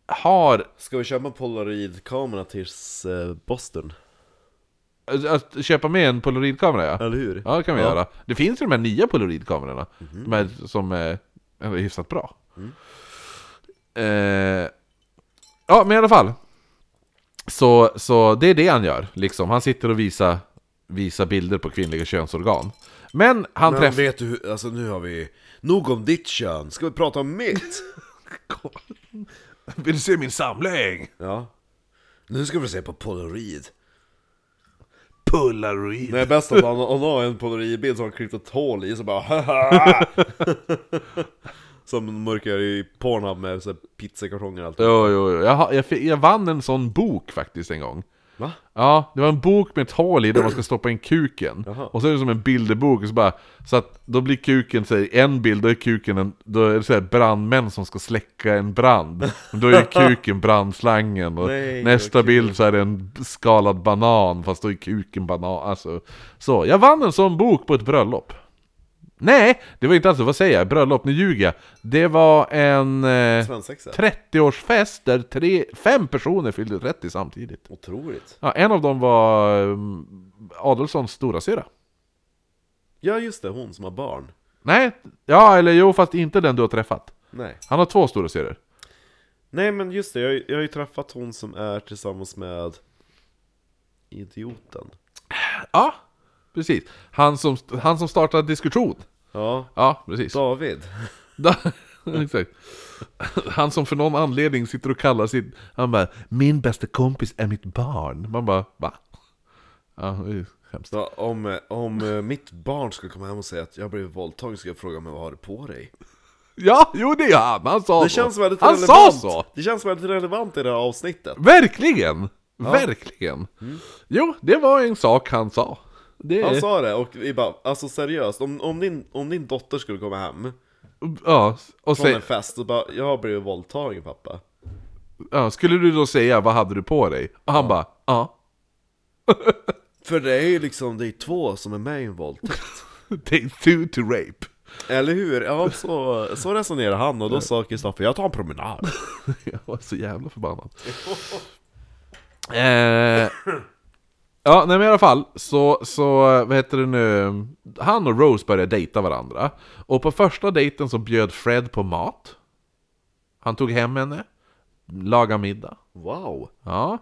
Speaker 1: Har
Speaker 2: Ska vi köpa en polaroidkamera tills eh, Boston?
Speaker 1: Alltså, Att köpa med en polaroidkamera ja.
Speaker 2: Eller hur?
Speaker 1: Ja Mhm. det kan vi göra. Det finns ju de här nya polaroidkamerorna. De här som är, är hyfsat bra. Eh, ja men i alla fall. Så, så det är det han gör. Liksom. Han sitter och visar, visar bilder på kvinnliga könsorgan. Men han
Speaker 2: Men
Speaker 1: träffar...
Speaker 2: vet du hur, alltså nu har vi Nog om ditt kön, ska vi prata om mitt?
Speaker 1: Vill du se min samling?
Speaker 2: Ja Nu ska vi se på polaroid
Speaker 1: Polaroid.
Speaker 2: Nej bäst att han, han har en polaroidbild som han klippt ett hål i så bara haha! Som mörkar i Pornhub med så här pizzakartonger och allt
Speaker 1: Jo, jo, jo. Jag, har- jag, fick- jag vann en sån bok faktiskt en gång.
Speaker 2: Va?
Speaker 1: Ja, det var en bok med ett hål i där man ska stoppa in kuken.
Speaker 2: Jaha.
Speaker 1: Och så är det som en bilderbok, och så bara... Så att då blir kuken, säg en bild, då är kuken en... Då är det så här brandmän som ska släcka en brand. Men då är kuken brandslangen. Och
Speaker 2: Nej,
Speaker 1: nästa
Speaker 2: vad kul.
Speaker 1: bild så är det en skalad banan, fast då är kuken banan. Alltså, så, jag vann en sån bok på ett bröllop. Nej, det var inte alls Vad säger jag? Bröllop? Nu ljuger jag. Det var en... Eh,
Speaker 2: Svensexa?
Speaker 1: 30-årsfest där tre, fem personer fyllde 30 samtidigt.
Speaker 2: Otroligt.
Speaker 1: Ja, en av dem var um, Adelssons storasyrra.
Speaker 2: Ja just det, hon som har barn.
Speaker 1: Nej, ja eller jo fast inte den du har träffat.
Speaker 2: Nej.
Speaker 1: Han har två storasyrror.
Speaker 2: Nej men just det, jag, har ju- jag har ju träffat hon som är tillsammans med idioten.
Speaker 1: Ja, precis. Han som, han som startade diskussion.
Speaker 2: Ja,
Speaker 1: Ja, precis.
Speaker 2: David.
Speaker 1: Da, exakt. Han som för någon anledning sitter och kallar sitt... Han bara 'Min bästa kompis är mitt barn' Man bara va? Ja, det är ju hemskt.
Speaker 2: Så om, eh, om eh, mitt barn skulle komma hem och säga att jag blev våldtagen ska jag fråga mig vad har du på dig?
Speaker 1: Ja, jo det är han! Han sa
Speaker 2: Det
Speaker 1: så!
Speaker 2: känns väldigt
Speaker 1: han
Speaker 2: relevant.
Speaker 1: sa så!
Speaker 2: Det känns väldigt relevant i det här avsnittet.
Speaker 1: Verkligen! Verkligen! Jo, det var en sak han sa. Det...
Speaker 2: Han sa det och vi bara, alltså seriöst, om, om, din, om din dotter skulle komma hem
Speaker 1: Ja, och
Speaker 2: från
Speaker 1: sen,
Speaker 2: en fest och bara 'Jag har blivit våldtagen pappa'
Speaker 1: ja, skulle du då säga vad hade du på dig? Och han bara ja,
Speaker 2: För det är ju liksom, det är två som är med i en våldtäkt
Speaker 1: take two to rape.
Speaker 2: Eller hur? Ja, så, så resonerar han och då sa Kristoffer 'Jag tar en promenad'
Speaker 1: Jag var så jävla förbannad. eh, ja, nej men i alla fall så, så, vad heter det nu, han och Rose började dejta varandra. Och på första dejten så bjöd Fred på mat. Han tog hem henne, lagade middag.
Speaker 2: Wow!
Speaker 1: Ja.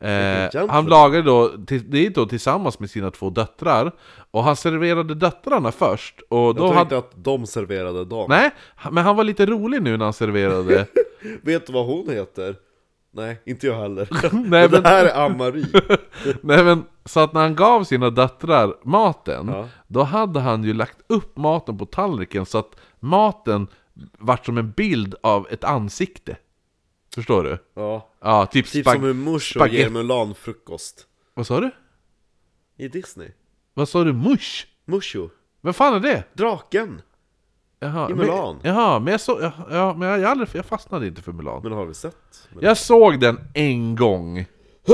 Speaker 2: gentleman.
Speaker 1: Eh, han lagade då, till, det är då tillsammans med sina två döttrar Och han serverade döttrarna först och då
Speaker 2: Jag
Speaker 1: hade,
Speaker 2: tänkte att de serverade dem
Speaker 1: Nej, han- men han var lite rolig nu när han serverade
Speaker 2: Vet du vad hon heter? Nej, inte jag heller
Speaker 1: Nej,
Speaker 2: Det
Speaker 1: men-
Speaker 2: här är Ann-Marie
Speaker 1: Nej men, så att när han gav sina döttrar maten
Speaker 2: Ja.
Speaker 1: Då hade han ju lagt upp maten på tallriken så att maten vart som en bild av ett ansikte Förstår du?
Speaker 2: Ja,
Speaker 1: Ja, typ,
Speaker 2: typ
Speaker 1: spag-
Speaker 2: som hur morsan
Speaker 1: spagett-
Speaker 2: ger Mulan-frukost
Speaker 1: Vad sa du?
Speaker 2: I Disney
Speaker 1: Vad sa du? Mush?
Speaker 2: Mushu,
Speaker 1: Vem fan är det?
Speaker 2: draken!
Speaker 1: Jaha,
Speaker 2: I Mulan.
Speaker 1: Men, jaha, men jag såg... Ja, ja, men jag, jag, aldrig, jag fastnade inte för Mulan.
Speaker 2: Men har du sett?
Speaker 1: Jag såg den en gång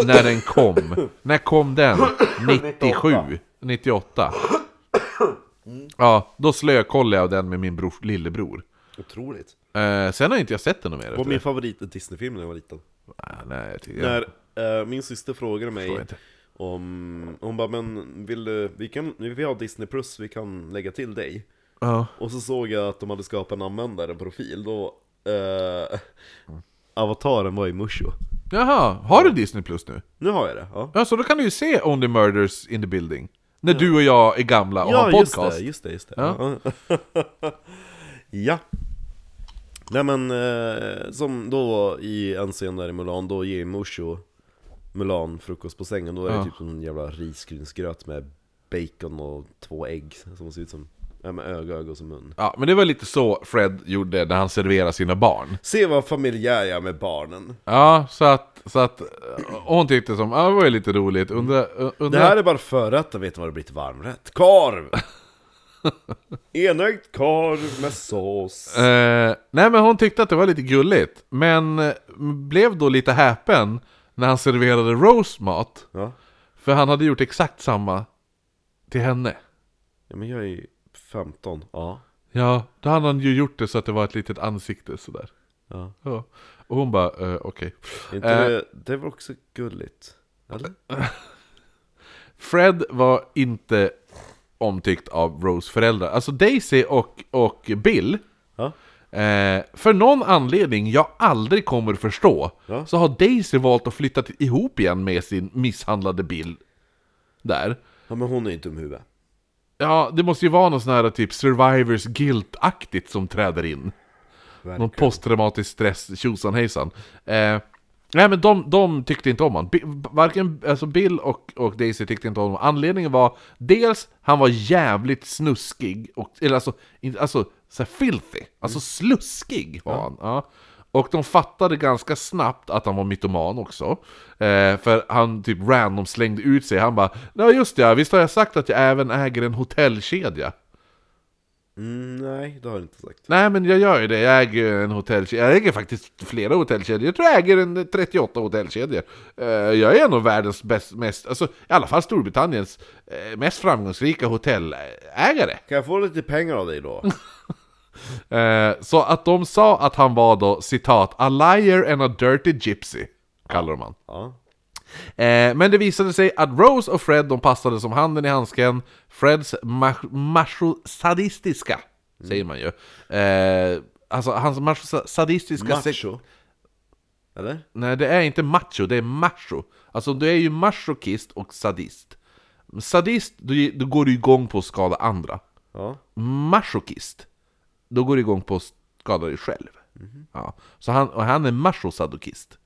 Speaker 1: när den kom. när kom den? 97? 98? Ja, då slökollade jag den med min bror, lillebror.
Speaker 2: Otroligt
Speaker 1: Eh, sen har inte jag sett den någon mer
Speaker 2: Var
Speaker 1: efter
Speaker 2: min
Speaker 1: det.
Speaker 2: favorit Disney-film när jag var liten
Speaker 1: Ah, nej, jag tycker-
Speaker 2: När eh, min syster frågade
Speaker 1: jag
Speaker 2: mig
Speaker 1: inte.
Speaker 2: om, hon bara men vill du, vi, kan, vi har Disney plus, vi kan lägga till dig
Speaker 1: Ja.
Speaker 2: Och så såg jag att de hade skapat en användare, en profil, då eh,
Speaker 1: Mm.
Speaker 2: Avataren var i Mushu
Speaker 1: Jaha, har du Disney Plus nu?
Speaker 2: Nu har jag det, ja
Speaker 1: Ja, så då kan du ju se Only Murders in the Building. När du och jag är gamla och har
Speaker 2: just
Speaker 1: podcast.
Speaker 2: det, just det, just det Ja, ja. Nej men, eh, som då i en scen där i Mulan, då ger Mushu Mulan frukost på sängen, då är det
Speaker 1: Ja.
Speaker 2: typ som en jävla risgrynsgröt med bacon och två ägg som ser ut som, ja med öga, öga och som mun
Speaker 1: Ja, men det var lite så Fred gjorde när han serverade sina barn.
Speaker 2: Se vad familjär jag är med barnen
Speaker 1: Ja, så att, så att eh, hon tyckte som, ja det var ju lite roligt, undra, eh,
Speaker 2: Det
Speaker 1: undra
Speaker 2: här är bara förrätten, vet du vad det blir till varmrätt? Korv! Enögd korv med sås
Speaker 1: eh, Nej men hon tyckte att det var lite gulligt, men eh, blev då lite häpen när han serverade Rose mat,
Speaker 2: Ja,
Speaker 1: för han hade gjort exakt samma till henne.
Speaker 2: ja men jag är ju 15, ja
Speaker 1: Ja, då hade han ju gjort det så att det var ett litet ansikte sådär.
Speaker 2: Ja.
Speaker 1: Ja. Och hon bara, eh, okej.
Speaker 2: Inte
Speaker 1: Eh.
Speaker 2: det, det var också gulligt. Eller?
Speaker 1: Fred var inte omtyckt av Rose föräldrar. Alltså Daisy och, och Bill,
Speaker 2: Ja.
Speaker 1: Eh, för någon anledning jag aldrig kommer förstå
Speaker 2: Ja.
Speaker 1: Så har Daisy valt att flytta till- ihop igen med sin misshandlade Bill Där
Speaker 2: ja, men hon är ju dum huvud.
Speaker 1: Ja, det måste ju vara någon sån här typ survivors guilt-aktigt som träder in Någon posttraumatisk stress, tjosan hejsan eh, Nej men de, de tyckte inte om honom Bi- Varken alltså Bill och, och Daisy tyckte inte om honom Anledningen var dels, han var jävligt snuskig och, Eller alltså, inte- alltså så här filthy Alltså sluskig var han ja. Och de fattade ganska snabbt att han var mytoman också. Eh, för han typ random slängde ut sig. Han bara Ja just det, ja, visst har jag sagt att jag även äger en hotellkedja?
Speaker 2: Mm, nej, det har jag inte sagt.
Speaker 1: Nej men jag gör ju det, jag äger ju en hotellkedja. Jag äger faktiskt flera hotellkedjor. Jag tror jag äger en 38 hotellkedjor. Eh, jag är en av världens bäst, mest, alltså i alla fall Storbritanniens eh, mest framgångsrika hotellägare.
Speaker 2: Kan jag få lite pengar av dig då?
Speaker 1: Eh, så att de sa att han var då citat A liar and a dirty gypsy Kallar de han
Speaker 2: Ja.
Speaker 1: eh, Men det visade sig att Rose och Fred de passade som handen i handsken Freds mach- machosadistiska Säger man ju eh, Alltså hans machosadistiska sex-
Speaker 2: Macho? Eller?
Speaker 1: Nej det är inte macho, det är macho Alltså du är ju machokist och sadist Sadist, då, då går du igång på att skada andra
Speaker 2: Ja.
Speaker 1: machokist, då går det igång på att skada dig själv. Ja. Så han, och han är machosadokist.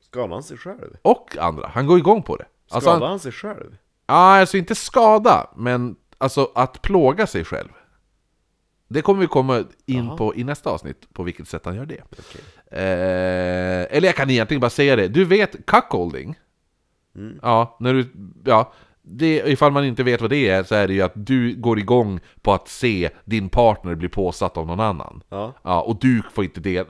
Speaker 2: Skadade han sig själv?
Speaker 1: Och andra, han går igång på det. Alltså,
Speaker 2: Skadade
Speaker 1: han,
Speaker 2: han sig själv?
Speaker 1: ja, alltså inte skada, men alltså att plåga sig själv. Det kommer vi komma in på i nästa avsnitt, på vilket sätt han gör det. Eh, eller jag kan egentligen bara säga det, du vet cuckolding? Ja, när du, ja det, ifall man inte vet vad det är så är det ju att du går igång på att se din partner bli påsatt av någon annan.
Speaker 2: Ja.
Speaker 1: Ja, och du får inte del,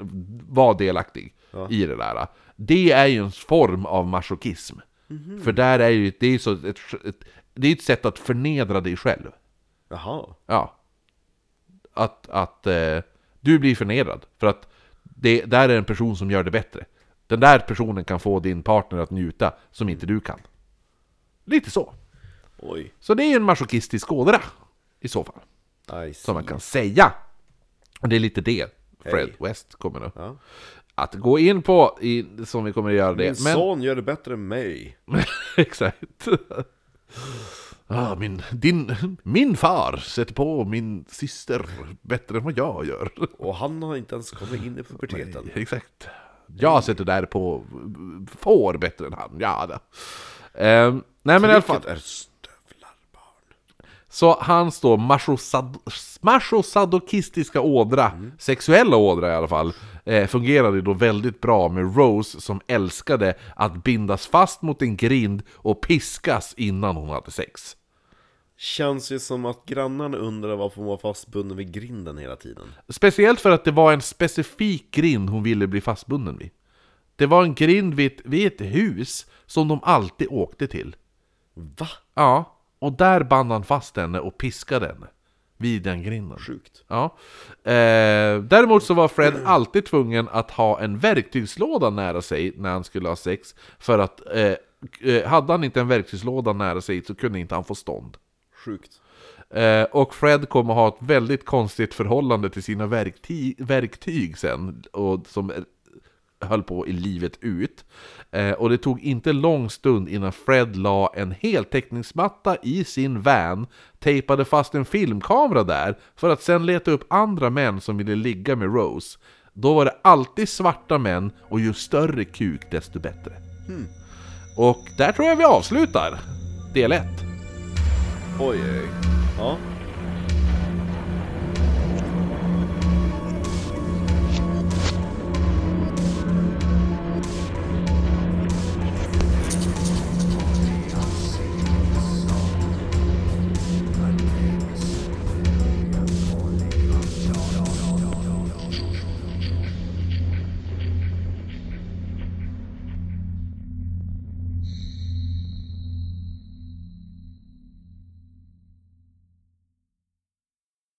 Speaker 1: vara delaktig i det där. Det är ju en form av masochism. För där är ju, det är ju så ett, ett, det är ett sätt att förnedra dig själv.
Speaker 2: Jaha.
Speaker 1: Ja. Att, att eh, du blir förnedrad. För att det, där är en person som gör det bättre. Den där personen kan få din partner att njuta som inte du kan. Lite så.
Speaker 2: Oj.
Speaker 1: Så det är ju en masochistisk ådra. I så fall.
Speaker 2: I see.
Speaker 1: Som man kan säga. Och det är lite det Fred
Speaker 2: Hej.
Speaker 1: West kommer nu.
Speaker 2: Ja.
Speaker 1: Att gå in på, i, som vi kommer att göra det.
Speaker 2: Min son gör det bättre än mig.
Speaker 1: Exakt. Ah, min, din, min far sätter på min syster bättre än vad jag gör.
Speaker 2: Och han har inte ens kommit in i puberteten.
Speaker 1: Exakt. Jag sätter där på får bättre än han. Ja, det. Ehm, nej men i alla fall.
Speaker 2: Vilket är stövlar barn.
Speaker 1: Så hans då machosad, machosadokistiska ådra, sexuella ådra i alla fall, eh, fungerade då väldigt bra med Rose som älskade att bindas fast mot en grind och piskas innan hon hade sex.
Speaker 2: Känns ju som att grannarna undrar varför hon var fastbunden vid grinden hela tiden.
Speaker 1: Speciellt för att det var en specifik grind hon ville bli fastbunden vid. Det var en grind vid ett, vid ett hus som de alltid åkte till.
Speaker 2: Va?
Speaker 1: Ja, och där band han fast henne och piskade henne. Vid den grinden.
Speaker 2: Sjukt.
Speaker 1: Ja. Eh, däremot så var Fred alltid tvungen att ha en verktygslåda nära sig när han skulle ha sex. För att eh, eh, hade han inte en verktygslåda nära sig så kunde inte han få stånd.
Speaker 2: Sjukt.
Speaker 1: Eh, och Fred kommer ha ett väldigt konstigt förhållande till sina verktyg, verktyg sen, och som eh, höll på i livet ut. Eh, och det tog inte lång stund innan Fred la en heltäckningsmatta i sin van, tejpade fast en filmkamera där, för att sen leta upp andra män som ville ligga med Rose. Då var det alltid svarta män, och ju större kuk desto bättre. Och där tror jag vi avslutar del 1.
Speaker 2: Oj, oj. oj. Ja.